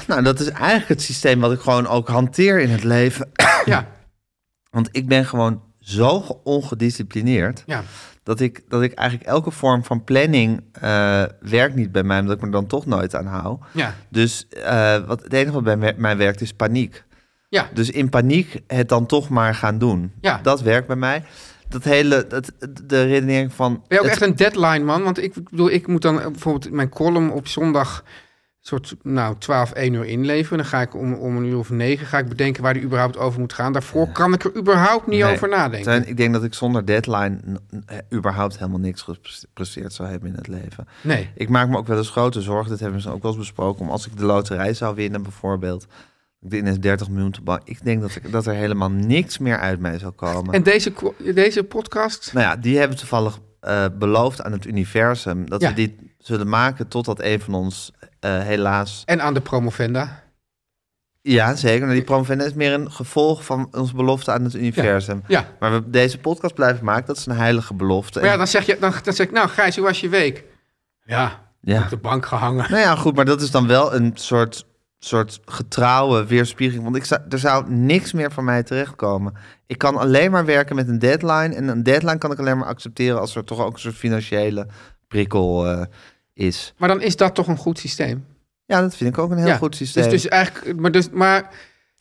Speaker 1: Nou, dat is eigenlijk het systeem wat ik gewoon ook hanteer in het leven.
Speaker 2: Ja,
Speaker 1: Want ik ben gewoon zo ge- ongedisciplineerd...
Speaker 2: ja.
Speaker 1: dat ik, dat ik eigenlijk elke vorm van planning eh, werkt niet bij mij... omdat ik me er dan toch nooit aan hou.
Speaker 2: Ja,
Speaker 1: Dus eh, wat, het enige wat bij me- mij werkt is paniek.
Speaker 2: ja,
Speaker 1: Dus in paniek het dan toch maar gaan doen.
Speaker 2: Ja.
Speaker 1: Dat werkt bij mij. Dat hele, dat, de redenering van...
Speaker 2: Ben je ook
Speaker 1: het-
Speaker 2: echt een deadline man? Want ik bedoel, ik moet dan eh, bijvoorbeeld mijn column op zondag soort nou 12, 1 uur inleveren. Dan ga ik om, om een uur of negen ga ik bedenken waar die überhaupt over moet gaan. Daarvoor kan ik er überhaupt niet
Speaker 1: Nee.
Speaker 2: over nadenken.
Speaker 1: Teun, ik denk dat ik zonder deadline n- n- eh, überhaupt helemaal niks gepresteerd zou hebben in het leven.
Speaker 2: Nee.
Speaker 1: Ik maak me ook wel eens grote zorgen, dat hebben we ook wel eens besproken, om als ik de loterij zou winnen bijvoorbeeld, ik ineens 30 miljoen te bank. Ik denk dat, ik, dat er helemaal niks meer uit mij zou komen.
Speaker 2: En deze, ko- deze podcast?
Speaker 1: Nou ja, die hebben toevallig eh, beloofd aan het universum dat
Speaker 2: Ja.
Speaker 1: we die zullen maken totdat een van ons eh, helaas...
Speaker 2: En aan de promovenda.
Speaker 1: Ja, zeker. Maar die promovendus is meer een gevolg van onze belofte aan het universum.
Speaker 2: Ja.
Speaker 1: Maar we deze podcast blijven maken, dat is een heilige belofte.
Speaker 2: Maar ja, dan zeg, je, dan, dan zeg ik, nou Gijs, hoe was je week? Ja,
Speaker 1: Ja.
Speaker 2: op de bank gehangen.
Speaker 1: Nou ja, goed, maar dat is dan wel een soort, soort getrouwe weerspiegeling. Want ik zou, er zou niks meer van mij terechtkomen. Ik kan alleen maar werken met een deadline. En een deadline kan ik alleen maar accepteren als er toch ook een soort financiële prikkel eh, is.
Speaker 2: Maar dan is dat toch een goed systeem?
Speaker 1: Ja, dat vind ik ook een heel
Speaker 2: Ja, eh,
Speaker 1: goed systeem.
Speaker 2: Dus, dus eigenlijk, maar, dus, maar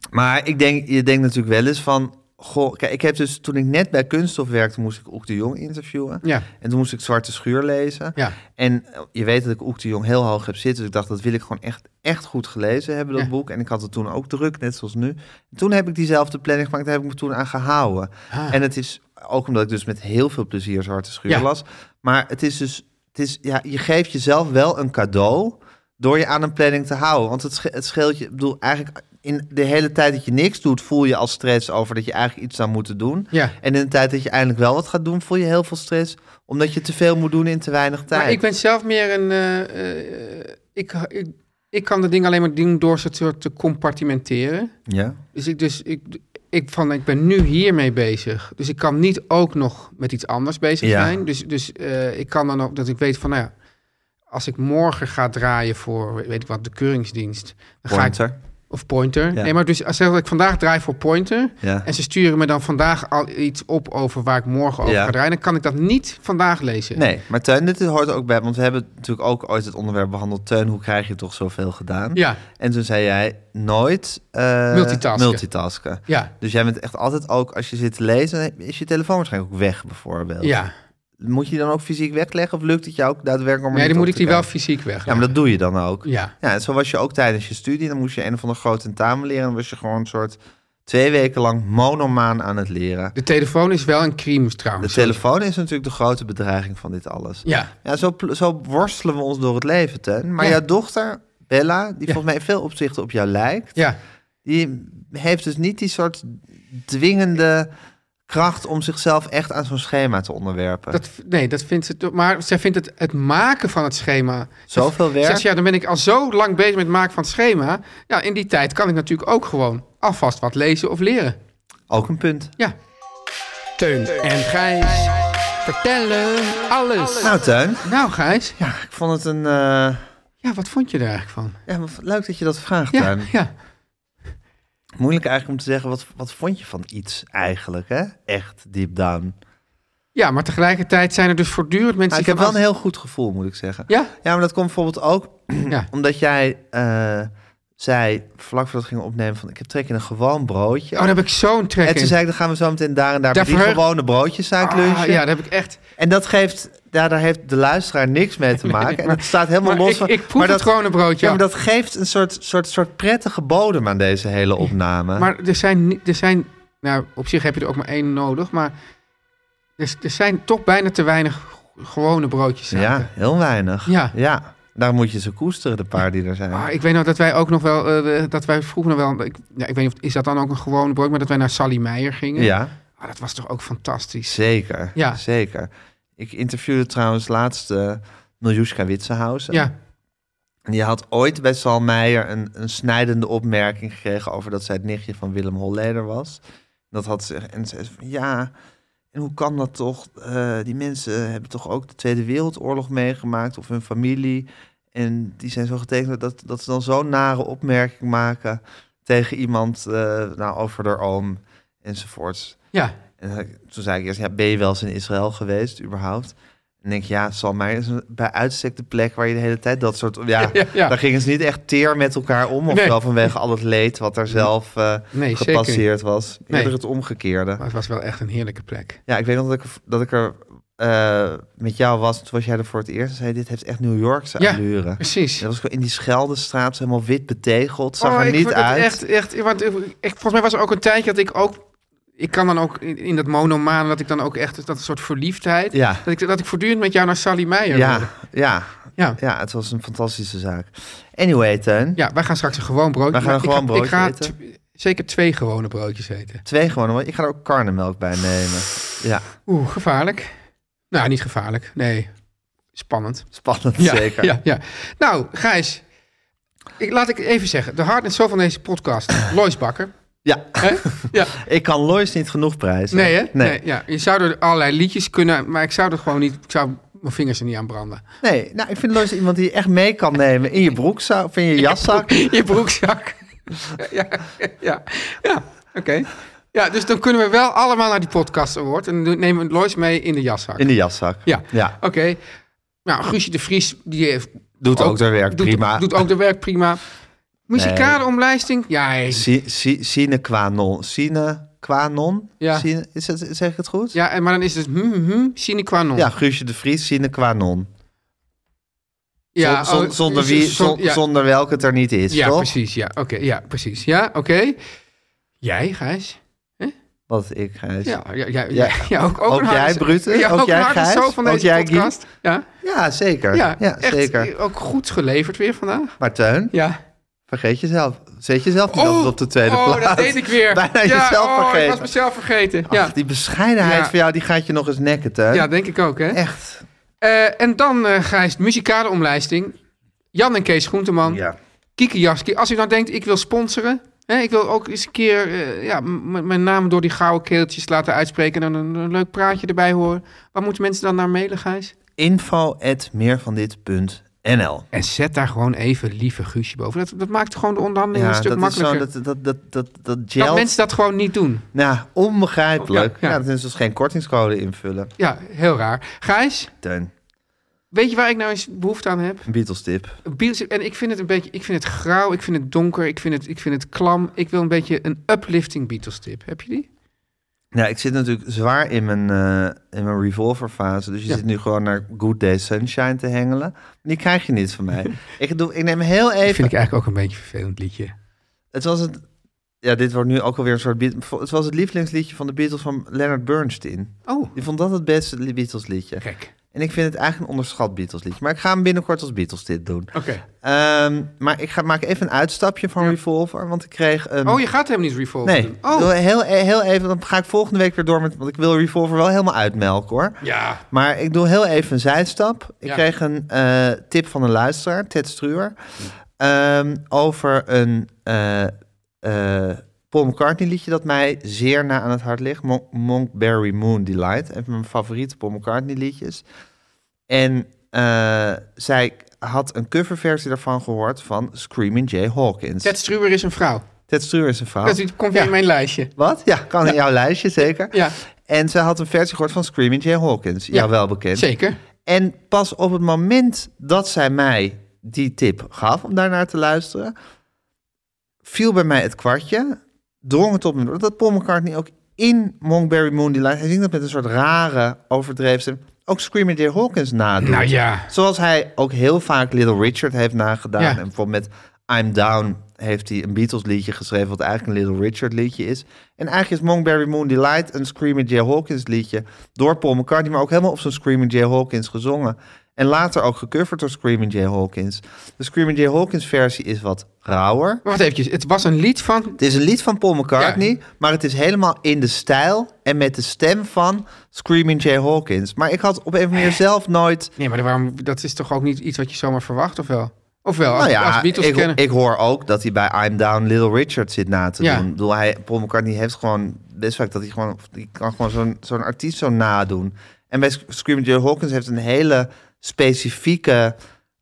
Speaker 1: Maar ik denk, je denkt natuurlijk wel eens van... Goh, kijk, ik heb dus toen ik net bij Kunststof werkte, moest ik Oek de Jong interviewen.
Speaker 2: Ja.
Speaker 1: En toen moest ik Zwarte Schuur lezen.
Speaker 2: Ja.
Speaker 1: En eh, je weet dat ik Oek de Jong heel hoog heb zitten. Dus ik dacht, dat wil ik gewoon echt, echt goed gelezen hebben, dat
Speaker 2: Ja.
Speaker 1: boek. En ik had het toen ook druk, net zoals nu. En toen heb ik diezelfde planning gemaakt, daar heb ik me toen aan gehouden.
Speaker 2: Ah.
Speaker 1: En het is, ook omdat ik dus met heel veel plezier Zwarte Schuur
Speaker 2: Ja.
Speaker 1: las. Maar het is dus, het is, ja, je geeft jezelf wel een cadeau door je aan een planning te houden. Want het, sche- het scheelt je, ik bedoel, eigenlijk in de hele tijd dat je niks doet, voel je al stress over dat je eigenlijk iets zou moeten doen.
Speaker 2: Ja.
Speaker 1: En in de tijd dat je eindelijk wel wat gaat doen, voel je heel veel stress. Omdat je te veel moet doen in te weinig tijd.
Speaker 2: Maar ik ben zelf meer een... eh, eh, ik, ik, ik kan de dingen alleen maar doen door ze te, te compartimenteren.
Speaker 1: Ja.
Speaker 2: Dus, ik, dus ik, ik, van, ik ben nu hiermee bezig. Dus ik kan niet ook nog met iets anders bezig
Speaker 1: Ja.
Speaker 2: zijn. Dus, dus eh, ik kan dan ook dat ik weet van... Nou ja, als ik morgen ga draaien voor, weet ik wat, de keuringsdienst... Dan ga ik,
Speaker 1: Pointer.
Speaker 2: of Pointer.
Speaker 1: Ja.
Speaker 2: Nee, maar dus als zeg dat ik vandaag draai voor Pointer...
Speaker 1: Ja.
Speaker 2: en ze sturen me dan vandaag al iets op over waar ik morgen over
Speaker 1: Ja.
Speaker 2: ga draaien... dan kan ik dat niet vandaag lezen.
Speaker 1: Nee, maar Teun, dit hoort ook bij, want we hebben natuurlijk ook ooit het onderwerp behandeld. Teun, hoe krijg je toch zoveel gedaan?
Speaker 2: Ja,
Speaker 1: En toen zei jij nooit eh,
Speaker 2: Multitasken.
Speaker 1: multitasken.
Speaker 2: ja,
Speaker 1: Dus jij bent echt altijd ook, als je zit te lezen, dan is je telefoon waarschijnlijk ook weg bijvoorbeeld.
Speaker 2: ja.
Speaker 1: Moet je die dan ook fysiek wegleggen of lukt het jou ook daadwerkelijk om er
Speaker 2: Nee,
Speaker 1: niet
Speaker 2: dan
Speaker 1: op
Speaker 2: moet ik
Speaker 1: te
Speaker 2: die wel
Speaker 1: kijken?
Speaker 2: fysiek weg.
Speaker 1: Ja, maar dat doe je dan ook.
Speaker 2: Ja.
Speaker 1: Ja, en zo was je ook tijdens je studie. Dan moest je een of andere grote tentamen leren. Dan was je gewoon een soort twee weken lang monomaan aan het leren.
Speaker 2: De telefoon is wel een crimus
Speaker 1: De
Speaker 2: trouwens.
Speaker 1: telefoon is natuurlijk de grote bedreiging van dit alles.
Speaker 2: Ja,
Speaker 1: Ja, zo, pl- zo worstelen we ons door het leven, ten. Maar
Speaker 2: Ja.
Speaker 1: jouw dochter, Bella, die
Speaker 2: Ja.
Speaker 1: volgens mij in veel opzichten op jou lijkt...
Speaker 2: ja.
Speaker 1: die heeft dus niet die soort dwingende kracht... om zichzelf echt aan zo'n schema te onderwerpen.
Speaker 2: Dat, nee, dat vindt ze... toch- Maar zij vindt het, het maken van het schema...
Speaker 1: Zoveel werk.
Speaker 2: Zegt ze, ja, dan ben ik al zo lang bezig met het maken van het schema. Ja, in die tijd kan ik natuurlijk ook gewoon alvast wat lezen of leren.
Speaker 1: Ook een punt.
Speaker 2: Ja. Teun en Gijs vertellen alles. Nou,
Speaker 1: Nou, Teun,
Speaker 2: nou Gijs,
Speaker 1: ja, ik vond het een... eh,
Speaker 2: ja, wat vond je er eigenlijk van?
Speaker 1: ja, wat leuk dat je dat vraagt,
Speaker 2: Ja,
Speaker 1: Teun.
Speaker 2: ja.
Speaker 1: Moeilijk eigenlijk om te zeggen, wat, wat vond je van iets eigenlijk, hè? Echt deep down.
Speaker 2: ja, maar tegelijkertijd zijn er dus voortdurend mensen...
Speaker 1: Maar Ah, ik
Speaker 2: die
Speaker 1: heb wel
Speaker 2: van
Speaker 1: een heel goed gevoel, moet ik zeggen.
Speaker 2: af- Ja?
Speaker 1: Ja, maar dat komt bijvoorbeeld ook
Speaker 2: Ja.
Speaker 1: omdat jij eh, zei, vlak voordat we gingen opnemen, van ik heb trek in een gewoon broodje.
Speaker 2: Oh, daar heb ik zo'n trek
Speaker 1: en toen
Speaker 2: in.
Speaker 1: zei ik, dan gaan we zo meteen daar en daar,
Speaker 2: Daar
Speaker 1: bij die
Speaker 2: verheug-
Speaker 1: gewone broodjes uit
Speaker 2: Ah,
Speaker 1: lunchen.
Speaker 2: ja, daar heb ik echt...
Speaker 1: En dat geeft, ja, daar heeft de luisteraar niks mee te maken. en dat staat helemaal
Speaker 2: Maar
Speaker 1: los
Speaker 2: ik,
Speaker 1: van...
Speaker 2: ik proef
Speaker 1: maar
Speaker 2: het gewoon een broodje.
Speaker 1: Ja, maar dat geeft een soort, soort, soort prettige bodem aan deze hele opname.
Speaker 2: Maar er zijn, ni- er zijn, nou op zich heb je er ook maar één nodig, maar er, er zijn toch bijna te weinig g- gewone broodjes.
Speaker 1: ja, heel weinig.
Speaker 2: Ja. Ah,
Speaker 1: ja. Daar moet je ze koesteren, de paar die er zijn.
Speaker 2: Maar ik weet nog dat wij ook nog wel, eh, de- dat wij vroeger nog wel, ik, ja, ik weet niet of is dat dan ook een gewone brood, maar dat wij naar Sally Meijer gingen.
Speaker 1: Ja,
Speaker 2: Ah, dat was toch ook fantastisch.
Speaker 1: zeker.
Speaker 2: Ja.
Speaker 1: Zeker. Ik interviewde trouwens laatst eh Miljuska Witsenhuizen.
Speaker 2: Ja,
Speaker 1: En die had ooit bij Sal Meijer een, een snijdende opmerking gekregen over dat zij het nichtje van Willem Holleder was. Dat had ze, en ze van ja, en hoe kan dat toch? Eh, die mensen hebben toch ook de Tweede Wereldoorlog meegemaakt of hun familie. En die zijn zo getekend dat, dat ze dan zo'n nare opmerking maken tegen iemand eh, nou, over haar oom enzovoorts.
Speaker 2: ja,
Speaker 1: En dan- toen zei ik eerst, ja, ben je wel eens in Israël geweest, überhaupt? En denk ik, ja, Salmeijer is een- bij uitstek de plek waar je de hele tijd dat soort... Ja,
Speaker 2: Ja, ja.
Speaker 1: daar gingen ze niet echt teer met elkaar om, of
Speaker 2: Nee.
Speaker 1: wel vanwege al het leed wat daar zelf eh,
Speaker 2: nee, zeker. niet.
Speaker 1: gepasseerd was.
Speaker 2: Nee.
Speaker 1: Eerder het omgekeerde.
Speaker 2: Maar het was wel echt een heerlijke plek.
Speaker 1: Ja, ik weet nog dat ik, dat ik er eh, met jou was, toen was jij er voor het eerst en zei, dit heeft echt New Yorkse
Speaker 2: Ja.
Speaker 1: allure.
Speaker 2: Precies.
Speaker 1: Dat was gewoon in die Scheldestraat, zo helemaal wit betegeld, zag
Speaker 2: Oh,
Speaker 1: er
Speaker 2: ik
Speaker 1: niet
Speaker 2: vond het
Speaker 1: uit.
Speaker 2: Echt, echt, want eh, ik, volgens mij was er ook een tijdje dat ik ook, ik kan dan ook in, in dat monomaan, dat ik dan ook echt, dus dat soort verliefdheid.
Speaker 1: Ja.
Speaker 2: Dat ik, dat ik voortdurend met jou naar Sally Meijer
Speaker 1: Ja,
Speaker 2: wilde.
Speaker 1: ja,
Speaker 2: Ja.
Speaker 1: ja, het was een fantastische zaak. Anyway, Teun.
Speaker 2: ja, wij gaan straks een gewoon broodje.
Speaker 1: Wij gaan
Speaker 2: maar
Speaker 1: een gewoon
Speaker 2: ik ga,
Speaker 1: broodje
Speaker 2: Ik ga tw- zeker twee gewone broodjes eten.
Speaker 1: Twee gewoon, want ik ga er ook karnemelk bij nemen. Ja,
Speaker 2: Oeh, gevaarlijk. Nou, niet gevaarlijk. Nee, spannend.
Speaker 1: spannend
Speaker 2: Ja,
Speaker 1: zeker.
Speaker 2: Ja, ja. Nou, Gijs, ik, laat ik even zeggen. De hart en zo van deze podcast, Lois Bakker.
Speaker 1: Ja.
Speaker 2: Hè? Ja.
Speaker 1: Ik kan Lois niet genoeg prijzen.
Speaker 2: Nee, hè?
Speaker 1: Nee.
Speaker 2: ja. Je zou er allerlei liedjes kunnen, maar ik zou er gewoon niet... Ik zou mijn vingers er niet aan branden.
Speaker 1: Nee, nou, ik vind Lois iemand die je echt mee kan nemen in je broekzak of in je jaszak.
Speaker 2: Je broekzak. ja, ja, ja. oké. Ja, dus dan kunnen we wel allemaal naar die podcast award. En dan nemen we Lois mee in de jaszak.
Speaker 1: In de jaszak.
Speaker 2: Ja,
Speaker 1: Ja.
Speaker 2: oké. Nou, Guusje de Vries, die heeft...
Speaker 1: Doet ook haar werk
Speaker 2: doet,
Speaker 1: prima.
Speaker 2: Doet ook de werk prima. Muzikale omlijsting? Ja, hey.
Speaker 1: Si- si- Sine qua non. Sine qua non?
Speaker 2: Ja.
Speaker 1: Sine- is het, zeg ik het goed?
Speaker 2: ja en- maar dan is het hmm, hmm, hmm, sine qua non.
Speaker 1: Ja, Guusje de Vries, sine qua non.
Speaker 2: Ja,
Speaker 1: Zon- zon-
Speaker 2: oh,
Speaker 1: zonder,
Speaker 2: z-
Speaker 1: wie,
Speaker 2: z-
Speaker 1: zon-
Speaker 2: ja,
Speaker 1: zonder welke het er niet is,
Speaker 2: ja,
Speaker 1: toch?
Speaker 2: precies. Ja, oké. ja, precies. Ja, oké. Jij, Gijs?
Speaker 1: Wat ik eh, Gijs.
Speaker 2: Ja,
Speaker 1: Ja.
Speaker 2: ja, ja,
Speaker 1: Ja.
Speaker 2: ja, ja, ook, ook,
Speaker 1: Ook
Speaker 2: een harde
Speaker 1: jij,
Speaker 2: zo-
Speaker 1: Brute?
Speaker 2: Ja,
Speaker 1: Ook
Speaker 2: ook
Speaker 1: jij,
Speaker 2: een harde
Speaker 1: Gijs?
Speaker 2: zo van
Speaker 1: Ook
Speaker 2: deze
Speaker 1: jij, Guy?
Speaker 2: podcast. Ja,
Speaker 1: zeker.
Speaker 2: ja,
Speaker 1: Ja,
Speaker 2: echt,
Speaker 1: zeker.
Speaker 2: eh, Ook goed geleverd weer vandaag.
Speaker 1: Maar Teun,
Speaker 2: Ja.
Speaker 1: vergeet jezelf. Zet jezelf niet altijd op de tweede
Speaker 2: oh,
Speaker 1: plaats.
Speaker 2: dat deed ik weer.
Speaker 1: Bijna
Speaker 2: ja,
Speaker 1: jezelf
Speaker 2: oh, ik was
Speaker 1: vergeten.
Speaker 2: mezelf vergeten. Ja,
Speaker 1: Ach, die bescheidenheid
Speaker 2: Ja.
Speaker 1: van jou, die gaat je nog eens nekken, Teun.
Speaker 2: ja denk ik ook, hè.
Speaker 1: Echt.
Speaker 2: Eh, en dan, eh Gijs, muzikale omlijsting. Jan en Kees Groenteman.
Speaker 1: Ja.
Speaker 2: Kiki Jaski. Als u nou denkt, ik wil sponsoren. Hè, ik wil ook eens een keer eh, ja, m- m- mijn naam door die gouden keeltjes laten uitspreken. En dan een, een leuk praatje erbij horen. Waar moeten mensen dan naar mailen, Gijs?
Speaker 1: Info at meervandit.nl
Speaker 2: En zet daar gewoon even lieve Guusje boven. Dat, dat maakt gewoon de onderhandeling
Speaker 1: Ja,
Speaker 2: een stuk
Speaker 1: dat is zo,
Speaker 2: makkelijker.
Speaker 1: dat, dat, dat, dat, dat
Speaker 2: dat
Speaker 1: gelt.
Speaker 2: mensen dat gewoon niet doen.
Speaker 1: Nou, onbegrijpelijk.
Speaker 2: Ja,
Speaker 1: Ja,
Speaker 2: ja.
Speaker 1: dat is dus geen kortingscode invullen.
Speaker 2: Ja, heel raar. Gijs,
Speaker 1: Teun,
Speaker 2: weet je waar ik nou eens behoefte aan heb?
Speaker 1: een Beatles tip.
Speaker 2: Beatles- En ik vind het een beetje, ik vind het grauw, ik vind het donker, ik vind het, ik vind het klam. Ik wil een beetje een uplifting Beatles tip. Heb je die?
Speaker 1: Nou, ik zit natuurlijk zwaar in mijn, eh, in mijn revolver fase. Dus je
Speaker 2: Ja.
Speaker 1: zit nu gewoon naar Good Day Sunshine te hengelen. Die krijg je niet van mij. ik, doe, ik neem heel
Speaker 2: Die
Speaker 1: even...
Speaker 2: vind ik eigenlijk ook een beetje een vervelend liedje.
Speaker 1: Het was het... Ja, dit wordt nu ook alweer een soort... Beat- Het was het lievelingsliedje van de Beatles van Leonard Bernstein.
Speaker 2: Oh,
Speaker 1: Die vond dat het beste li- Beatles liedje.
Speaker 2: gek.
Speaker 1: En ik vind het eigenlijk een onderschat Beatles liedje. Maar ik ga hem binnenkort als Beatles dit doen.
Speaker 2: Oké.
Speaker 1: Ehm, maar ik ga, maak even een uitstapje van Revolver. Want ik kreeg een...
Speaker 2: Oh, je gaat hem niet revolven
Speaker 1: Nee,
Speaker 2: doen. Oh,
Speaker 1: Wil- heel, heel even, dan ga ik volgende week weer door met... Want ik wil Revolver wel helemaal uitmelken, hoor.
Speaker 2: ja.
Speaker 1: Maar ik doe heel even een zijstap. Ik
Speaker 2: Ja.
Speaker 1: kreeg een eh, tip van een luisteraar, Ted Struwer... ehm, over een eh, eh, Paul McCartney liedje dat mij zeer na aan het hart ligt. Mon- Monkberry Moon Delight. Een van mijn favoriete Paul McCartney liedjes. En eh, zij had een coverversie daarvan gehoord van Screaming Jay Hawkins.
Speaker 2: Ted
Speaker 1: Ted,
Speaker 2: Struber is een vrouw.
Speaker 1: Struwer is een vrouw.
Speaker 2: Dat is- komt weer in mijn lijstje.
Speaker 1: Wat? Ja, kan in jouw lijstje, zeker.
Speaker 2: Ja,
Speaker 1: En ze had een versie gehoord van Screaming Jay Hawkins.
Speaker 2: Ja,
Speaker 1: Ja, wel bekend.
Speaker 2: zeker.
Speaker 1: En pas op het moment dat zij mij die tip gaf om daarnaar te luisteren, viel bij mij het kwartje, drong het op me door dat Paul McCartney ook in Monkberry Moon Delight, hij zingt dat met een soort rare overdreven stem, ook Screaming Jay Hawkins nadoet.
Speaker 2: Nou ja.
Speaker 1: Zoals hij ook heel vaak Little Richard heeft nagedaan.
Speaker 2: Ja.
Speaker 1: En bijvoorbeeld met I'm Down heeft hij een Beatles liedje geschreven... wat eigenlijk een Little Richard liedje is. En eigenlijk is Monkberry Moon Delight een Screaming Jay Hawkins liedje... door Paul McCartney, maar ook helemaal op zijn Screaming Jay Hawkins gezongen. En later ook gecoverd door Screaming Jay Hawkins. De Screaming Jay Hawkins versie is wat rauwer.
Speaker 2: Maar wacht eventjes. Het was een lied van...
Speaker 1: Het is een lied van Paul McCartney, maar het is helemaal in de stijl... en met de stem van Screaming Jay Hawkins. Maar ik had op een of andere manier zelf nooit...
Speaker 2: Nee, maar waarom, dat is toch ook niet iets wat je zomaar verwacht, of wel? Of wel, als,
Speaker 1: Nou ja,
Speaker 2: als Beatles
Speaker 1: ik,
Speaker 2: kennen.
Speaker 1: ik hoor ook dat hij bij I'm Down Little Richard zit na te
Speaker 2: Ja.
Speaker 1: doen. Ik bedoel, hij, Paul McCartney heeft gewoon best vaak dat hij gewoon... Die kan gewoon zo'n zo'n artiest zo nadoen. En bij Sc- Screaming Joe Hawkins heeft een hele specifieke,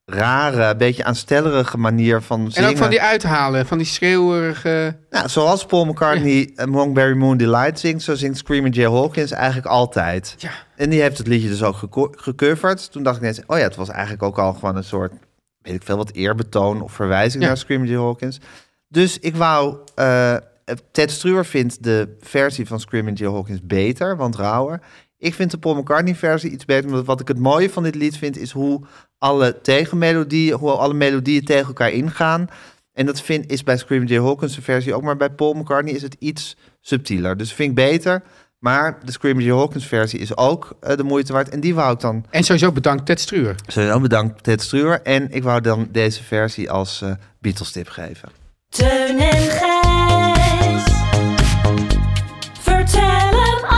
Speaker 1: rare, beetje aanstellerige manier van zingen.
Speaker 2: en ook van die uithalen, van die schreeuwerige...
Speaker 1: Nou, zoals Paul McCartney eh, Monkberry Moon Delight zingt... zo zingt Screaming Jay Hawkins eigenlijk altijd.
Speaker 2: Ja.
Speaker 1: En die heeft het liedje dus ook geco- gecoverd. Toen dacht ik net, oh ja, het was eigenlijk ook al gewoon een soort... weet ik veel, wat eerbetoon of verwijzing
Speaker 2: Ja.
Speaker 1: naar Screaming Jay Hawkins. Dus ik wou... eh, Ted Struwer vindt de versie van Screaming Jay Hawkins beter, want rauwer. Ik vind de Paul McCartney-versie iets beter. Omdat wat ik het mooie van dit lied vind, is hoe alle tegenmelodieën... hoe alle melodieën tegen elkaar ingaan... En dat vind, is bij Screaming Jay Hawkins de versie ook. Maar bij Paul McCartney is het iets subtieler. Dus vind ik beter. Maar de Screaming Jay Hawkins versie is ook eh, de moeite waard. En die wou ik dan...
Speaker 2: En sowieso bedankt Ted Struur.
Speaker 1: Sowieso bedankt Ted Struwer. En ik wou dan deze versie als eh Beatles tip geven.
Speaker 5: Teun en Gijs. Vertel hem alles.